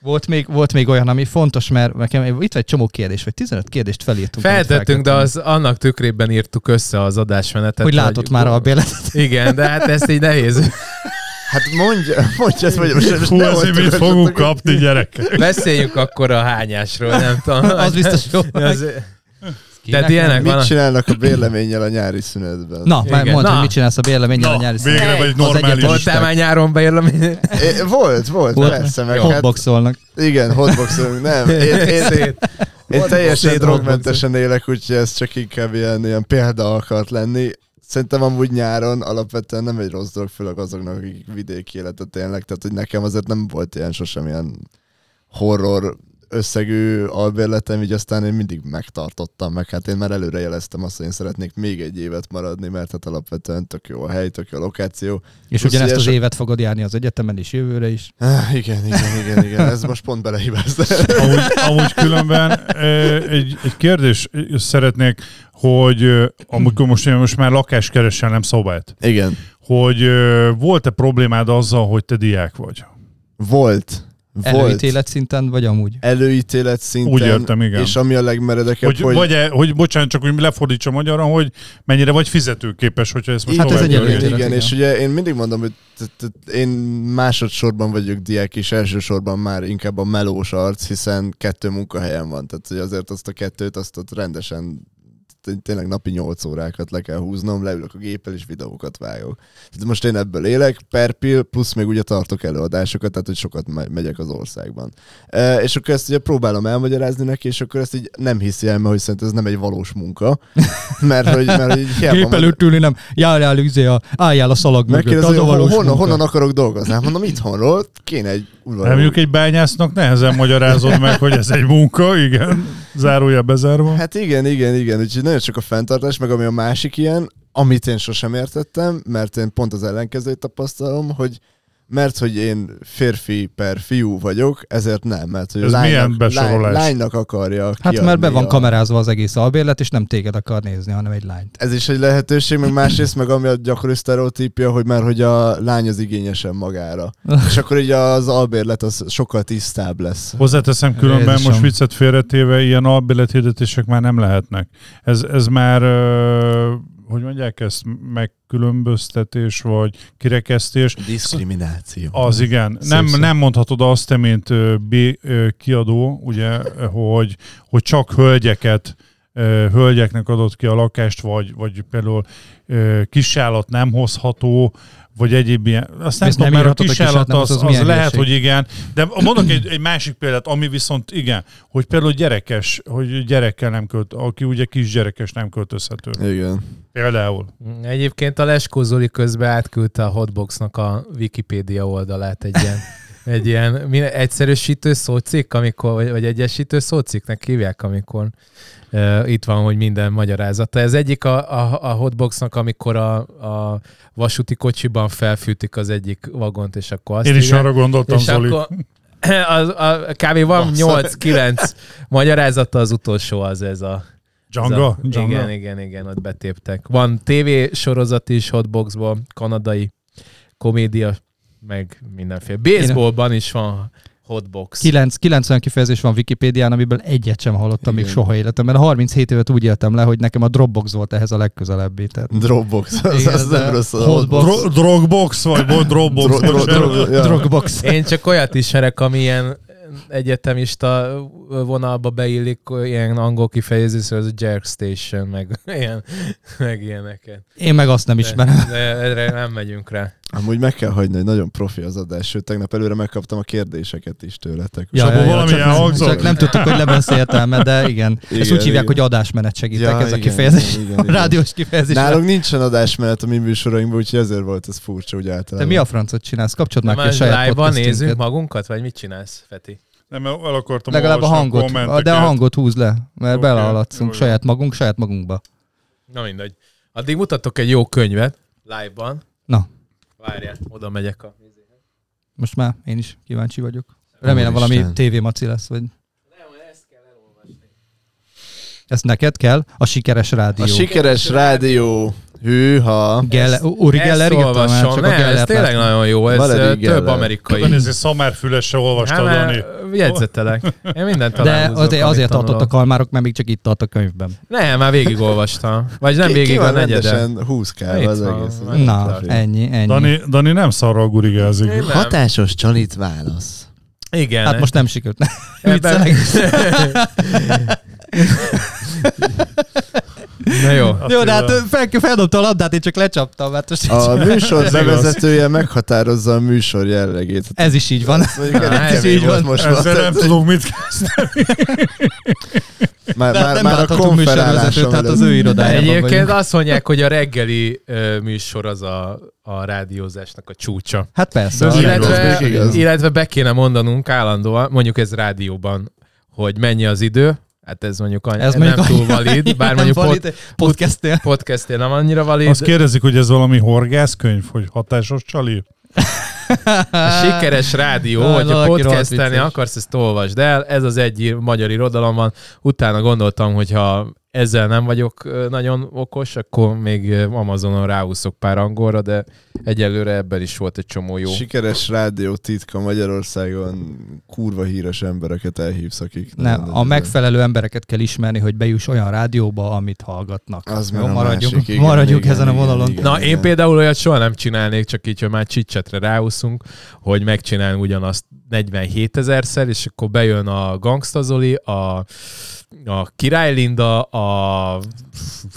[SPEAKER 4] Volt még, volt még olyan, ami fontos, mert nekem itt egy csomó kérdés, vagy 15 kérdést felírtunk. amit
[SPEAKER 3] Feltettünk, de
[SPEAKER 4] feltettem.
[SPEAKER 3] az annak tükrében írtuk össze az adásmenetet.
[SPEAKER 4] Hogy látott már a béletet.
[SPEAKER 3] Igen, de hát ezt így nehéz.
[SPEAKER 6] Hát mondja, mondja ezt, mondja. Most, most
[SPEAKER 5] Hú,
[SPEAKER 6] ne
[SPEAKER 5] ezért
[SPEAKER 6] mondtuk,
[SPEAKER 5] mit
[SPEAKER 6] hogy
[SPEAKER 5] fogunk
[SPEAKER 6] mondtuk, hogy-
[SPEAKER 5] kapni, gyerekek?
[SPEAKER 3] Beszéljünk akkor a hányásról, nem tudom.
[SPEAKER 4] Az biztos jó.
[SPEAKER 3] Az... Tehát ilyenek van.
[SPEAKER 6] Mit
[SPEAKER 3] a-
[SPEAKER 6] csinálnak a bérleménnyel a nyári szünetben?
[SPEAKER 4] Na, már
[SPEAKER 3] Igen.
[SPEAKER 4] mondd,
[SPEAKER 3] Na.
[SPEAKER 4] hogy mit csinálsz a bérleménnyel
[SPEAKER 5] Na,
[SPEAKER 4] a nyári szünet.
[SPEAKER 5] végre vagy normális.
[SPEAKER 3] Voltál már nyáron beérlem?
[SPEAKER 6] É, volt, volt,
[SPEAKER 4] Volt,
[SPEAKER 6] volt, persze, meg hát,
[SPEAKER 4] Hotboxolnak.
[SPEAKER 6] igen, hotboxolunk, nem. Én, én, én teljesen
[SPEAKER 4] Hotboxolunk.
[SPEAKER 6] drogmentesen élek, úgyhogy ez csak inkább ilyen, ilyen példa akart lenni. Szerintem amúgy nyáron alapvetően nem egy rossz dolog, főleg azoknak, akik vidéki életet élnek, tehát hogy nekem azért nem volt ilyen sosem ilyen horror összegű albérletem, így aztán én mindig megtartottam, meg hát én már előre jeleztem azt, hogy én szeretnék még egy évet maradni, mert hát alapvetően tök jó a hely, tök jó a lokáció.
[SPEAKER 4] És
[SPEAKER 6] Plusz
[SPEAKER 4] ugyanezt az
[SPEAKER 6] ilyes-
[SPEAKER 4] évet fogod járni az egyetemen is, jövőre is.
[SPEAKER 6] Ah, igen, igen, igen, igen, ez most pont belehibázta.
[SPEAKER 5] Amúgy, amúgy különben ö, egy, egy kérdés szeretnék, hogy ö, amikor most, én most már lakást keresel, nem szobát,
[SPEAKER 6] Igen.
[SPEAKER 5] hogy ö, volt-e problémád azzal, hogy te diák vagy?
[SPEAKER 6] Volt. Volt.
[SPEAKER 4] Előítélet szinten, vagy amúgy.
[SPEAKER 6] Előítélet szinten.
[SPEAKER 5] Úgy értem, igen.
[SPEAKER 6] És ami a legmeredekebb,
[SPEAKER 5] Hogy,
[SPEAKER 6] hogy... hogy...
[SPEAKER 5] vagy-e, hogy bocsánat, csak úgy lefordítsam magyarra, hogy mennyire vagy fizetőképes, hogyha ezt most
[SPEAKER 4] Hát ez
[SPEAKER 5] tovább
[SPEAKER 4] egy
[SPEAKER 5] görgetjük.
[SPEAKER 4] előítélet,
[SPEAKER 6] igen, igen,
[SPEAKER 4] igen.
[SPEAKER 6] és ugye én mindig mondom, hogy t- t- én másodszorban vagyok diák, és elsősorban már inkább a melós arc, hiszen kettő munkahelyem van, tehát hogy azért azt a kettőt, azt ott rendesen t- tényleg napi 8 órákat le kell húznom, leülök a géppel és videókat vágok. Tehát most én ebből élek, per pill, plusz még ugye tartok előadásokat, tehát hogy sokat me- megyek az országban. E, és akkor ezt ugye próbálom elmagyarázni neki, és akkor ezt így nem hiszi el, mert hogy szerint ez nem egy valós munka, mert hogy, mert hogy így hiába
[SPEAKER 4] Gép
[SPEAKER 6] mond-
[SPEAKER 4] előtt ülni, nem. Járjál, üzé, a, álljál a szalag mögött. Az
[SPEAKER 6] Megkérdezi,
[SPEAKER 4] a
[SPEAKER 6] hogy hon-
[SPEAKER 4] valós
[SPEAKER 6] honnan,
[SPEAKER 4] munka.
[SPEAKER 6] honnan akarok dolgozni? Hát mondom, itthonról kéne egy
[SPEAKER 5] Hát
[SPEAKER 6] udvaroló.
[SPEAKER 5] mondjuk egy bányásznak nehezen magyarázod meg, hogy ez egy munka, igen, zárója bezárva.
[SPEAKER 6] Hát igen, igen, igen. Úgyhogy nagyon sok a fenntartás, meg ami a másik ilyen, amit én sosem értettem, mert én pont az ellenkezőt tapasztalom, hogy mert hogy én férfi per fiú vagyok, ezért nem, mert hogy a
[SPEAKER 5] Ez milyen
[SPEAKER 6] lánynak, lány,
[SPEAKER 5] besorolás?
[SPEAKER 6] lánynak akarja
[SPEAKER 4] Hát
[SPEAKER 6] kiadni
[SPEAKER 4] mert be van
[SPEAKER 6] a...
[SPEAKER 4] kamerázva az egész albérlet, és nem téged akar nézni, hanem egy lányt.
[SPEAKER 6] Ez is egy lehetőség, meg másrészt meg ami a gyakori sztereotípia, hogy már hogy a lány az igényesen magára. És akkor így az albérlet az sokkal tisztább lesz.
[SPEAKER 5] Hozzáteszem különben,
[SPEAKER 4] Jézusom.
[SPEAKER 5] most viccet félretéve, ilyen albélethirdetések már nem lehetnek. Ez, ez már, ö, hogy mondják ezt, megkülönböztetés, vagy kirekesztés.
[SPEAKER 6] Diszkrimináció.
[SPEAKER 5] Az igen. Nem, nem mondhatod azt, te, mint ö, B ö, kiadó, ugye, ö, hogy, hogy csak hölgyeket ö, hölgyeknek adott ki a lakást, vagy, vagy például ö, kisállat nem hozható, vagy egyéb ilyen. Azt nem
[SPEAKER 4] Ezt
[SPEAKER 5] tudom,
[SPEAKER 4] nem
[SPEAKER 5] mert a
[SPEAKER 4] írhatod, hogy
[SPEAKER 5] kisállat
[SPEAKER 4] kisállat nem
[SPEAKER 5] az,
[SPEAKER 4] hoz,
[SPEAKER 5] az,
[SPEAKER 4] az milyen
[SPEAKER 5] lehet,
[SPEAKER 4] hülyeség.
[SPEAKER 5] hogy igen. De mondok egy, egy másik példát, ami viszont igen, hogy például gyerekes, hogy gyerekkel nem költ, aki ugye kisgyerekes nem költözhető.
[SPEAKER 6] Igen.
[SPEAKER 5] Például.
[SPEAKER 3] Egyébként a Leskó Zoli közben átküldte a Hotboxnak a Wikipédia oldalát egy ilyen, egy ilyen mi, egyszerűsítő szócikk, amikor, vagy, vagy egyesítő szócikknek hívják, amikor uh, itt van, hogy minden magyarázata. Ez egyik a, a, a Hotboxnak, amikor a, a vasúti kocsiban felfűtik az egyik vagont, és akkor azt
[SPEAKER 5] Én is
[SPEAKER 3] írják.
[SPEAKER 5] arra gondoltam,
[SPEAKER 3] És
[SPEAKER 5] Zoli.
[SPEAKER 3] akkor az, a, kb. van 8-9 magyarázata, az utolsó az ez a...
[SPEAKER 5] Django?
[SPEAKER 3] Ez a,
[SPEAKER 5] Django?
[SPEAKER 3] igen, igen, igen, ott betéptek. Van TV sorozat is Hotboxból, kanadai komédia, meg mindenféle. Baseballban is van Hotbox.
[SPEAKER 4] 9, 90 kifejezés van Wikipédián, amiből egyet sem hallottam még
[SPEAKER 3] Igen.
[SPEAKER 4] soha életemben. A 37 évet úgy éltem le, hogy nekem a Dropbox volt ehhez a legközelebbi. Tehát
[SPEAKER 6] Dropbox. Az,
[SPEAKER 4] Igen,
[SPEAKER 6] az
[SPEAKER 4] de
[SPEAKER 6] nem rossz.
[SPEAKER 4] hotbox.
[SPEAKER 5] Dro- drogbox, vagy volt drogbox?
[SPEAKER 6] Dro- dro- dro- ja.
[SPEAKER 4] Dropbox.
[SPEAKER 3] Én csak olyat ismerek, ami ilyen egyetemista vonalba beillik, ilyen angol kifejezés, az a Jerk Station, meg, ilyen, meg ilyeneket.
[SPEAKER 4] Én meg azt nem ismerem.
[SPEAKER 3] De erre nem megyünk rá.
[SPEAKER 6] Amúgy meg kell hagyni, hogy nagyon profi az adás, sőt, tegnap előre megkaptam a kérdéseket is tőletek.
[SPEAKER 5] Ja, abból valami
[SPEAKER 4] csak, nem,
[SPEAKER 5] elhangzott?
[SPEAKER 4] csak nem tudtuk, hogy lebeszéltem, de igen. igen Ezt
[SPEAKER 6] Igen,
[SPEAKER 4] úgy hívják,
[SPEAKER 6] igen.
[SPEAKER 4] hogy adásmenet segítek,
[SPEAKER 6] Ja,
[SPEAKER 4] ez a
[SPEAKER 6] igen,
[SPEAKER 4] kifejezés.
[SPEAKER 6] igen, igen,
[SPEAKER 4] a
[SPEAKER 6] igen.
[SPEAKER 4] rádiós kifejezés.
[SPEAKER 6] Nálunk nincsen adásmenet a mi műsorainkban, úgyhogy ezért volt ez furcsa úgy
[SPEAKER 4] Te
[SPEAKER 6] általában.
[SPEAKER 4] mi a francot csinálsz? Kapcsold
[SPEAKER 3] Na,
[SPEAKER 4] már ki
[SPEAKER 3] már
[SPEAKER 4] a saját
[SPEAKER 3] live-ban
[SPEAKER 4] podcastünket.
[SPEAKER 3] nézzünk magunkat, vagy mit csinálsz, Feti?
[SPEAKER 5] Nem, el el akartam
[SPEAKER 4] Legalább a
[SPEAKER 5] olvasni
[SPEAKER 4] hangot,
[SPEAKER 5] kommenteket.
[SPEAKER 4] de a hangot húz le, mert
[SPEAKER 5] Oké,
[SPEAKER 4] okay, belehaladszunk
[SPEAKER 5] jó, jó.
[SPEAKER 4] saját magunk, saját magunkba.
[SPEAKER 3] Na mindegy. Addig mutatok egy jó könyvet, live-ban.
[SPEAKER 4] Na.
[SPEAKER 3] Várjál, oda megyek a...
[SPEAKER 4] Most már én is kíváncsi vagyok. Remélem
[SPEAKER 6] Úristen.
[SPEAKER 4] valami tévémaci lesz, vagy... Ezt neked kell? A sikeres rádió.
[SPEAKER 6] A sikeres rádió. Hűha.
[SPEAKER 4] Gelle, Uri Geller
[SPEAKER 3] ezt
[SPEAKER 4] írta már, csak
[SPEAKER 3] olvasom,
[SPEAKER 4] a
[SPEAKER 3] nem, ez
[SPEAKER 4] Gellert
[SPEAKER 3] tényleg
[SPEAKER 4] láttam.
[SPEAKER 3] nagyon jó, ez
[SPEAKER 6] Valerie
[SPEAKER 3] ö, több
[SPEAKER 6] Geller.
[SPEAKER 5] Na
[SPEAKER 3] amerikai.
[SPEAKER 5] nézzé, szamárfülesse olvastad,
[SPEAKER 3] Hát,
[SPEAKER 5] Dani.
[SPEAKER 3] mert Jegyzetelek. Én mindent
[SPEAKER 4] De
[SPEAKER 3] találkozok,
[SPEAKER 4] azért,
[SPEAKER 3] amit
[SPEAKER 4] azért tartott a
[SPEAKER 3] tanulok.
[SPEAKER 4] kalmárok, mert még csak itt tart a könyvben.
[SPEAKER 3] Nem, már végigolvastam. Vagy nem
[SPEAKER 6] Ki- ki
[SPEAKER 3] végig a
[SPEAKER 6] van
[SPEAKER 3] negyedet.
[SPEAKER 6] rendesen 20 k
[SPEAKER 3] Itt
[SPEAKER 6] az
[SPEAKER 3] van,
[SPEAKER 6] egész.
[SPEAKER 3] van.
[SPEAKER 4] Na,
[SPEAKER 6] Profi.
[SPEAKER 4] ennyi, ennyi. Hát
[SPEAKER 5] Dani, Dani nem szarral gurigázik.
[SPEAKER 3] Én nem.
[SPEAKER 6] Hatásos csalit válasz.
[SPEAKER 3] Igen.
[SPEAKER 4] Hát most nem sikerült.
[SPEAKER 3] ebben... Na jó.
[SPEAKER 4] Jó, de hát fel, feldobta a labdát, én csak lecsaptam, mert most
[SPEAKER 6] A műsor
[SPEAKER 5] igaz.
[SPEAKER 6] bevezetője meghatározza a műsor jellegét.
[SPEAKER 4] ez is így van.
[SPEAKER 6] Azt mondjuk,
[SPEAKER 3] Na,
[SPEAKER 6] ez
[SPEAKER 3] ez
[SPEAKER 6] így
[SPEAKER 3] így
[SPEAKER 6] volt
[SPEAKER 3] van.
[SPEAKER 6] most már.
[SPEAKER 5] Ezzel nem
[SPEAKER 6] Tehát
[SPEAKER 5] tudunk mit kezdeni.
[SPEAKER 6] Már,
[SPEAKER 4] hát Nem-
[SPEAKER 6] már,
[SPEAKER 4] nem
[SPEAKER 6] már a
[SPEAKER 4] láthatunk műsorvezetőt,
[SPEAKER 6] konferálásom
[SPEAKER 4] tehát az ő irodájában
[SPEAKER 3] Egyébként
[SPEAKER 4] vagyunk.
[SPEAKER 3] azt mondják, hogy a reggeli ö, műsor az a, a rádiózásnak a csúcsa.
[SPEAKER 4] Hát persze.
[SPEAKER 5] Ez
[SPEAKER 4] a-
[SPEAKER 5] így van.
[SPEAKER 3] Illetve,
[SPEAKER 6] ez igaz.
[SPEAKER 3] illetve be kéne mondanunk állandóan, mondjuk ez rádióban, hogy mennyi az idő, hát ez mondjuk, any-
[SPEAKER 4] Ez
[SPEAKER 3] ez
[SPEAKER 4] mondjuk
[SPEAKER 3] nem túl valid, bár mondjuk valid. Pod-
[SPEAKER 4] valid, podcastnél.
[SPEAKER 3] podcastnél nem annyira valid.
[SPEAKER 5] Azt kérdezik, hogy ez valami horgászkönyv, hogy hatásos csali?
[SPEAKER 3] A sikeres rádió,
[SPEAKER 4] Ah,
[SPEAKER 3] hogyha
[SPEAKER 4] valaki rohadt
[SPEAKER 3] podcastelni
[SPEAKER 4] vicces.
[SPEAKER 3] akarsz, ezt olvasd el. Ez az egy magyar irodalom van. Utána gondoltam, hogy ha ezzel nem vagyok ö, nagyon okos, akkor még ö, Amazonon ráúszok pár angolra, de egyelőre ebben is volt egy csomó jó.
[SPEAKER 6] Sikeres rádió titka Magyarországon kurva híres embereket elhívsz, akik...
[SPEAKER 4] Nem, a megfelelő embereket kell ismerni, hogy bejuss olyan rádióba, amit hallgatnak.
[SPEAKER 6] Az
[SPEAKER 4] Jó,
[SPEAKER 6] már a
[SPEAKER 4] maradjunk,
[SPEAKER 6] másik, igen,
[SPEAKER 4] maradjunk
[SPEAKER 6] igen,
[SPEAKER 4] ezen a
[SPEAKER 6] igen,
[SPEAKER 4] vonalon.
[SPEAKER 6] igen.
[SPEAKER 3] Na, én például olyat soha nem csinálnék, csak így, hogy már csicsetre ráúszunk, hogy megcsinálunk ugyanazt 47 ezerszer, és akkor bejön a Gangsta Zoli, a, a Király Linda, a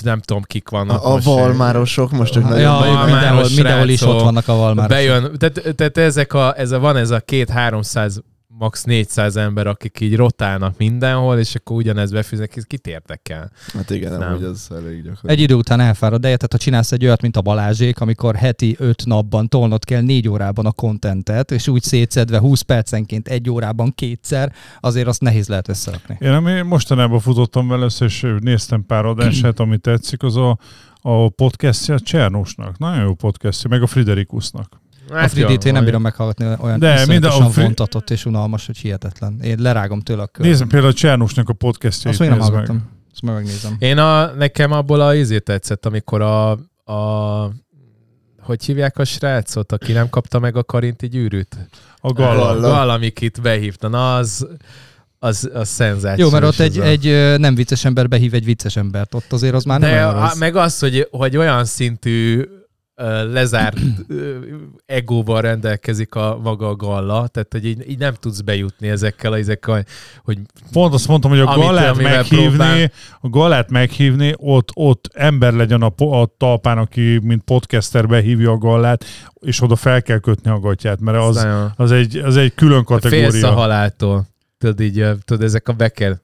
[SPEAKER 3] nem tudom kik vannak.
[SPEAKER 6] A, a
[SPEAKER 3] most.
[SPEAKER 6] valmárosok most, hogy
[SPEAKER 4] Ja,
[SPEAKER 6] nagyon baj van.
[SPEAKER 4] mindenhol,
[SPEAKER 3] Valmáros
[SPEAKER 4] mindenhol is
[SPEAKER 3] srácok.
[SPEAKER 4] ott vannak a valmárosok.
[SPEAKER 3] szóval Bejön, tehát, tehát ezek a, ez a, van ez a két 300 max 400 ember, akik így rotálnak mindenhol, és akkor ugyanez befizetnek, és kit érdekel.
[SPEAKER 6] Hát igen,
[SPEAKER 3] Nem.
[SPEAKER 6] nem. az elég gyakori.
[SPEAKER 4] Egy idő után elfárad, de tehát ha csinálsz egy olyat, mint a Balázsék, amikor heti öt napban tolnod kell négy órában a kontentet, és úgy szétszedve 20 percenként egy órában kétszer, azért azt nehéz lehet összerakni.
[SPEAKER 5] Én ami mostanában futottam vele össze, és néztem pár adását, ami tetszik, az a, a podcastja a Csernusnak. Nagyon jó podcastja, meg a Friderikusnak.
[SPEAKER 3] Hát
[SPEAKER 4] A Fridit én nem bírom meghallgatni, olyan
[SPEAKER 5] De
[SPEAKER 4] De,
[SPEAKER 5] minden a
[SPEAKER 4] iszonyatosan
[SPEAKER 5] Fri-
[SPEAKER 4] vontatott és unalmas, hogy hihetetlen. Én lerágom tőle a kört.
[SPEAKER 5] Nézem például a Csernusnak a
[SPEAKER 4] Azt
[SPEAKER 5] podcastjait.
[SPEAKER 4] még nem
[SPEAKER 5] nézd meg.
[SPEAKER 4] hallgattam. Azt meg megnézem.
[SPEAKER 3] Én a, nekem abból a izét tetszett, amikor a, a hogy hívják a srácot, aki nem kapta meg a karinti gyűrűt?
[SPEAKER 5] A Galla.
[SPEAKER 6] Galla.
[SPEAKER 3] Valamikit behívta. Na, az, az, az szenzációs.
[SPEAKER 4] Jó, mert ott egy,
[SPEAKER 3] az a-
[SPEAKER 4] egy ö, nem vicces ember behív egy vicces embert. Ott azért az már Hát nem
[SPEAKER 3] De
[SPEAKER 4] olyan
[SPEAKER 3] a,
[SPEAKER 4] rossz.
[SPEAKER 3] meg az, hogy, hogy olyan szintű ö, lezárt ö, egóval rendelkezik a maga a galla, tehát hogy így, így nem tudsz bejutni ezekkel, a- ezekkel, hogy
[SPEAKER 5] Pont azt mondtam, hogy a
[SPEAKER 3] Amit-
[SPEAKER 5] galát
[SPEAKER 3] amivel
[SPEAKER 5] meghívni,
[SPEAKER 3] próbál.
[SPEAKER 5] a galát meghívni, ott, ott ember legyen a, po- a talpán, aki mint podcaster behívja a gallát, és oda fel kell kötni a gatyát, mert
[SPEAKER 3] az,
[SPEAKER 5] az,
[SPEAKER 3] nagyon,
[SPEAKER 5] az, egy, az egy külön
[SPEAKER 3] félsz a
[SPEAKER 5] kategória.
[SPEAKER 3] haláltól. Tudod, így, ö, tudod, ezek a beker.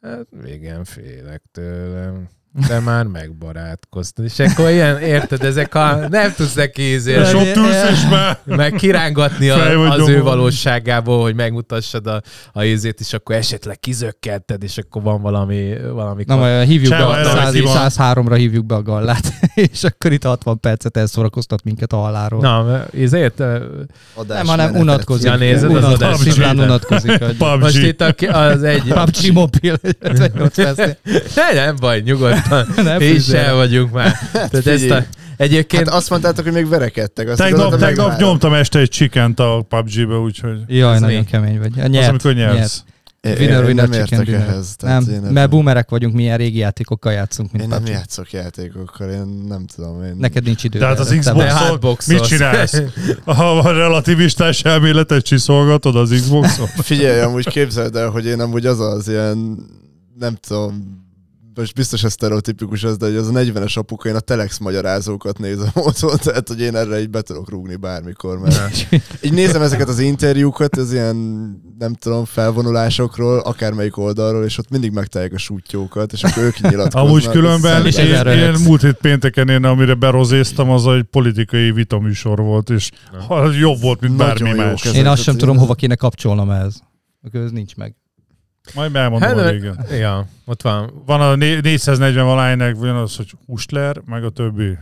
[SPEAKER 3] Hát igen, félek tőlem. De már megbarátkoztam. És akkor ilyen, érted, ezek a... Nem tudsz neki ízni,
[SPEAKER 5] És ott ülsz, és már
[SPEAKER 3] meg kirángatni
[SPEAKER 5] Fej vagy
[SPEAKER 3] a, az
[SPEAKER 5] nyomva.
[SPEAKER 3] ő valóságából, hogy megmutassad a, a ízét, és akkor esetleg kizökkented, és akkor van valami, valami
[SPEAKER 4] Na majd hívjuk be,
[SPEAKER 5] Csávó,
[SPEAKER 4] a
[SPEAKER 5] erre
[SPEAKER 4] száz-
[SPEAKER 5] ki van.
[SPEAKER 4] 103-ra hívjuk be a gallát, és akkor itt 60 percet elszórakoztat minket a halálról.
[SPEAKER 3] Na, ezért
[SPEAKER 6] Adás
[SPEAKER 4] nem, hanem
[SPEAKER 6] menetet.
[SPEAKER 4] unatkozik.
[SPEAKER 3] Ja, nézed, az
[SPEAKER 4] Unat-
[SPEAKER 3] adás
[SPEAKER 4] Simán
[SPEAKER 5] menetet.
[SPEAKER 4] unatkozik. hogy-
[SPEAKER 3] most
[SPEAKER 5] PUBG.
[SPEAKER 3] itt a, ki- az egy...
[SPEAKER 4] PUBG Mobile 58 percnél.
[SPEAKER 3] Ne, nem baj, nyugodtan.
[SPEAKER 4] Ne
[SPEAKER 3] Mi is
[SPEAKER 4] fűzzél.
[SPEAKER 3] el vagyunk már.
[SPEAKER 4] Hát
[SPEAKER 3] Tehát ezt a,
[SPEAKER 6] figyelj.
[SPEAKER 3] egyébként
[SPEAKER 6] Hát azt mondtátok, hogy még verekedtek. Azt
[SPEAKER 5] Tegnap,
[SPEAKER 6] gondoltam,
[SPEAKER 5] tegnap
[SPEAKER 6] megvárom.
[SPEAKER 5] nyomtam este egy csikent a PUBG-be, úgyhogy
[SPEAKER 4] Jaj,
[SPEAKER 3] Ez
[SPEAKER 4] nagyon
[SPEAKER 3] mi?
[SPEAKER 4] kemény vagy. A
[SPEAKER 5] az,
[SPEAKER 4] Nyert,
[SPEAKER 5] amikor nyersz.
[SPEAKER 4] nyert.
[SPEAKER 6] Én- én
[SPEAKER 4] Winner, winner,
[SPEAKER 6] nem
[SPEAKER 4] chicken
[SPEAKER 6] értek
[SPEAKER 4] dinner.
[SPEAKER 6] ehhez. tehát
[SPEAKER 4] Nem,
[SPEAKER 6] én
[SPEAKER 4] mert boomerek vagyunk, mi ilyen régi játékokkal játszunk, mint
[SPEAKER 6] Én nem
[SPEAKER 4] PUBG.
[SPEAKER 6] játszok játékokkal, én nem tudom. Én...
[SPEAKER 4] Neked nincs idő.
[SPEAKER 5] De hát az
[SPEAKER 4] erre, te vagy.
[SPEAKER 3] De
[SPEAKER 5] Xbox-on
[SPEAKER 3] hotboxolsz.
[SPEAKER 5] mit csinálsz? Ha a relativistás elméletet csiszolgatod az Xbox-on?
[SPEAKER 6] Figyelj, amúgy képzeld el, hogy én amúgy az az ilyen, nem tudom, most biztos ez sztereotipikus az, de hogy az a 40-es apuka, én a telex magyarázókat nézem otthon, tehát hogy én erre így be tudok rúgni bármikor, mert így nézem ezeket az interjúkat, az ilyen, nem tudom, felvonulásokról, akármelyik oldalról, és ott mindig megtalálják a sútyókat, és akkor ők nyilatkoznak.
[SPEAKER 5] Amúgy különben
[SPEAKER 4] És
[SPEAKER 5] én,
[SPEAKER 4] ezzel
[SPEAKER 5] én
[SPEAKER 4] röhögsz.
[SPEAKER 5] múlt hét pénteken én, amire berozéztam, az egy politikai vitaműsor volt, és az jobb volt, mint
[SPEAKER 6] Nagyon
[SPEAKER 5] bármi
[SPEAKER 6] jó,
[SPEAKER 5] más.
[SPEAKER 6] köszönöm.
[SPEAKER 4] Én azt sem
[SPEAKER 6] Ez-
[SPEAKER 4] tudom, hova kéne kapcsolnom ehhez. Akkor ez nincs meg.
[SPEAKER 5] Majd elmondom
[SPEAKER 3] hát,
[SPEAKER 5] a
[SPEAKER 3] ö,
[SPEAKER 5] végén.
[SPEAKER 3] ja, ott van.
[SPEAKER 5] Van a né- 440 valánynak, van az, hogy Hustler, meg a többi.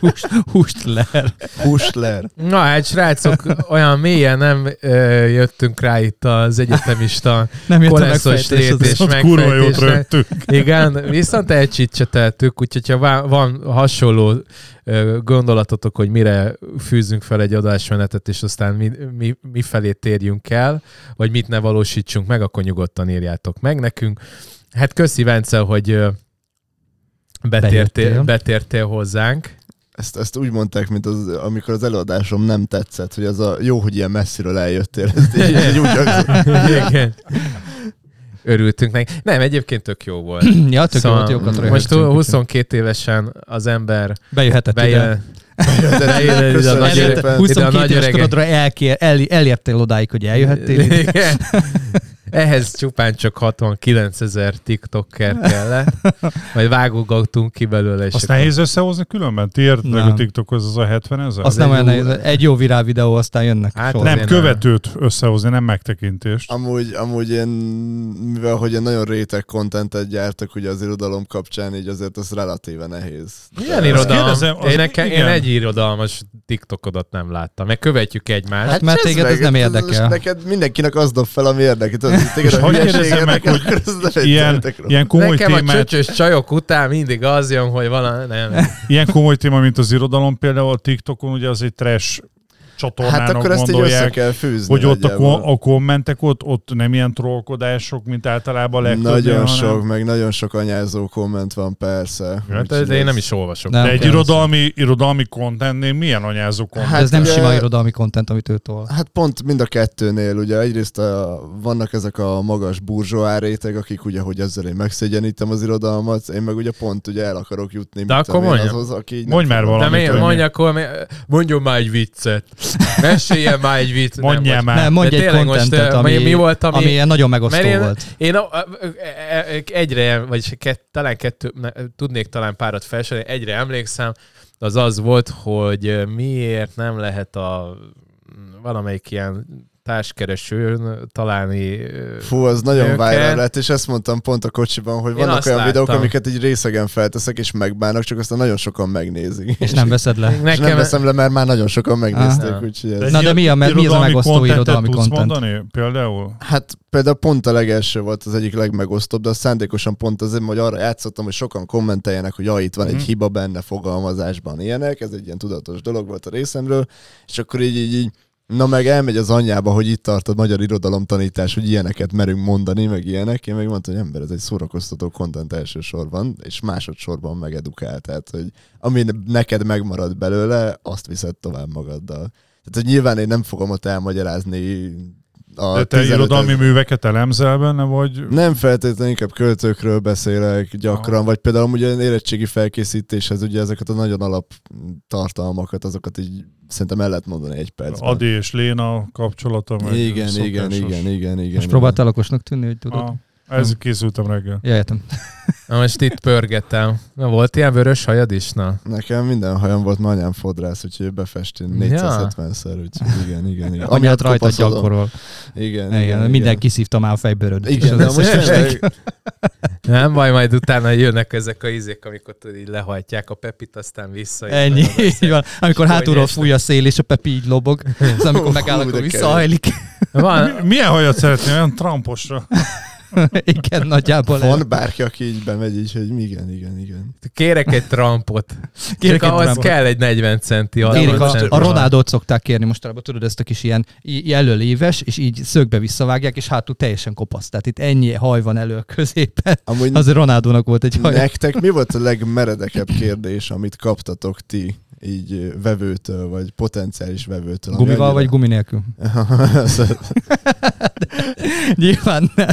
[SPEAKER 4] Húst, húst ler.
[SPEAKER 6] Hustler.
[SPEAKER 3] Na hát, srácok, olyan mélyen nem ö, jöttünk rá itt az egyetemista
[SPEAKER 4] Nem jött a
[SPEAKER 3] koleszos
[SPEAKER 4] megfejtés.
[SPEAKER 3] lét
[SPEAKER 4] az-
[SPEAKER 3] és
[SPEAKER 5] És ott kurva jót
[SPEAKER 3] megfejtésre.
[SPEAKER 5] rögtünk.
[SPEAKER 3] Igen, viszont elcsicseteltük, úgyhogy ha vá- van hasonló ö, gondolatotok, hogy mire fűzünk fel egy adásmenetet, és aztán mi, mi, mi felé térjünk el, vagy mit ne valósítsunk meg, akkor nyugodtan írjátok meg nekünk. Hát köszi Vence, hogy ö, betértél,
[SPEAKER 4] Bejöttél.
[SPEAKER 3] betértél hozzánk.
[SPEAKER 6] Ezt, ezt úgy mondták, mint az, amikor az előadásom nem tetszett, hogy az a jó, hogy ilyen messziről eljöttél. Ezt így, így úgy hangzott.
[SPEAKER 3] Igen. Örültünk neki. Nem, egyébként tök jó volt.
[SPEAKER 4] Ja, tök jó volt, jókat
[SPEAKER 3] Szóval most
[SPEAKER 4] röhögtünk,
[SPEAKER 3] 22 évesen az ember
[SPEAKER 4] úgyhogy Bejöhetett ide.
[SPEAKER 3] bejön, Bejöhetett ide a
[SPEAKER 6] Köszönöm
[SPEAKER 3] nagy öreg-
[SPEAKER 4] Elért-
[SPEAKER 3] ide
[SPEAKER 6] szépen.
[SPEAKER 3] a
[SPEAKER 4] 22
[SPEAKER 3] nagy
[SPEAKER 4] éves
[SPEAKER 3] örege.
[SPEAKER 4] korodra elkér, el, elértél odáig, hogy eljöhettél. ide.
[SPEAKER 3] Igen. Ehhez csupán csak 69 ezer TikToker kellett, majd vágogatunk ki belőle. És
[SPEAKER 5] Azt
[SPEAKER 3] akkor-
[SPEAKER 5] nehéz összehozni különben? Ti értetek
[SPEAKER 4] Nem.
[SPEAKER 5] a TikTokhoz az a 70 ezer?
[SPEAKER 4] Azt
[SPEAKER 3] egy
[SPEAKER 4] nem olyan
[SPEAKER 3] jó-
[SPEAKER 4] nehéz. Egy jó virál videó, aztán jönnek
[SPEAKER 3] Hát
[SPEAKER 4] sorra.
[SPEAKER 5] Nem,
[SPEAKER 3] azért nem.
[SPEAKER 5] követőt összehozni, nem megtekintést.
[SPEAKER 6] Amúgy, amúgy én, mivel hogy én nagyon réteg kontentet gyártak ugye az irodalom kapcsán, így azért az relatíve nehéz.
[SPEAKER 4] Hát
[SPEAKER 3] Milyen
[SPEAKER 5] Azt
[SPEAKER 3] irodalom?
[SPEAKER 5] kérdezem, az-
[SPEAKER 3] én, nekem, én
[SPEAKER 5] igen.
[SPEAKER 3] egy irodalmas TikTokodat nem láttam, mert követjük egymást.
[SPEAKER 4] Hát mert
[SPEAKER 6] csesz
[SPEAKER 4] téged
[SPEAKER 6] meg,
[SPEAKER 4] ez nem
[SPEAKER 6] most
[SPEAKER 4] érdekel.
[SPEAKER 6] Neked mindenkinek az dob fel, ami érdekli. Tudod, hogy téged
[SPEAKER 5] És
[SPEAKER 6] a
[SPEAKER 5] hogy
[SPEAKER 6] hülyeség
[SPEAKER 5] kérdezem meg,
[SPEAKER 6] érdekel,
[SPEAKER 5] hogy
[SPEAKER 6] akkor ez nem
[SPEAKER 5] Ilyen,
[SPEAKER 6] egyetek róla.
[SPEAKER 5] ilyen komoly
[SPEAKER 3] Nekem a
[SPEAKER 5] témát
[SPEAKER 3] csöcsös csajok után mindig az jön, hogy valami... Nem.
[SPEAKER 5] Ilyen komoly téma, mint az irodalom, például a TikTokon ugye az egy trash csatornának
[SPEAKER 6] Hát akkor ezt így össze
[SPEAKER 5] gondolják,
[SPEAKER 6] kell fűzni.
[SPEAKER 5] hogy ott a,
[SPEAKER 6] nagyjából.
[SPEAKER 5] ko- a kommentek ott, ott nem ilyen trollkodások, mint általában a legtöbbnél,
[SPEAKER 6] Nagyon
[SPEAKER 5] hanem-
[SPEAKER 6] sok, meg nagyon sok anyázó komment van, persze.
[SPEAKER 3] Hát,
[SPEAKER 6] Úgyhogy
[SPEAKER 3] de én
[SPEAKER 6] ez-
[SPEAKER 3] nem is olvasok.
[SPEAKER 4] Nem.
[SPEAKER 5] De egy
[SPEAKER 4] kell Hát,
[SPEAKER 5] irodalmi, irodalmi contentnél milyen anyázó content?
[SPEAKER 4] Ez nem
[SPEAKER 6] ugye-
[SPEAKER 4] sima irodalmi kontent, amit ő tol.
[SPEAKER 6] Hát pont mind a kettőnél, ugye egyrészt a, vannak ezek a magas burzsóá réteg, akik ugye, hogy ezzel én megszégyenítem az irodalmat, én meg ugye pont ugye el akarok jutni. mit
[SPEAKER 3] akkor
[SPEAKER 6] tudom én,
[SPEAKER 3] mondjam.
[SPEAKER 6] Azhoz, aki így nem
[SPEAKER 5] Mondj már
[SPEAKER 6] tudom.
[SPEAKER 3] De
[SPEAKER 5] valamit.
[SPEAKER 3] mi,
[SPEAKER 5] hogy mi-
[SPEAKER 3] mondj akkor, mi- mondjon már egy viccet. Meséljen már egy viccet.
[SPEAKER 5] Mondjál már.
[SPEAKER 4] Nem, mondj
[SPEAKER 3] De
[SPEAKER 4] egy
[SPEAKER 3] tényleg most,
[SPEAKER 4] kontentet,
[SPEAKER 3] eh,
[SPEAKER 4] ami,
[SPEAKER 3] mi- mi volt, ami-
[SPEAKER 4] ilyen nagyon megosztó
[SPEAKER 3] Mert én,
[SPEAKER 4] volt.
[SPEAKER 3] én a- a- e- e- egyre, vagyis kett, talán kettő, ne, tudnék talán párat felsorolni, egyre emlékszem, az az volt, hogy miért nem lehet a valamelyik ilyen társkeresőn találni ö,
[SPEAKER 6] Fú, az nagyon
[SPEAKER 3] Őket.
[SPEAKER 6] viral lett, és ezt mondtam pont a kocsiban, hogy
[SPEAKER 3] Én
[SPEAKER 6] vannak
[SPEAKER 3] azt
[SPEAKER 6] olyan
[SPEAKER 3] láttam.
[SPEAKER 6] videók, amiket így részegen felteszek, és megbánnak, csak aztán nagyon sokan megnézik.
[SPEAKER 4] És nem veszed le.
[SPEAKER 6] és nem
[SPEAKER 3] Nekem,
[SPEAKER 6] veszem le, mert már nagyon sokan megnézték,
[SPEAKER 3] Aha.
[SPEAKER 6] úgyhogy ez...
[SPEAKER 5] Egy
[SPEAKER 4] Na, de mi a- mi az a
[SPEAKER 5] irodalmi
[SPEAKER 4] megosztó
[SPEAKER 5] contentet
[SPEAKER 4] irodalmi
[SPEAKER 5] tudsz
[SPEAKER 4] content?
[SPEAKER 5] mondani például?
[SPEAKER 6] Hát például pont a legelső volt az egyik legmegosztóbb, de azt szándékosan pont azért, hogy arra játszottam, hogy sokan kommenteljenek, hogy ja, itt van egy hiba benne fogalmazásban ilyenek, ez egy ilyen tudatos dolog volt a részemről, és akkor így, így, így na meg elmegy az anyjába, hogy itt tart a magyar irodalom tanítás, hogy ilyeneket merünk mondani, meg ilyenek. Én meg mondtam, hogy ember, ez egy szórakoztató kontent elsősorban, és másodszorban megedukál, tehát hogy ami neked megmarad belőle, azt viszed tovább magaddal. Tehát, hogy nyilván én nem fogom ott elmagyarázni a
[SPEAKER 5] De te
[SPEAKER 6] 15
[SPEAKER 5] irodalmi műveket elemzel benne, vagy
[SPEAKER 6] nem feltétlenül, inkább költőkről beszélek gyakran,
[SPEAKER 5] Aha.
[SPEAKER 6] vagy például ugye érettségi felkészítéshez ugye ezeket a nagyon alap tartalmakat, azokat így szerintem el lehet mondani egy percben.
[SPEAKER 5] Adi és Léna kapcsolata? Meg
[SPEAKER 6] igen,
[SPEAKER 5] szokásos.
[SPEAKER 6] igen, igen, igen, igen.
[SPEAKER 4] Most próbáltál okosnak tűnni, hogy tudod.
[SPEAKER 5] Ah, ez készültem reggel.
[SPEAKER 4] Ja, értem.
[SPEAKER 3] Na most itt pörgetem. Na volt ilyen vörös hajad is? Na.
[SPEAKER 6] Nekem minden hajam volt, ma anyám fodrász, úgyhogy befesti 470-szer, úgyhogy igen, igen, igen.
[SPEAKER 4] Anyád hát rajta
[SPEAKER 6] kopaszodom.
[SPEAKER 4] gyakorol.
[SPEAKER 6] Igen,
[SPEAKER 4] Igen, igen, minden kiszívta már a fejbőröd. És
[SPEAKER 6] Igen,
[SPEAKER 4] az
[SPEAKER 6] de most
[SPEAKER 4] összes-
[SPEAKER 6] tényleg,
[SPEAKER 3] Nem baj, majd utána jönnek ezek a ízék, amikor tudod, így lehajtják a pepit, aztán vissza.
[SPEAKER 4] Ennyi, így van. Amikor
[SPEAKER 3] És
[SPEAKER 4] hátulról
[SPEAKER 3] hogy
[SPEAKER 4] fúj a szél, és a Pepi így lobog, az amikor
[SPEAKER 6] Hú,
[SPEAKER 4] megáll,
[SPEAKER 6] de
[SPEAKER 4] akkor
[SPEAKER 6] kemény.
[SPEAKER 4] visszahajlik.
[SPEAKER 3] Van,
[SPEAKER 5] Milyen hajat szeretnél? Olyan tramposra.
[SPEAKER 4] Igen, nagyjából. ez.
[SPEAKER 6] van bárki, aki így bemegy, így, hogy igen, igen, igen.
[SPEAKER 3] kérek egy trampot.
[SPEAKER 4] Kérek
[SPEAKER 3] Kérek Csak
[SPEAKER 4] egy
[SPEAKER 3] ahhoz
[SPEAKER 4] trampot.
[SPEAKER 3] kell egy 40 centi.
[SPEAKER 4] Kérik,
[SPEAKER 3] 60
[SPEAKER 4] a,
[SPEAKER 3] centi.
[SPEAKER 4] a Ronaldot szokták kérni mostanában, tudod, ezt a kis ilyen i- jelöléves, és így szögbe visszavágják, és hátul teljesen kopasz. Tehát itt ennyi haj van elő a középen.
[SPEAKER 6] Amúgy
[SPEAKER 4] Az Ronaldónak volt egy haj.
[SPEAKER 6] Nektek mi volt a legmeredekebb kérdés, amit kaptatok ti így ö, vevőtől, vagy potenciális vevőtől? ami
[SPEAKER 4] Gumival vagy
[SPEAKER 6] annyira-
[SPEAKER 4] gumi nélkül? Nyilván nem.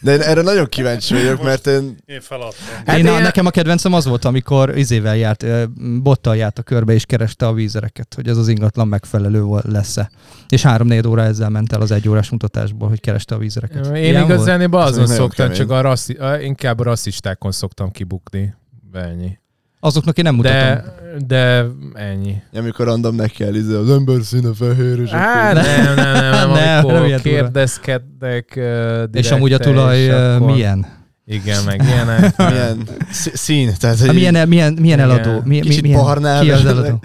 [SPEAKER 6] De én erre nagyon kíváncsi vagyok, mert én
[SPEAKER 5] Én feladtam.
[SPEAKER 3] Hát
[SPEAKER 4] én, a,
[SPEAKER 3] én-
[SPEAKER 4] nekem a kedvencem az volt, amikor izével járt, ö, bottal járt a körbe, és kereste a vízereket, hogy ez az ingatlan megfelelő vol- lesz-e. És három-négy óra ezzel ment el az egy órás mutatásból, hogy kereste a vízereket.
[SPEAKER 3] Én
[SPEAKER 4] Ilyen volt?
[SPEAKER 3] igazán volt? azon
[SPEAKER 6] Ez nagyon
[SPEAKER 3] szoktam,
[SPEAKER 6] kemény.
[SPEAKER 3] csak a rasszi, a, inkább a rasszistákon szoktam kibukni. Ennyi.
[SPEAKER 4] Azoknak én nem mutatom.
[SPEAKER 3] De, de ennyi.
[SPEAKER 6] amikor random neki kell izé, az ember színe fehér, és
[SPEAKER 3] Á,
[SPEAKER 6] akkor...
[SPEAKER 3] nem, nem, nem, nem,
[SPEAKER 4] Nem,
[SPEAKER 3] amikor
[SPEAKER 4] nem ilyen durva.
[SPEAKER 3] kérdezkednek uh, direkt,
[SPEAKER 4] és amúgy a tulaj ö, milyen?
[SPEAKER 3] Igen, meg ilyenek.
[SPEAKER 6] Milyen szí- szín, tehát hogy
[SPEAKER 4] Há,
[SPEAKER 6] milyen,
[SPEAKER 4] Hát milyen, milyen, milyen eladó? Mi, mi,
[SPEAKER 6] Kicsit
[SPEAKER 4] milyen,
[SPEAKER 6] barnább
[SPEAKER 4] ki az
[SPEAKER 6] esetleg?
[SPEAKER 4] eladó?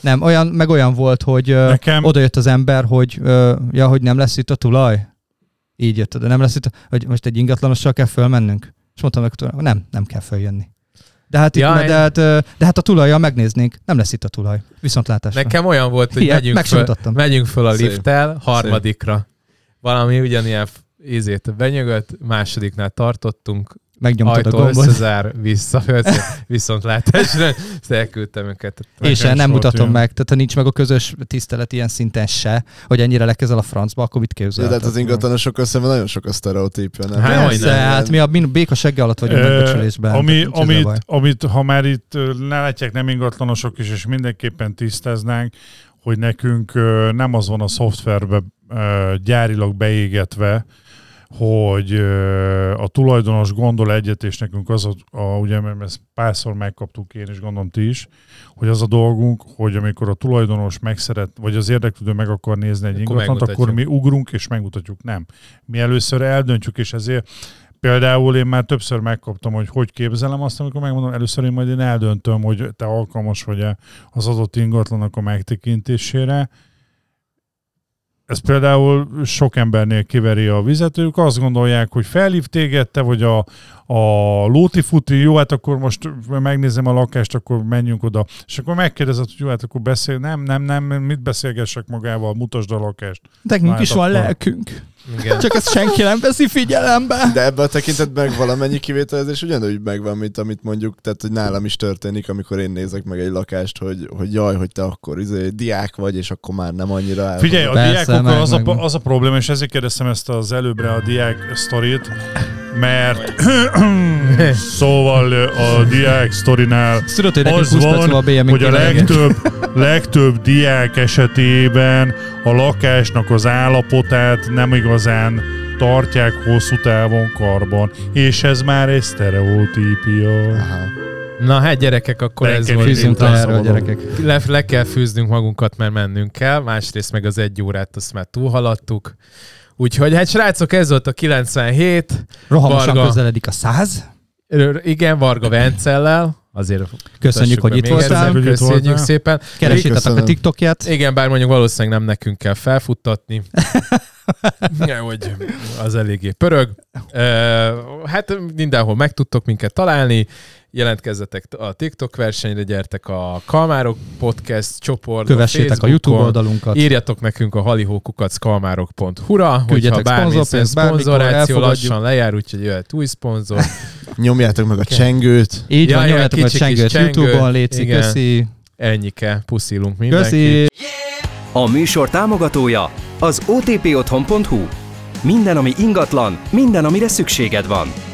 [SPEAKER 4] Nem, olyan, meg olyan volt, hogy ö,
[SPEAKER 5] Nekem
[SPEAKER 4] oda jött az ember, hogy ö, ja, hogy nem lesz itt a tulaj. Így jött oda, nem lesz itt, a, hogy most egy ingatlanossal kell fölmennünk. És mondtam neki, hogy nem, nem kell följönni. De hát, itt,
[SPEAKER 3] Jaj.
[SPEAKER 4] de, hát, ö, de hát a tulajjal megnéznénk, nem lesz itt a tulaj. Viszontlátásra.
[SPEAKER 3] Nekem olyan volt, hogy
[SPEAKER 4] Hihet,
[SPEAKER 3] megyünk
[SPEAKER 4] meg sem
[SPEAKER 3] föl,
[SPEAKER 4] mutattam.
[SPEAKER 3] megyünk föl a
[SPEAKER 6] Szép.
[SPEAKER 3] lifttel, harmadikra. Valami ugyanilyen f- ízét benyögött, másodiknál tartottunk,
[SPEAKER 4] Megnyomtad a
[SPEAKER 3] ajtó
[SPEAKER 4] gombot.
[SPEAKER 3] összezár, vissza, viszont látásra, ezt elküldtem őket.
[SPEAKER 4] És
[SPEAKER 5] Nekem is
[SPEAKER 4] nem
[SPEAKER 5] volt
[SPEAKER 4] mutatom
[SPEAKER 5] ilyen.
[SPEAKER 4] meg, tehát ha nincs meg a közös tisztelet ilyen szinten se, hogy ennyire lekezel a francba, akkor mit
[SPEAKER 6] de
[SPEAKER 4] képzelted?
[SPEAKER 6] hát az ingatlanosok szemben nagyon sok a sztereotípia, nem?
[SPEAKER 3] Hát,
[SPEAKER 4] Persze,
[SPEAKER 3] Hogyne.
[SPEAKER 4] hát mi a min- béka segge alatt vagyunk
[SPEAKER 5] Ö,
[SPEAKER 4] megbecsülésben.
[SPEAKER 5] Ami,
[SPEAKER 4] tehát nincs ezzel baj.
[SPEAKER 5] amit, amit, ha már itt ö, ne látják nem ingatlanosok is, és mindenképpen tisztáznánk, hogy nekünk ö, nem az van a szoftverbe ö, gyárilag beégetve, hogy ö, a tulajdonos gondol egyet, és nekünk az a, a ugye, mert ezt párszor megkaptuk én is, gondolom ti is, hogy az a dolgunk, hogy amikor a tulajdonos meg szeret, vagy az érdeklődő meg akar nézni egy
[SPEAKER 3] Akkor
[SPEAKER 5] ingatlant, akkor mi
[SPEAKER 3] megmutatjuk.
[SPEAKER 5] ugrunk és megmutatjuk. Nem. Mi először eldöntjük, és ezért például én már többször megkaptam, hogy hogy képzelem azt, amikor megmondom, először én majd én eldöntöm, hogy te alkalmas vagy-e az adott ingatlanak a megtekintésére. Ez például sok embernél kiveri a vizet, ők azt gondolják, hogy felhív téged, te vagy a, a lóti futi, jó, hát akkor most megnézem a lakást, akkor menjünk oda. És akkor megkérdezed, hogy jó, hát akkor beszél, nem, nem, nem, mit beszélgessek magával, mutasd a lakást.
[SPEAKER 4] Nekünk
[SPEAKER 5] Már
[SPEAKER 4] is van
[SPEAKER 5] akkor.
[SPEAKER 4] lelkünk,
[SPEAKER 3] Igen.
[SPEAKER 4] csak ezt senki nem veszi figyelembe.
[SPEAKER 6] De ebben a tekintetben meg valamennyi kivételezés ugyanúgy megvan, mint amit mondjuk, tehát hogy nálam is történik, amikor én nézek meg egy lakást, hogy, hogy jaj, hogy te akkor izé, diák vagy, és akkor már nem annyira el
[SPEAKER 5] Figyelj, a
[SPEAKER 4] Hát, Persze,
[SPEAKER 5] diákokkal
[SPEAKER 4] meg-
[SPEAKER 5] az, a,
[SPEAKER 4] meg-
[SPEAKER 5] pa- az a probléma, és ezért kérdeztem ezt az előbbre a diák sztorit, mert szóval a diák sztorinál
[SPEAKER 4] Ezt tudod, hogy nekünk
[SPEAKER 5] az
[SPEAKER 4] 20 perc
[SPEAKER 5] van,
[SPEAKER 4] múlva a BM
[SPEAKER 5] hogy a legtöbb, legtöbb diák esetében a lakásnak az állapotát nem igazán tartják hosszú távon karban, és ez már egy sztereotípia.
[SPEAKER 6] Aha.
[SPEAKER 3] Na hát gyerekek, akkor ez
[SPEAKER 5] Bekerül.
[SPEAKER 3] volt.
[SPEAKER 4] Fűzünk le
[SPEAKER 5] Után
[SPEAKER 4] erre a
[SPEAKER 5] szabadon.
[SPEAKER 4] gyerekek.
[SPEAKER 3] Le, le kell fűznünk magunkat, mert mennünk kell. Másrészt meg az egy órát azt már túlhaladtuk. Úgyhogy hát srácok, ez volt a 97.
[SPEAKER 4] Rohamosan
[SPEAKER 3] Varga.
[SPEAKER 4] közeledik a száz.
[SPEAKER 3] Ö, Igen, Varga Vencellel. Azért mutassuk
[SPEAKER 4] hogy
[SPEAKER 3] be
[SPEAKER 4] itt
[SPEAKER 3] még
[SPEAKER 4] voltál.
[SPEAKER 3] egyszer.
[SPEAKER 5] Köszönjük, hogy itt
[SPEAKER 3] Köszönjük
[SPEAKER 5] voltál.
[SPEAKER 3] szépen.
[SPEAKER 4] Keresítetek a
[SPEAKER 6] Köszönöm.
[SPEAKER 4] TikTokját.
[SPEAKER 3] Igen, bár mondjuk valószínűleg nem nekünk kell felfuttatni. Ja, hogy az eléggé pörög. Ö, Hát mindenhol meg tudtok minket találni. Jelentkezzetek a TikTok versenyre, gyertek a Kalmárok Podcast csoport.
[SPEAKER 4] Kövessétek a YouTube oldalunkat.
[SPEAKER 3] Írjatok nekünk a halihókukackalmárok.hu-ra, hogyha
[SPEAKER 4] Küldjetek
[SPEAKER 3] bármi
[SPEAKER 4] szponzorpénzt,
[SPEAKER 3] szén-
[SPEAKER 4] bármikor
[SPEAKER 3] szponzoráció
[SPEAKER 4] elfogadjuk.
[SPEAKER 3] lassan lejár, úgyhogy jöhet új szponzor.
[SPEAKER 6] Nyomjátok meg a csengőt.
[SPEAKER 4] Így
[SPEAKER 3] Ja,
[SPEAKER 4] van,
[SPEAKER 3] ja,
[SPEAKER 4] nyomjátok a
[SPEAKER 3] kicsi kis
[SPEAKER 4] csengőt
[SPEAKER 3] csengőt.
[SPEAKER 4] YouTube-on, Léci,
[SPEAKER 3] Igen.
[SPEAKER 4] köszi.
[SPEAKER 3] Ennyike, puszilunk mindenkit.
[SPEAKER 4] Köszi.
[SPEAKER 1] A műsor támogatója az otpotthon.hu. Minden, ami ingatlan, minden, amire szükséged van.